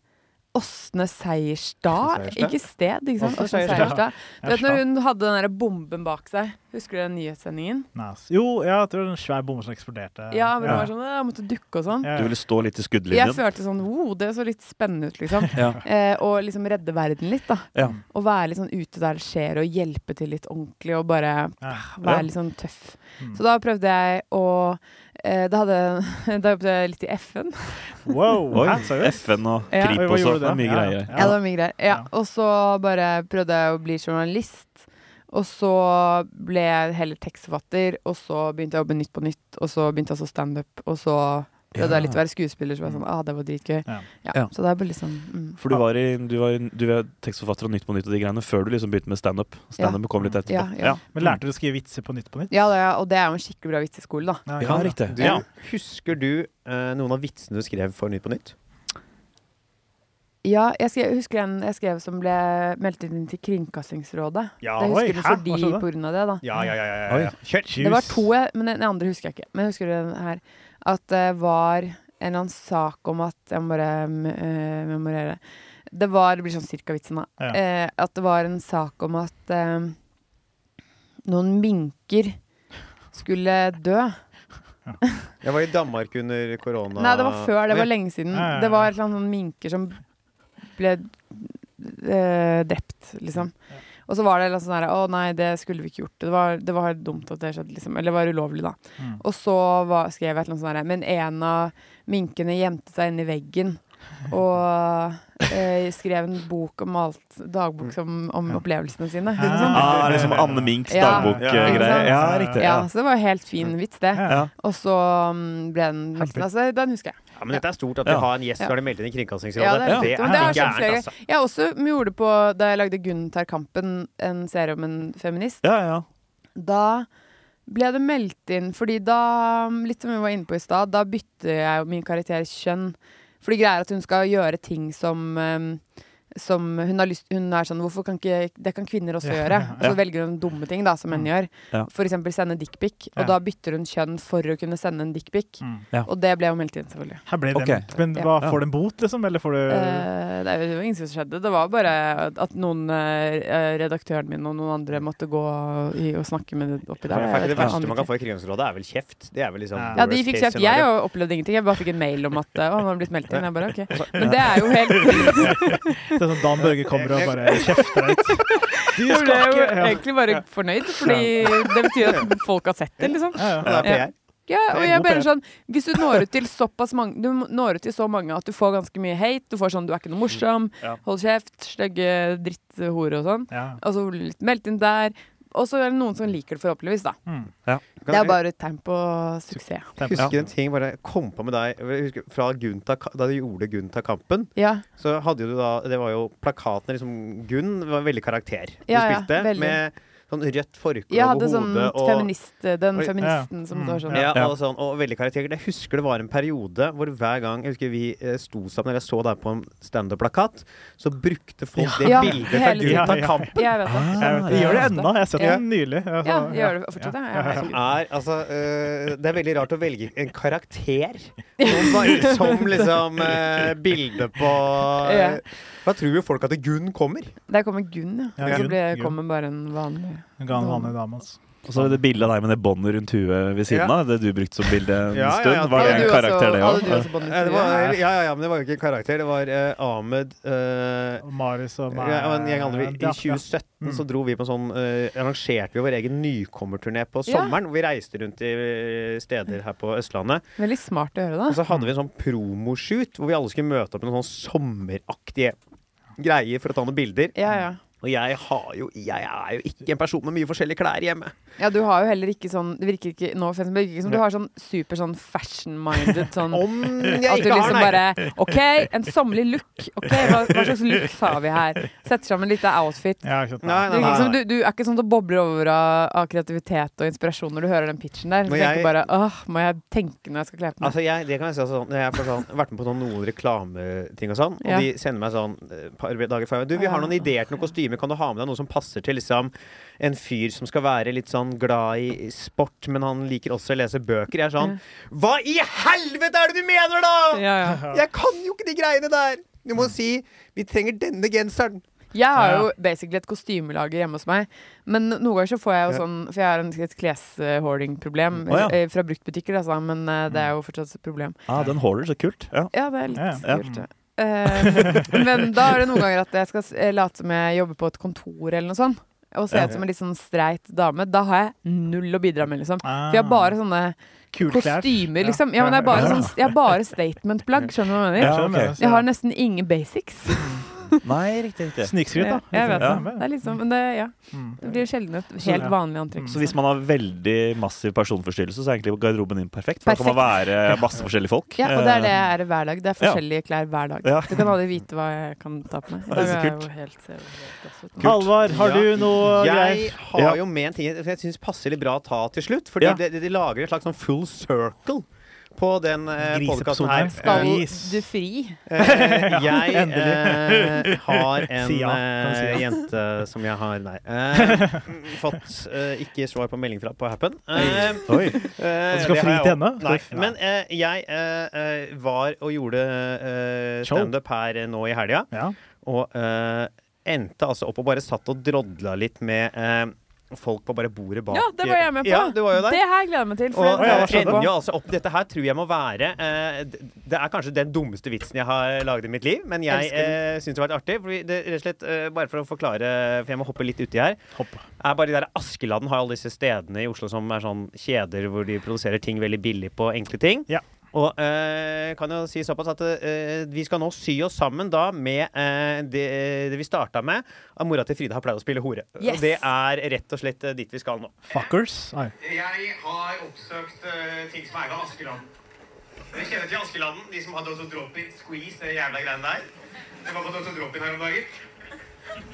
[SPEAKER 4] Åsne Seierstad,
[SPEAKER 1] Seierstad?
[SPEAKER 4] ikke sted, ikke sant?
[SPEAKER 1] Åsne
[SPEAKER 4] Åsne
[SPEAKER 1] Seierstad.
[SPEAKER 4] Seierstad. Du vet når
[SPEAKER 2] Seierstad.
[SPEAKER 4] hun hadde den der bomben bak seg, husker du den nyhetssendingen?
[SPEAKER 2] Nice. Jo, ja, jeg tror det var en svær bombe som eksploderte.
[SPEAKER 4] Ja, hvor hun var sånn, «Åh, jeg måtte dukke og sånn.
[SPEAKER 2] Ja, ja.
[SPEAKER 3] Du ville stå litt i
[SPEAKER 4] Jeg
[SPEAKER 3] skuddlinjen?
[SPEAKER 4] følte sånn, wow, det så litt spennende ut, liksom.
[SPEAKER 3] Ja.
[SPEAKER 4] Eh, og liksom redde verden litt, da.
[SPEAKER 3] Ja.
[SPEAKER 4] Og være litt sånn ute der det skjer, og hjelpe til litt ordentlig, og bare
[SPEAKER 2] Ja.
[SPEAKER 4] være litt sånn tøff.
[SPEAKER 2] Mm.
[SPEAKER 4] Så da prøvde jeg å eh, Da hadde da jobbet jeg litt i FN.
[SPEAKER 2] Wow!
[SPEAKER 3] Oi,
[SPEAKER 2] Hæ, seriøst?
[SPEAKER 3] FN og
[SPEAKER 4] Ja.
[SPEAKER 3] Krip
[SPEAKER 2] Oi, hva
[SPEAKER 3] også.
[SPEAKER 2] gjorde du
[SPEAKER 3] Det er mye
[SPEAKER 2] da?
[SPEAKER 3] greier.
[SPEAKER 4] Ja, det var mye greier. Ja,
[SPEAKER 2] Ja.
[SPEAKER 4] og så bare prøvde jeg å bli journalist. Og så ble jeg heller tekstforfatter, og så begynte jeg å jobbe Nytt på Nytt, og så begynte jeg så standup, og så prøvde jeg litt å være skuespiller, så var jeg sånn, ah, det var dritgøy.
[SPEAKER 2] Ja.
[SPEAKER 4] Ja,
[SPEAKER 3] Ja.
[SPEAKER 4] Så det er bare liksom mm.
[SPEAKER 3] For du var, i, du, var, i- du var tekstforfatter og Nytt på Nytt og de greiene før du liksom begynte med standup. Standup kom litt etterpå.
[SPEAKER 4] Ja, ja.
[SPEAKER 2] Men lærte du å skrive vitser på nytt på nytt?
[SPEAKER 4] Ja, det, er- og det er jo en skikkelig bra vitseskole, da.
[SPEAKER 2] Ja,
[SPEAKER 3] Ja,
[SPEAKER 2] ja.
[SPEAKER 3] riktig.
[SPEAKER 1] Du,
[SPEAKER 2] Ja.
[SPEAKER 1] Husker du eh, noen av vitsene du skrev for Nytt på Nytt?
[SPEAKER 4] Ja, jeg, skrev, jeg husker en jeg skrev som ble meldt inn til Kringkastingsrådet.
[SPEAKER 1] Ja,
[SPEAKER 4] det
[SPEAKER 2] Ah, oi,
[SPEAKER 4] husker du
[SPEAKER 2] hæ? Hva
[SPEAKER 4] fordi
[SPEAKER 2] skjedde?
[SPEAKER 4] på grunn av det, da.
[SPEAKER 1] Ja, ja, ja. ja, ja.
[SPEAKER 3] Oi.
[SPEAKER 1] Kjør!
[SPEAKER 4] Det var to, jeg- men den andre husker jeg ikke. Men jeg husker den her. At det var en eller annen sak om at Jeg må bare mm, eh, memorere. Det var, det blir sånn cirka vitsen, da.
[SPEAKER 2] Ja.
[SPEAKER 4] Eh, at det var en sak om at eh, noen minker skulle dø.
[SPEAKER 1] Jeg var i Danmark under korona.
[SPEAKER 4] Nei, det var før. Det var lenge siden.
[SPEAKER 2] Ja, ja, ja.
[SPEAKER 4] Det var et eller annet sånn minker som ble eh, drept, liksom. Og så var det liksom sånn her Å nei, det skulle vi ikke gjort. Det var, det var dumt at det skjedde, liksom. Eller det var ulovlig, da.
[SPEAKER 2] Mm.
[SPEAKER 4] Og så var, skrev jeg et eller annet sånt her Men en av minkene gjemte seg inni veggen. Og eh, skrev en bok om alt Dagbok som, om opplevelsene sine. Ikke sant?
[SPEAKER 3] Ah, liksom Anne Minks
[SPEAKER 4] Ja.
[SPEAKER 3] dagbok-greie.
[SPEAKER 4] Ja,
[SPEAKER 3] Ja,
[SPEAKER 4] ikke
[SPEAKER 2] sant?
[SPEAKER 3] riktig.
[SPEAKER 4] Ja,
[SPEAKER 3] Ja.
[SPEAKER 4] så det var jo helt fin vits, det.
[SPEAKER 2] Ja.
[SPEAKER 3] Ja.
[SPEAKER 4] Og så mm, ble den meldt inn. Altså, den husker jeg.
[SPEAKER 1] Ja, men dette er stort at vi
[SPEAKER 3] Ja.
[SPEAKER 1] har en gjest
[SPEAKER 4] Ja.
[SPEAKER 1] som er meldt inn i
[SPEAKER 4] Ja,
[SPEAKER 1] Kringkastingsrådet.
[SPEAKER 4] det er
[SPEAKER 1] det
[SPEAKER 4] riktig,
[SPEAKER 1] er
[SPEAKER 4] men det har
[SPEAKER 1] gærent,
[SPEAKER 4] skjedd flere
[SPEAKER 1] altså.
[SPEAKER 4] Jeg også gjorde på, da jeg lagde Gunntar Kampen, en serie om en feminist,
[SPEAKER 3] ja, ja.
[SPEAKER 4] da ble det meldt inn, fordi da, litt som vi var inne på i stad, da bytter jeg jo min karakter kjønn. Fordi greia er at hun skal gjøre ting som eh, som hun, har lyst, hun er sånn Hvorfor kan ikke Det kan kvinner også
[SPEAKER 2] Ja. Mm.
[SPEAKER 4] gjøre. Og så
[SPEAKER 3] Ja.
[SPEAKER 4] velger hun dumme ting, da, som menn gjør.
[SPEAKER 3] Ja.
[SPEAKER 4] For eksempel sende dickpic, og
[SPEAKER 2] Ja.
[SPEAKER 4] da bytter hun kjønn for å kunne sende en dickpic.
[SPEAKER 2] Mm.
[SPEAKER 4] Og det ble jo meldt inn, selvfølgelig.
[SPEAKER 2] Her ble
[SPEAKER 3] Ok.
[SPEAKER 2] den. Men hva,
[SPEAKER 3] Ja.
[SPEAKER 2] får du en bot, liksom? Eller får du
[SPEAKER 4] Eh, det er jo ingenting som skjedde. Det var bare at noen eh, redaktøren min og noen andre måtte gå i, og snakke med det oppi
[SPEAKER 1] Det,
[SPEAKER 4] der.
[SPEAKER 1] er
[SPEAKER 4] Jeg
[SPEAKER 1] faktisk
[SPEAKER 4] vet
[SPEAKER 1] det
[SPEAKER 4] ikke.
[SPEAKER 1] verste man kan få i Kringkastingsrådet, er vel kjeft. Det er vel liksom
[SPEAKER 2] Ja.
[SPEAKER 4] Ja, de
[SPEAKER 1] worst
[SPEAKER 4] fikk
[SPEAKER 1] case
[SPEAKER 4] kjeft. Jeg
[SPEAKER 1] scenario.
[SPEAKER 4] opplevde ingenting. Jeg bare fikk en mail om at eh, å, han var blitt meldt inn. Jeg bare, ok. Men det er jo helt
[SPEAKER 2] Det er sånn Dan Børge kommer og bare kjefter deg ut. Du
[SPEAKER 4] Jeg ble
[SPEAKER 2] skal
[SPEAKER 4] jo
[SPEAKER 2] ikke ja.
[SPEAKER 4] egentlig bare fornøyd, fordi det betyr at folk har sett det, liksom.
[SPEAKER 2] Ja, ja.
[SPEAKER 1] Ja, det er PR.
[SPEAKER 4] uke.
[SPEAKER 2] er
[SPEAKER 4] Og jeg
[SPEAKER 2] god
[SPEAKER 4] bare
[SPEAKER 2] PR.
[SPEAKER 4] sånn Hvis du når ut til såpass mange Du når ut til så mange at du får ganske mye hate. Du får sånn 'du er ikke noe morsom',
[SPEAKER 3] Ja.
[SPEAKER 4] 'hold kjeft', 'stygge dritthore' og sånn.
[SPEAKER 2] Ja.
[SPEAKER 4] Og så litt meldt inn der. Og så er det noen som liker det, forhåpentligvis. da
[SPEAKER 2] Mm.
[SPEAKER 4] Det er bare et tegn på suksess.
[SPEAKER 1] Jeg husker en ting bare jeg kom på med deg jeg husker, Fra Gunta, Da du gjorde Gunta-kampen,
[SPEAKER 4] Ja,
[SPEAKER 1] så hadde jo du da Det var jo plakatene liksom Gunn var veldig karakter. Du
[SPEAKER 4] Ja, ja,
[SPEAKER 1] spilte
[SPEAKER 4] veldig.
[SPEAKER 1] med sånn rødt forkle
[SPEAKER 4] jeg hadde
[SPEAKER 1] over
[SPEAKER 4] sånn
[SPEAKER 1] hodet og
[SPEAKER 4] feminist, den
[SPEAKER 1] Oi,
[SPEAKER 4] feministen som
[SPEAKER 2] Mm,
[SPEAKER 4] var sånn
[SPEAKER 1] ja,
[SPEAKER 3] Ja.
[SPEAKER 1] og, sånn, og veldig karakter. Jeg husker det var en periode hvor hver gang jeg husker vi eh, sto sammen, eller jeg så deg på en standup-plakat, så brukte folk det
[SPEAKER 4] Ja,
[SPEAKER 1] bildet fra
[SPEAKER 4] hele tiden.
[SPEAKER 1] Gunta
[SPEAKER 2] Ja, ja.
[SPEAKER 1] Kamp.
[SPEAKER 4] Jeg vet det.
[SPEAKER 2] Jeg,
[SPEAKER 3] Ah,
[SPEAKER 2] de gjør det
[SPEAKER 4] ja.
[SPEAKER 2] ennå. Jeg har sett
[SPEAKER 4] Ja.
[SPEAKER 2] den nylig. Jeg-
[SPEAKER 4] Ja, jeg gjør det fortsatt, jeg. Ja,
[SPEAKER 1] Som er, altså, eh, det er veldig rart å velge en karakter som, bare, som liksom eh, bilde på
[SPEAKER 4] Ja.
[SPEAKER 1] Da tror jo folk at Gunn kommer.
[SPEAKER 4] Der kommer Gunn, ja.
[SPEAKER 2] Ja,
[SPEAKER 4] Og så
[SPEAKER 2] Gunn,
[SPEAKER 4] ble,
[SPEAKER 2] Gunn.
[SPEAKER 4] kommer bare en vanlig
[SPEAKER 2] Hun ga en vanlig dame, altså.
[SPEAKER 3] Og så er det bildet av deg med det båndet rundt huet ved siden
[SPEAKER 1] Ja.
[SPEAKER 3] av. Det du brukte som bilde en
[SPEAKER 1] Ja, ja,
[SPEAKER 3] stund.
[SPEAKER 1] ja.
[SPEAKER 3] Var det
[SPEAKER 1] Hadde
[SPEAKER 3] en
[SPEAKER 1] du
[SPEAKER 3] karakter, det
[SPEAKER 4] hadde du
[SPEAKER 3] òg?
[SPEAKER 4] også bånd
[SPEAKER 1] Eh,
[SPEAKER 4] i
[SPEAKER 1] det
[SPEAKER 4] trynet?
[SPEAKER 1] var, ja, ja, ja, men det var jo ikke en karakter. Det var eh, Ahmed eh,
[SPEAKER 2] Og Marius og meg.
[SPEAKER 1] ja, og en gjeng andre. I
[SPEAKER 2] Ja, ja.
[SPEAKER 1] 2017 så
[SPEAKER 2] Mm.
[SPEAKER 1] dro vi på sånn eh, Arrangerte vi vår egen nykommerturné på
[SPEAKER 4] Ja.
[SPEAKER 1] sommeren. hvor Vi reiste rundt i eh, steder her på Østlandet.
[SPEAKER 4] Veldig smart å gjøre,
[SPEAKER 1] Og så hadde vi en sånn promoshoot hvor vi alle skulle møte opp med noen sånn sommeraktige greier for å ta noen bilder.
[SPEAKER 4] da. Ja, ja.
[SPEAKER 1] Og jeg, har jo, jeg er jo ikke en person med mye forskjellige klær hjemme.
[SPEAKER 4] ja, du har jo heller ikke sånn Det virker ikke no offense, men det virker ikke som du har sånn super sånn fashion-minded sånn
[SPEAKER 1] Om jeg
[SPEAKER 4] At du
[SPEAKER 1] ikke har,
[SPEAKER 4] liksom
[SPEAKER 1] nei.
[SPEAKER 4] bare OK, en sommerlig look. Ok, Hva, hva slags looks har vi her? Setter sammen litt av outfit.
[SPEAKER 2] Ja, ikke sant.
[SPEAKER 1] Nei, nei,
[SPEAKER 4] Det virker ikke
[SPEAKER 1] nei,
[SPEAKER 4] som du,
[SPEAKER 1] nei.
[SPEAKER 4] du er ikke sånn som bobler over av, av kreativitet og inspirasjon når du hører den pitchen der. Du
[SPEAKER 1] Når
[SPEAKER 4] tenker
[SPEAKER 1] jeg-
[SPEAKER 4] bare åh, må jeg tenke når jeg skal kle på meg?
[SPEAKER 1] Altså jeg, det kan jeg si altså, sånn, når jeg har sånn, vært med på sånn, noen reklameting og sånn, og
[SPEAKER 4] Ja.
[SPEAKER 1] de sender meg sånn eh, par dager før Du, vi har noen ideer til noen kostymer. Kan du ha med deg noe som passer til liksom, en fyr som skal være litt sånn glad i sport, men han liker også å lese bøker? Jeg er sånn Hva i helvete er det du mener, da?!
[SPEAKER 4] Ja, ja.
[SPEAKER 1] Jeg kan jo ikke de greiene der! Du må si 'vi trenger denne genseren'.
[SPEAKER 4] Jeg har
[SPEAKER 2] Ja,
[SPEAKER 4] jo
[SPEAKER 2] ja.
[SPEAKER 4] basically et kostymelager hjemme hos meg. Men noen ganger så får jeg jo
[SPEAKER 1] Ja.
[SPEAKER 4] sånn For jeg har en, et kleshoarding-problem
[SPEAKER 3] Å, ja.
[SPEAKER 4] eh, fra bruktbutikker, altså, men eh, det er jo fortsatt et problem.
[SPEAKER 3] Ah, den holder så kult. Ja.
[SPEAKER 4] Ja, det er litt
[SPEAKER 2] Ja,
[SPEAKER 3] ja.
[SPEAKER 4] kult. Ja. Eh, men da er det noen ganger at jeg skal eh, late som jeg jobber på et kontor eller noe sånt, og se
[SPEAKER 3] Ja.
[SPEAKER 4] ut som en litt sånn streit dame. Da har jeg null å bidra med, liksom.
[SPEAKER 2] Ah.
[SPEAKER 4] For jeg har bare sånne
[SPEAKER 2] Kule klær.
[SPEAKER 4] kostymer,
[SPEAKER 2] Ja.
[SPEAKER 4] liksom. Ja, men jeg har bare,
[SPEAKER 2] Ja. altså,
[SPEAKER 4] sånn, jeg har bare statement-plagg, skjønner du hva jeg mener?
[SPEAKER 3] Ja,
[SPEAKER 2] Skjønner
[SPEAKER 3] ok.
[SPEAKER 2] du? Så-
[SPEAKER 4] Jeg har nesten ingen basics.
[SPEAKER 3] Nei, riktig, riktig.
[SPEAKER 2] Snikskryt, da.
[SPEAKER 4] Jeg vet
[SPEAKER 2] Ja.
[SPEAKER 4] det. Det er liksom, men det, ja.
[SPEAKER 2] Mm.
[SPEAKER 4] det blir sjelden et
[SPEAKER 2] Så-
[SPEAKER 4] helt vanlig antrekk.
[SPEAKER 3] Så hvis man har veldig massiv personforstyrrelse, så er egentlig garderoben din perfekt. For da kan man
[SPEAKER 4] Perfekt.
[SPEAKER 3] være masse forskjellige folk.
[SPEAKER 4] Ja, og det er det
[SPEAKER 3] eh,
[SPEAKER 4] jeg er i hver dag. Det er
[SPEAKER 3] Ja.
[SPEAKER 4] forskjellige klær hver dag.
[SPEAKER 3] Ja.
[SPEAKER 4] Du kan aldri vite hva jeg kan ta på meg. I
[SPEAKER 3] Det er
[SPEAKER 4] dag
[SPEAKER 3] så
[SPEAKER 4] er jeg
[SPEAKER 3] kult.
[SPEAKER 4] jo helt, ser jo helt gass ut.
[SPEAKER 2] Halvard, har du noe
[SPEAKER 1] Jeg
[SPEAKER 2] greier?
[SPEAKER 1] har
[SPEAKER 3] Ja.
[SPEAKER 1] jo med en ting som jeg syns passer litt bra å ta til slutt. Fordi
[SPEAKER 3] Ja.
[SPEAKER 1] det- det- de, lager et slags sånn full circle på den eh, podkasten
[SPEAKER 2] Griseepisoden
[SPEAKER 1] her.
[SPEAKER 2] her.
[SPEAKER 4] Skal
[SPEAKER 2] Yes.
[SPEAKER 4] du fri?
[SPEAKER 1] Eh, jeg
[SPEAKER 2] endelig.
[SPEAKER 1] eh, har en
[SPEAKER 2] Si ja, kan du si
[SPEAKER 1] eh,
[SPEAKER 2] ja?
[SPEAKER 1] jente som jeg har Nei. Eh, fått eh, ikke svar på melding fra på Happen. Eh,
[SPEAKER 3] Oi.
[SPEAKER 1] Eh,
[SPEAKER 2] Og du skal
[SPEAKER 1] det
[SPEAKER 2] fri
[SPEAKER 1] har jeg
[SPEAKER 2] til
[SPEAKER 1] også.
[SPEAKER 2] henne? Skal
[SPEAKER 1] Nei.
[SPEAKER 2] du-
[SPEAKER 1] Men eh, jeg eh, eh, var og gjorde eh,
[SPEAKER 2] Show.
[SPEAKER 1] standup her eh, nå i helga.
[SPEAKER 2] Ja.
[SPEAKER 1] Og eh, endte altså opp og bare satt og drodla litt med eh, folk på bare bordet bak.
[SPEAKER 4] Ja, det var jeg med på.
[SPEAKER 1] Ja, du var jo der.
[SPEAKER 4] Det her gleder jeg meg til. For
[SPEAKER 1] Og
[SPEAKER 4] det
[SPEAKER 2] ja,
[SPEAKER 4] har
[SPEAKER 1] eh,
[SPEAKER 2] hva
[SPEAKER 4] jeg
[SPEAKER 2] skjedde?
[SPEAKER 1] ender
[SPEAKER 4] tenkt
[SPEAKER 1] jo
[SPEAKER 4] på.
[SPEAKER 1] altså opp Dette her tror jeg må være eh, d- Det er kanskje den dummeste vitsen jeg har laget i mitt liv, men jeg
[SPEAKER 4] Elsker den.
[SPEAKER 1] uh, syns det var litt artig. Fordi det, rett og slett, eh, bare for å forklare, for jeg må hoppe litt uti her
[SPEAKER 2] Hopp.
[SPEAKER 1] er bare de der Askeladden har alle disse stedene i Oslo som er sånn kjeder hvor de produserer ting veldig billig på enkle ting.
[SPEAKER 2] Ja.
[SPEAKER 1] Og eh, kan jo si såpass at eh, vi skal nå sy oss sammen da med eh, det, det vi starta med, at mora til Frida har pleid å spille hore.
[SPEAKER 4] Yes.
[SPEAKER 1] Og det er rett og slett eh, dit vi skal nå.
[SPEAKER 2] Fuckers. Nei.
[SPEAKER 1] Jeg har oppsøkt
[SPEAKER 5] eh,
[SPEAKER 1] ting som er fra Askeladden. Dere kjenner til Askeladden? De som hadde også drop-in, squeeze, det jævla greiene der. Det var på drop-in her om dagen.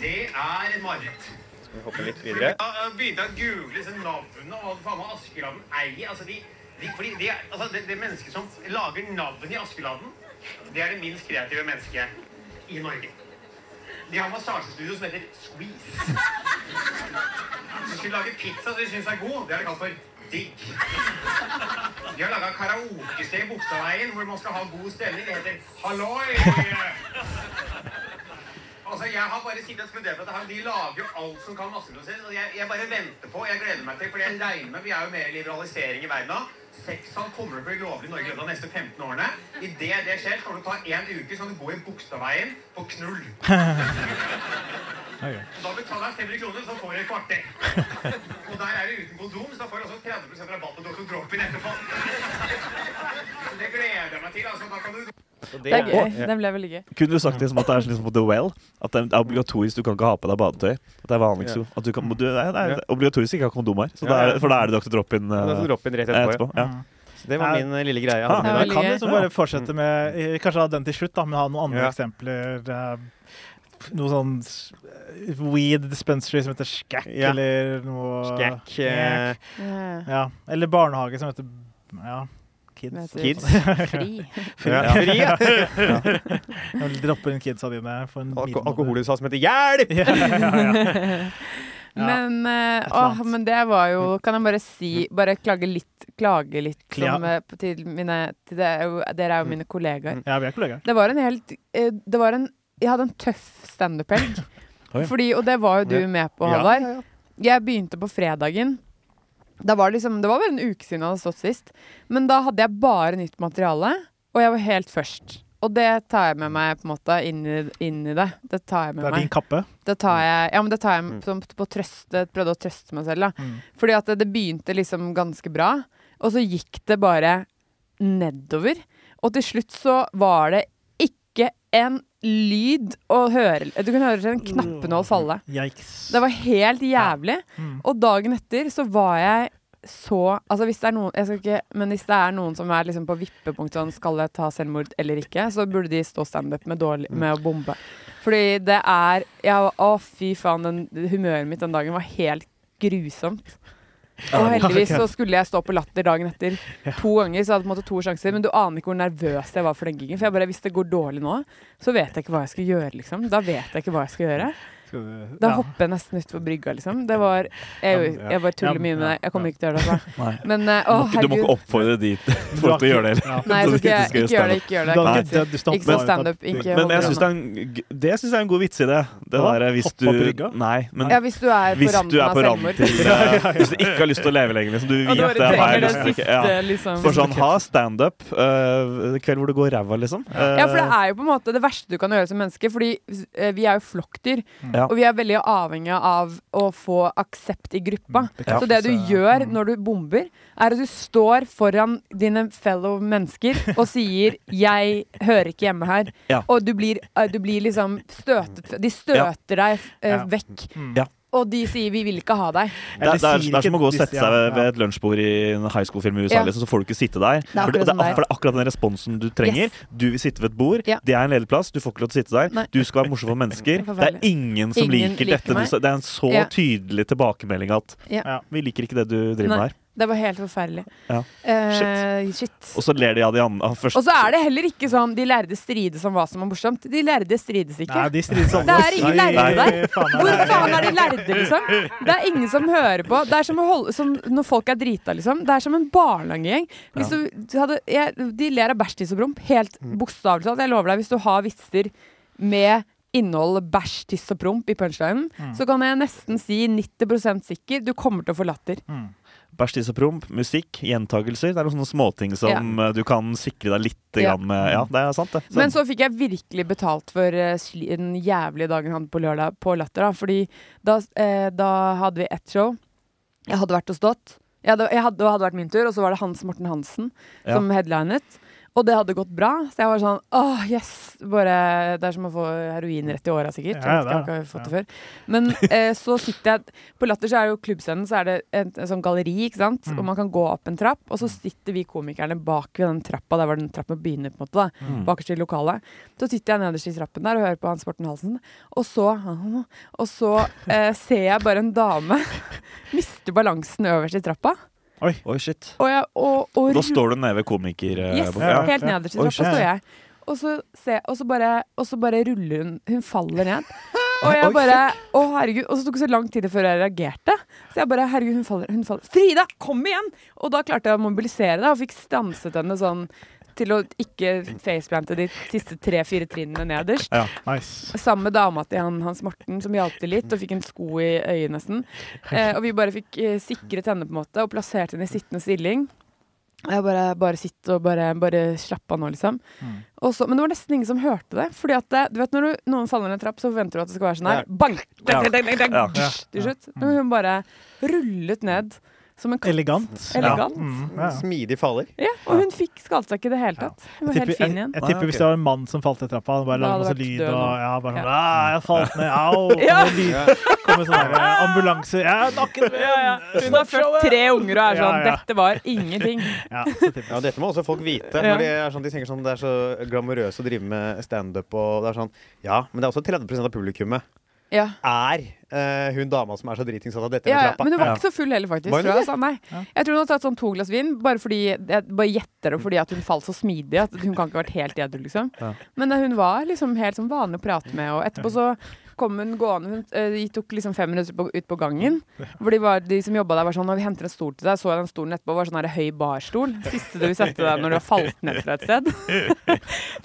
[SPEAKER 1] Det er et mareritt. Skal vi hoppe litt videre?
[SPEAKER 5] Ja, jeg begynte å google disse navnene og hva faen meg Askeladden eier. Altså, de, de, fordi de, er- altså det, det mennesket som lager navnet i Askeladden, det er det minst kreative mennesket i Norge. De har massasjestudio som heter Squeeze. De skulle lage pizza som de syns er god. Det har de kalt for digg. De har laga karaokested i Bogstadveien hvor man skal ha god stemning. Det heter Halloi! Altså, Jeg har bare sittet og studert på dette. her. De lager jo alt som kan masseproduseres. og Jeg, jeg bare venter på, jeg gleder meg til, for jeg regner med Vi er jo mer i liberalisering i verden nå. Sexsalg kommer til å bli lovlig i Norge i løpet av de neste 15 årene. Idet det skjer, skal du ta én uke, så kan du gå i Bogstadveien på knull.
[SPEAKER 2] Ok.
[SPEAKER 5] Da betaler jeg 500 kroner, så får du et kvarter. Og der er det uten kondom, så da får du også 30 rabatt på Dr. Dropin etterpå. Det gleder jeg meg til. altså. Da kan du
[SPEAKER 4] Det er gøy. Den ble veldig gøy.
[SPEAKER 3] Kunne du sagt det som at det er sånn liksom på The Well? At det er obligatorisk, du kan ikke ha på deg badetøy. At det er vanlig ikke så- at du kan, du, nei, det er obligatorisk ikke ha kondom her. Så det er, for da er det Dr. Drop-in
[SPEAKER 1] Da skal
[SPEAKER 3] eh,
[SPEAKER 1] du droppe inn rett etterpå.
[SPEAKER 3] etterpå. Ja.
[SPEAKER 1] Ja. Så det var min eh, lille greie. Jeg hadde
[SPEAKER 3] Ja.
[SPEAKER 1] med
[SPEAKER 2] Vi
[SPEAKER 1] deg.
[SPEAKER 4] veldig
[SPEAKER 2] kan
[SPEAKER 4] gøy.
[SPEAKER 2] liksom bare fortsette med eh, Kanskje ha den til slutt, da, men ha noen andre
[SPEAKER 1] Ja.
[SPEAKER 2] eksempler. eh, Noe sånn s- weed dispensary som heter Skakk,
[SPEAKER 1] Ja.
[SPEAKER 2] eller noe
[SPEAKER 1] Skakk. eh,
[SPEAKER 4] Ja.
[SPEAKER 2] Ja. Eller barnehage som heter ja, Kids.
[SPEAKER 4] Vet du.
[SPEAKER 1] Kids.
[SPEAKER 4] Fri.
[SPEAKER 1] Ja. Fri, ja.
[SPEAKER 2] Droppe inn kidsa dine for en
[SPEAKER 1] Alko
[SPEAKER 2] middag.
[SPEAKER 1] Alkoholhusa som heter 'Hjelp!'
[SPEAKER 2] Ja, ja, ja, ja. Ja.
[SPEAKER 4] Men, eh,
[SPEAKER 2] eller
[SPEAKER 4] åh,
[SPEAKER 2] annet. Mm.
[SPEAKER 4] men det var jo Kan jeg bare si Bare klage litt, klage litt
[SPEAKER 2] Klia.
[SPEAKER 4] som, eh, på- til mine til det, er jo- Dere er jo mine kollegaer.
[SPEAKER 2] ja, vi er kollegaer.
[SPEAKER 4] Det var en helt eh, Det var en Jeg hadde en tøff standup-helg.
[SPEAKER 3] Oi.
[SPEAKER 4] Fordi- Og det var jo
[SPEAKER 1] Ja.
[SPEAKER 4] du med på,
[SPEAKER 1] Ja,
[SPEAKER 4] Halvard. Jeg begynte på fredagen. Da var det, liksom, det var vel en uke siden jeg hadde stått sist. Men da hadde jeg bare nytt materiale, og jeg var helt først. Og det tar jeg med meg på en måte inn i, inn i det. Det tar jeg
[SPEAKER 2] Det
[SPEAKER 4] med
[SPEAKER 2] er din
[SPEAKER 4] meg.
[SPEAKER 2] kappe.
[SPEAKER 4] Det tar jeg, ja, men det tar jeg
[SPEAKER 1] Mm.
[SPEAKER 4] som på trøste, prøvde å trøste meg selv. Da.
[SPEAKER 2] Mm.
[SPEAKER 4] Fordi at det, det begynte liksom ganske bra, og så gikk det bare nedover. Og til slutt så var det ikke en lyd å høre. Du kunne høre en knappenål falle.
[SPEAKER 2] Yikes.
[SPEAKER 4] Det var helt jævlig.
[SPEAKER 2] Mm.
[SPEAKER 4] Og dagen etter så var jeg så Altså hvis det er noen Jeg skal ikke Men hvis det er noen som er liksom på vippepunktet sånn Skal jeg ta selvmord eller ikke, så burde de stå standup med, dårlig- med å bombe. Fordi det er jeg, Å, fy faen. Den, humøret mitt den dagen var helt grusomt. Og heldigvis så skulle jeg stå på latter dagen etter. To ganger, så jeg hadde på en måte to sjanser. Men du aner ikke hvor nervøs jeg var for den gigen. For jeg bare, hvis det går dårlig nå, så vet jeg ikke hva jeg skal gjøre, liksom. Da vet jeg ikke hva jeg skal gjøre.
[SPEAKER 2] Skal du-
[SPEAKER 4] Da
[SPEAKER 2] ja.
[SPEAKER 4] hopper jeg nesten utfor brygga, liksom. Det var Jeg,
[SPEAKER 2] Ja.
[SPEAKER 4] jeg bare tuller
[SPEAKER 2] Ja,
[SPEAKER 4] mye med
[SPEAKER 2] ja,
[SPEAKER 4] deg. Jeg kommer
[SPEAKER 2] ja.
[SPEAKER 4] ikke til å gjøre det. Altså.
[SPEAKER 3] Nei.
[SPEAKER 4] Men eh, å,
[SPEAKER 3] Du, må ikke, du må ikke
[SPEAKER 4] herregud.
[SPEAKER 3] oppfordre de
[SPEAKER 2] Du
[SPEAKER 3] folk
[SPEAKER 2] har
[SPEAKER 3] til å gjøre det.
[SPEAKER 2] ikke-
[SPEAKER 3] heller.
[SPEAKER 2] Ja.
[SPEAKER 4] Nei, så
[SPEAKER 3] Så
[SPEAKER 4] skal
[SPEAKER 3] du ikke
[SPEAKER 4] jeg, ikke
[SPEAKER 3] skal
[SPEAKER 4] gjør det. Ikke gjør
[SPEAKER 2] Du hadde
[SPEAKER 4] det.
[SPEAKER 3] Nei.
[SPEAKER 2] ikke dødd, du stoppet
[SPEAKER 4] Ikke stå
[SPEAKER 2] bare.
[SPEAKER 4] standup. Ikke
[SPEAKER 3] Men jeg
[SPEAKER 4] hold
[SPEAKER 3] syns det,
[SPEAKER 4] på.
[SPEAKER 3] er en g- det synes jeg er en god vits i det. Det
[SPEAKER 2] Hva?
[SPEAKER 3] derre hvis
[SPEAKER 2] Hoppe
[SPEAKER 3] du
[SPEAKER 2] opp i brygga?
[SPEAKER 3] Nei, men
[SPEAKER 4] Ja, hvis du er på
[SPEAKER 3] hvis du
[SPEAKER 4] randen
[SPEAKER 3] er
[SPEAKER 4] av
[SPEAKER 3] på randen
[SPEAKER 4] selvmord.
[SPEAKER 3] til eh, Hvis du ikke har lyst til å leve lenger, liksom. Du
[SPEAKER 4] Og du
[SPEAKER 3] vet det
[SPEAKER 4] bare
[SPEAKER 3] er
[SPEAKER 4] trenger
[SPEAKER 3] meg.
[SPEAKER 4] den
[SPEAKER 3] Liksom. ikke-
[SPEAKER 4] siste,
[SPEAKER 3] Ja.
[SPEAKER 4] liksom.
[SPEAKER 3] For sånn, ha standup uh, kveld hvor det går ræva, liksom.
[SPEAKER 4] Ja, for det er jo på en måte det verste du kan gjøre som menneske, fordi eh, vi er jo flokkdyr.
[SPEAKER 3] Ja.
[SPEAKER 4] Og vi er veldig avhengige av å få aksept i gruppa.
[SPEAKER 2] Bekreftelse.
[SPEAKER 4] Så det du gjør når du bomber, er at du står foran dine fellow mennesker og sier 'jeg hører ikke hjemme her'.
[SPEAKER 3] Ja.
[SPEAKER 4] Og du blir, eh, du blir liksom støtet De støter deg eh,
[SPEAKER 2] Ja.
[SPEAKER 4] vekk.
[SPEAKER 2] Mm.
[SPEAKER 3] Ja.
[SPEAKER 4] Og de sier 'vi vil ikke ha deg'.
[SPEAKER 3] Det, er- det,
[SPEAKER 2] sier
[SPEAKER 3] er, det er som
[SPEAKER 2] ikke
[SPEAKER 3] å gå og
[SPEAKER 2] disse-
[SPEAKER 3] sette seg ved,
[SPEAKER 2] ja.
[SPEAKER 3] ved et lunsjbord i en high school-film i USA,
[SPEAKER 4] Ja.
[SPEAKER 3] liksom, så får du ikke sitte der.
[SPEAKER 4] er
[SPEAKER 3] for, det,
[SPEAKER 4] akkurat
[SPEAKER 3] det,
[SPEAKER 4] som det
[SPEAKER 3] er,
[SPEAKER 4] er.
[SPEAKER 3] for det er akkurat den responsen du trenger.
[SPEAKER 4] Yes.
[SPEAKER 3] Du vil sitte ved et bord,
[SPEAKER 4] Ja.
[SPEAKER 3] det er en ledig plass, du får ikke lov til å sitte der.
[SPEAKER 4] Nei.
[SPEAKER 3] Du skal være morsom for mennesker.
[SPEAKER 4] Det er
[SPEAKER 3] Det er ingen som
[SPEAKER 4] Ingen
[SPEAKER 3] liker,
[SPEAKER 4] liker
[SPEAKER 3] dette.
[SPEAKER 4] meg.
[SPEAKER 3] Du, sa- det er en så
[SPEAKER 4] Ja.
[SPEAKER 3] tydelig tilbakemelding at
[SPEAKER 4] Ja.
[SPEAKER 2] Ja.
[SPEAKER 3] vi liker ikke det du driver
[SPEAKER 4] Nei.
[SPEAKER 3] med her.
[SPEAKER 4] Det var helt forferdelig.
[SPEAKER 3] Ja.
[SPEAKER 4] Eh, shit.
[SPEAKER 3] Og så ler de av de andre. av først-
[SPEAKER 4] Og så er det heller ikke sånn de lærde strides om hva som er morsomt. De lærde strides ikke.
[SPEAKER 2] Nei, de strides alle.
[SPEAKER 4] Det er ingen
[SPEAKER 2] Nei,
[SPEAKER 4] lærere der.
[SPEAKER 2] faen,
[SPEAKER 4] Hvor
[SPEAKER 2] det er-
[SPEAKER 4] faen er de lærde, liksom? Det er ingen som hører på. Det er som, å holde, som når folk er drita, liksom. Det er som en barnehagegjeng. Hvis du, du hadde, jeg, de ler av bæsj, tiss og promp. Helt bokstavelig talt. Jeg lover deg, hvis du har vitser med innhold bæsj, tiss og promp i punchlinen, så kan jeg nesten si 90 sikker du kommer til å få latter.
[SPEAKER 3] Bæsj, tiss og promp, musikk, gjentagelser. Det er noen sånne småting som eh, du kan sikre deg litt
[SPEAKER 4] Ja.
[SPEAKER 3] grann med. Ja, det er sant, det.
[SPEAKER 4] Men så fikk jeg virkelig betalt for eh, sli- den jævlige dagen han hadde på lørdag på Latter. Da, fordi da, eh, da hadde vi ett show. Jeg hadde vært og stått. Jeg hadde, jeg hadde, det hadde vært min tur, og så var det Hans Morten Hansen
[SPEAKER 3] Ja.
[SPEAKER 4] som headlinet. Og det hadde gått bra, så jeg var sånn åh, yes! Bare, det er som å få heroin rett i åra, sikkert.
[SPEAKER 2] Ja,
[SPEAKER 4] jeg vet ikke, jeg har
[SPEAKER 2] det er
[SPEAKER 4] ikke fått det før. Men eh, så sitter jeg På Latter så er det jo klubbscenen, så er det en, en sånn galleri, ikke sant?
[SPEAKER 2] Mm.
[SPEAKER 4] Og man kan gå opp en trapp, og så sitter vi komikerne bak ved den trappa. Der var den trappen begynner, på en måte. da
[SPEAKER 2] Mm.
[SPEAKER 4] bakerst i lokalet. Så sitter jeg nederst i trappen der og hører på Hans Morten Halsen. Og så, og så eh, ser jeg bare en dame miste balansen øverst i trappa.
[SPEAKER 3] Oi, shit.
[SPEAKER 4] Og, jeg, og, og
[SPEAKER 3] Da står du nede ved komiker... eh,
[SPEAKER 4] Yes,
[SPEAKER 3] bordet.
[SPEAKER 2] ja.
[SPEAKER 4] helt nederst i
[SPEAKER 3] Oi,
[SPEAKER 4] trappa
[SPEAKER 3] shit.
[SPEAKER 4] står jeg. Og så, ser, og, så bare, og så bare ruller hun Hun faller ned. Og jeg bare Å, herregud. Og så tok det så lang tid før jeg reagerte. Så jeg bare Herregud, hun faller. Hun faller. Frida, kom igjen! Og da klarte jeg å mobilisere det, og fikk stanset henne sånn til å ikke faceplante de siste tre-fire trinnene nederst.
[SPEAKER 2] Nice.
[SPEAKER 4] Sammen med dama til han, Hans Morten, som hjalp til litt og fikk en sko i øyet nesten. Eh, og vi bare fikk eh, sikret henne på en måte og plassert henne i sittende stilling. Jeg bare, bare sitt og bare, bare slapp av nå, liksom. Og så, men det var nesten ingen som hørte det. Fordi at det, du vet Når du, noen faller ned en trapp, så forventer du at det skal være sånn her.
[SPEAKER 1] Ja.
[SPEAKER 4] Bang!
[SPEAKER 3] Ja.
[SPEAKER 4] Dang, dang, dang, dang,
[SPEAKER 3] Ja.
[SPEAKER 4] dang, Til slutt. Men hun bare rullet ned som en katt.
[SPEAKER 2] Elegant.
[SPEAKER 4] Elegant.
[SPEAKER 2] Ja. Mm, ja.
[SPEAKER 1] Smidig faller.
[SPEAKER 4] Ja, og hun fikk skadet seg ikke i det hele tatt. Hun var
[SPEAKER 2] Jeg
[SPEAKER 4] helt
[SPEAKER 2] tipper,
[SPEAKER 4] fin
[SPEAKER 2] jeg,
[SPEAKER 4] igjen.
[SPEAKER 2] jeg tipper
[SPEAKER 1] Ah, ok.
[SPEAKER 2] hvis det var en mann som falt i trappa, han bare
[SPEAKER 4] Da
[SPEAKER 2] lagde
[SPEAKER 4] hadde
[SPEAKER 2] masse
[SPEAKER 4] det vært
[SPEAKER 2] lyd og
[SPEAKER 4] død nå.
[SPEAKER 2] ja, bare sånn
[SPEAKER 4] Ja.
[SPEAKER 2] «Ah, Jeg falt ned, au!
[SPEAKER 4] Ja.
[SPEAKER 2] Kommer lyd- kommer sånn der, ambulanse Ja, nakken min!
[SPEAKER 4] Ja, ja. Hun har født tre unger og er sånn
[SPEAKER 2] Ja, ja.
[SPEAKER 4] Dette var ingenting.
[SPEAKER 2] Ja, så tipper jeg.
[SPEAKER 1] Ja, Dette må også folk vite.
[SPEAKER 4] Ja.
[SPEAKER 1] Når de, er sånn, de tenker sånn det er så glamorøst å drive med standup. og det er sånn, Ja, men det er også 30 av publikummet
[SPEAKER 4] Ja.
[SPEAKER 1] er eh, hun dama som er så dritings at hun detter
[SPEAKER 4] Ja,
[SPEAKER 1] ned
[SPEAKER 4] ja.
[SPEAKER 1] trappa.
[SPEAKER 4] Men hun var
[SPEAKER 3] Ja.
[SPEAKER 4] ikke så full heller, faktisk.
[SPEAKER 1] Var hun
[SPEAKER 4] Tror jeg,
[SPEAKER 1] ikke?
[SPEAKER 4] altså. Nei.
[SPEAKER 2] Ja.
[SPEAKER 4] jeg tror hun har tatt sånn to glass vin, bare fordi jeg bare gjetter det fordi at hun falt så smidig. At hun kan ikke ha vært helt edru, liksom.
[SPEAKER 3] Ja.
[SPEAKER 4] Men eh, hun var liksom helt sånn vanlig å prate med, og etterpå så kom hun gående Hun eh, de tok liksom fem minutter på, ut på gangen. Hvor de, var, de som jobba der, var sånn Når vi henter en stol til deg, så jeg den stolen etterpå, var sånn her høy barstol. Siste du vil sette deg når du har falt ned fra et sted.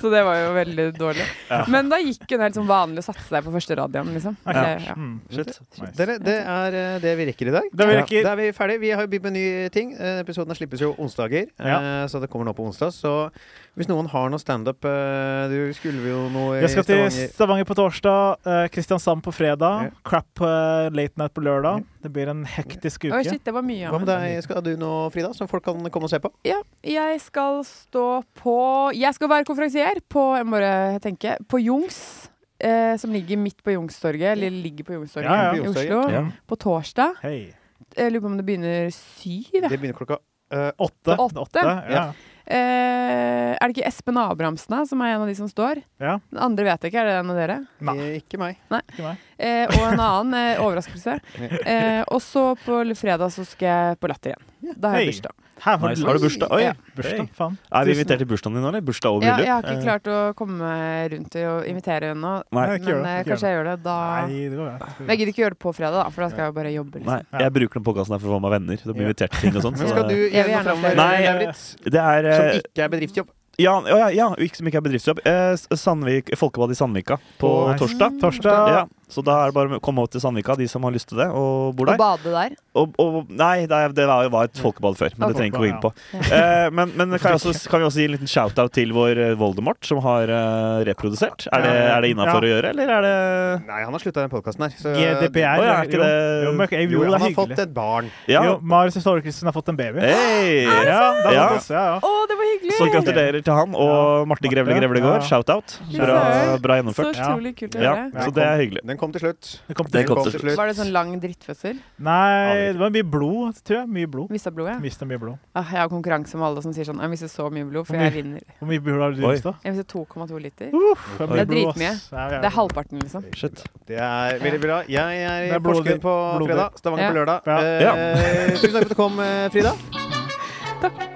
[SPEAKER 4] så det var jo veldig dårlig. Men da gikk hun helt sånn vanlig og satte seg på første radioen, liksom.
[SPEAKER 2] Ok,
[SPEAKER 4] Det- ja.
[SPEAKER 2] Mm, shit. Nice.
[SPEAKER 1] Dere, det er eh, det vi rekker i dag.
[SPEAKER 2] Det virker.
[SPEAKER 1] Ja, Da er vi ferdig. Vi har jo begynt med nye ting. Eh, Episoden her slippes jo onsdager, eh,
[SPEAKER 2] Ja.
[SPEAKER 1] så det kommer nå på onsdag. Så hvis noen har noe standup eh, Du skulle jo noe i
[SPEAKER 2] Jeg skal til
[SPEAKER 1] Stavanger.
[SPEAKER 2] Stavanger på torsdag, eh, Kristiansand på
[SPEAKER 1] Ja.
[SPEAKER 2] fredag, Crap eh, late night på lørdag. Det blir en hektisk
[SPEAKER 4] Oi,
[SPEAKER 2] uke.
[SPEAKER 4] shit, det var mye.
[SPEAKER 1] Hva med deg? Skal du nå, Frida, som folk kan komme og se på?
[SPEAKER 4] Ja, jeg skal stå på Jeg skal være konferansier på Jeg må bare tenke På Jungs, eh, som ligger midt på Jungstorget, eller ligger på Jungstorget
[SPEAKER 2] Ja, ja.
[SPEAKER 4] i Oslo,
[SPEAKER 1] Jungstorget,
[SPEAKER 2] Ja.
[SPEAKER 4] på torsdag.
[SPEAKER 2] Hei.
[SPEAKER 4] Jeg lurer på om det begynner syv.
[SPEAKER 1] Det begynner klokka eh,
[SPEAKER 2] Åtte.
[SPEAKER 4] Åtte.
[SPEAKER 2] Ja.
[SPEAKER 4] Eh, er det ikke Espen Abrahamsen da, som er en av de som står?
[SPEAKER 2] ja.
[SPEAKER 4] Den andre vet jeg ikke, er det en av dere?
[SPEAKER 2] Nei.
[SPEAKER 1] eh, Ikke meg.
[SPEAKER 2] Ikke meg.
[SPEAKER 4] Eh, og en annen eh, overraskelse. Eh, og så på fredag så skal jeg på Latter igjen. Da har jeg
[SPEAKER 2] Hei.
[SPEAKER 4] bursdag.
[SPEAKER 2] Her var
[SPEAKER 3] Nice. Har du bursdag? Oi,
[SPEAKER 4] Ja.
[SPEAKER 2] Bursdag,
[SPEAKER 3] Hey.
[SPEAKER 2] faen.
[SPEAKER 3] Er vi
[SPEAKER 2] Tusen-
[SPEAKER 3] invitert til bursdagen din nå, eller? Bursdag og
[SPEAKER 4] Ja,
[SPEAKER 3] bryllup?
[SPEAKER 4] jeg har ikke klart å komme rundt og invitere ennå,
[SPEAKER 3] Nei.
[SPEAKER 2] Nei,
[SPEAKER 4] men
[SPEAKER 2] ikke gjør det, ikke
[SPEAKER 4] eh,
[SPEAKER 2] gjør
[SPEAKER 4] kanskje jeg gjør det da.
[SPEAKER 2] Nei, det går greit.
[SPEAKER 4] Men jeg gidder ikke gjøre det på fredag, da, for da skal jeg jo bare jobbe.
[SPEAKER 3] Nei,
[SPEAKER 4] Liksom.
[SPEAKER 3] jeg bruker den podkasten her for å få meg venner. Det blir invitert til ting og sånt.
[SPEAKER 1] Men
[SPEAKER 3] så
[SPEAKER 1] skal du
[SPEAKER 3] det-
[SPEAKER 4] Jeg
[SPEAKER 1] gjøre
[SPEAKER 4] vil
[SPEAKER 1] noe
[SPEAKER 4] gjerne
[SPEAKER 1] framover,
[SPEAKER 4] se-
[SPEAKER 3] Nei,
[SPEAKER 1] Lauritz?
[SPEAKER 3] Det er
[SPEAKER 1] Som
[SPEAKER 3] eh,
[SPEAKER 1] ikke er bedriftjobb.
[SPEAKER 3] Ja, ja, ja, ja, ikke som ikke er bedriftsjobb. Eh, S- Sandvik, Folkebad i Sandvika på
[SPEAKER 2] Nice.
[SPEAKER 3] torsdag.
[SPEAKER 2] Torsdag.
[SPEAKER 3] Ja, så da er det bare å komme opp til Sandvika, de som har lyst til det, og bor
[SPEAKER 4] Og
[SPEAKER 3] der.
[SPEAKER 4] bade der.
[SPEAKER 3] Og, og, nei, det, er, det var jo var et folkebad før, men det trenger vi ikke gå inn på. Eh, men men kan, jeg også, kan vi også gi en liten shout-out til vår eh, Voldemort, som har eh, reprodusert? Er det, er det innafor å gjøre, eller er det
[SPEAKER 1] Nei, han har slutta den podkasten her. Så
[SPEAKER 2] GDPR.
[SPEAKER 3] Å, ja, er ikke det-
[SPEAKER 2] Jo,
[SPEAKER 1] Jo,
[SPEAKER 2] men, jo, det er
[SPEAKER 1] han har
[SPEAKER 2] hyggelig.
[SPEAKER 1] fått et barn.
[SPEAKER 3] Ja.
[SPEAKER 2] Jo, Marius Historikristen har fått en baby.
[SPEAKER 3] Hei!
[SPEAKER 2] Ja, det er
[SPEAKER 3] Ja.
[SPEAKER 2] sant også, ja, ja.
[SPEAKER 4] Å, det var hyggelig!
[SPEAKER 3] Så gratulerer til han og Marte Grevle
[SPEAKER 2] Ja.
[SPEAKER 3] Grevlegård. Shout-out. Bra, bra
[SPEAKER 4] Så
[SPEAKER 3] gjennomført.
[SPEAKER 4] utrolig kult å
[SPEAKER 3] Ja,
[SPEAKER 4] høre.
[SPEAKER 3] så det er hyggelig.
[SPEAKER 1] Den kom til slutt.
[SPEAKER 2] Det kom til-
[SPEAKER 3] Det kom til slutt.
[SPEAKER 4] Var det sånn lang drittfødsel?
[SPEAKER 2] Nei, det var mye blod, tror jeg. Mye blod.
[SPEAKER 4] Mista blodet?
[SPEAKER 2] Mista mye blod.
[SPEAKER 4] Ah, jeg har konkurranse med alle som sier sånn Jeg mister så mye blod, for
[SPEAKER 2] Hvor mye?
[SPEAKER 4] jeg vinner.
[SPEAKER 2] Hvor mye blod har du
[SPEAKER 3] Oi.
[SPEAKER 2] mista?
[SPEAKER 4] Jeg mister 2,2 liter.
[SPEAKER 2] Uff,
[SPEAKER 1] Det
[SPEAKER 2] mye
[SPEAKER 4] er
[SPEAKER 2] blod,
[SPEAKER 4] dritmye.
[SPEAKER 2] ass. Ja, ja.
[SPEAKER 4] Det er halvparten, liksom.
[SPEAKER 3] Shit.
[SPEAKER 1] Det er veldig bra. Jeg er
[SPEAKER 2] Det
[SPEAKER 1] i
[SPEAKER 2] er blodig.
[SPEAKER 1] Porsgrunn på
[SPEAKER 2] Blodig.
[SPEAKER 1] fredag. Stavanger
[SPEAKER 4] Ja.
[SPEAKER 1] på lørdag.
[SPEAKER 2] Ja.
[SPEAKER 1] Eh, tusen takk for at du kom, eh, Frida.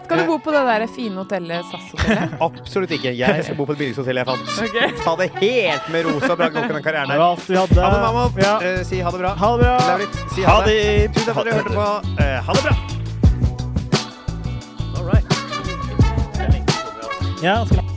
[SPEAKER 4] Skal du bo på det der fine hotellet, SAS-hotellet?
[SPEAKER 1] Absolutt ikke. Jeg skal bo på det billigste hotellet jeg fant.
[SPEAKER 4] Ok.
[SPEAKER 1] Ta det helt med rosa bra nok den karrieren
[SPEAKER 2] Det
[SPEAKER 1] her.
[SPEAKER 2] var alt vi hadde.
[SPEAKER 1] Ha det, mamma.
[SPEAKER 2] Ja.
[SPEAKER 1] Eh, si ha det bra.
[SPEAKER 2] Ha det bra.
[SPEAKER 1] Lauritz, si
[SPEAKER 3] Ha
[SPEAKER 1] ha det.
[SPEAKER 3] det!
[SPEAKER 1] Tusen takk for at dere hørte på. Eh, ha det bra.
[SPEAKER 2] Ja, skal...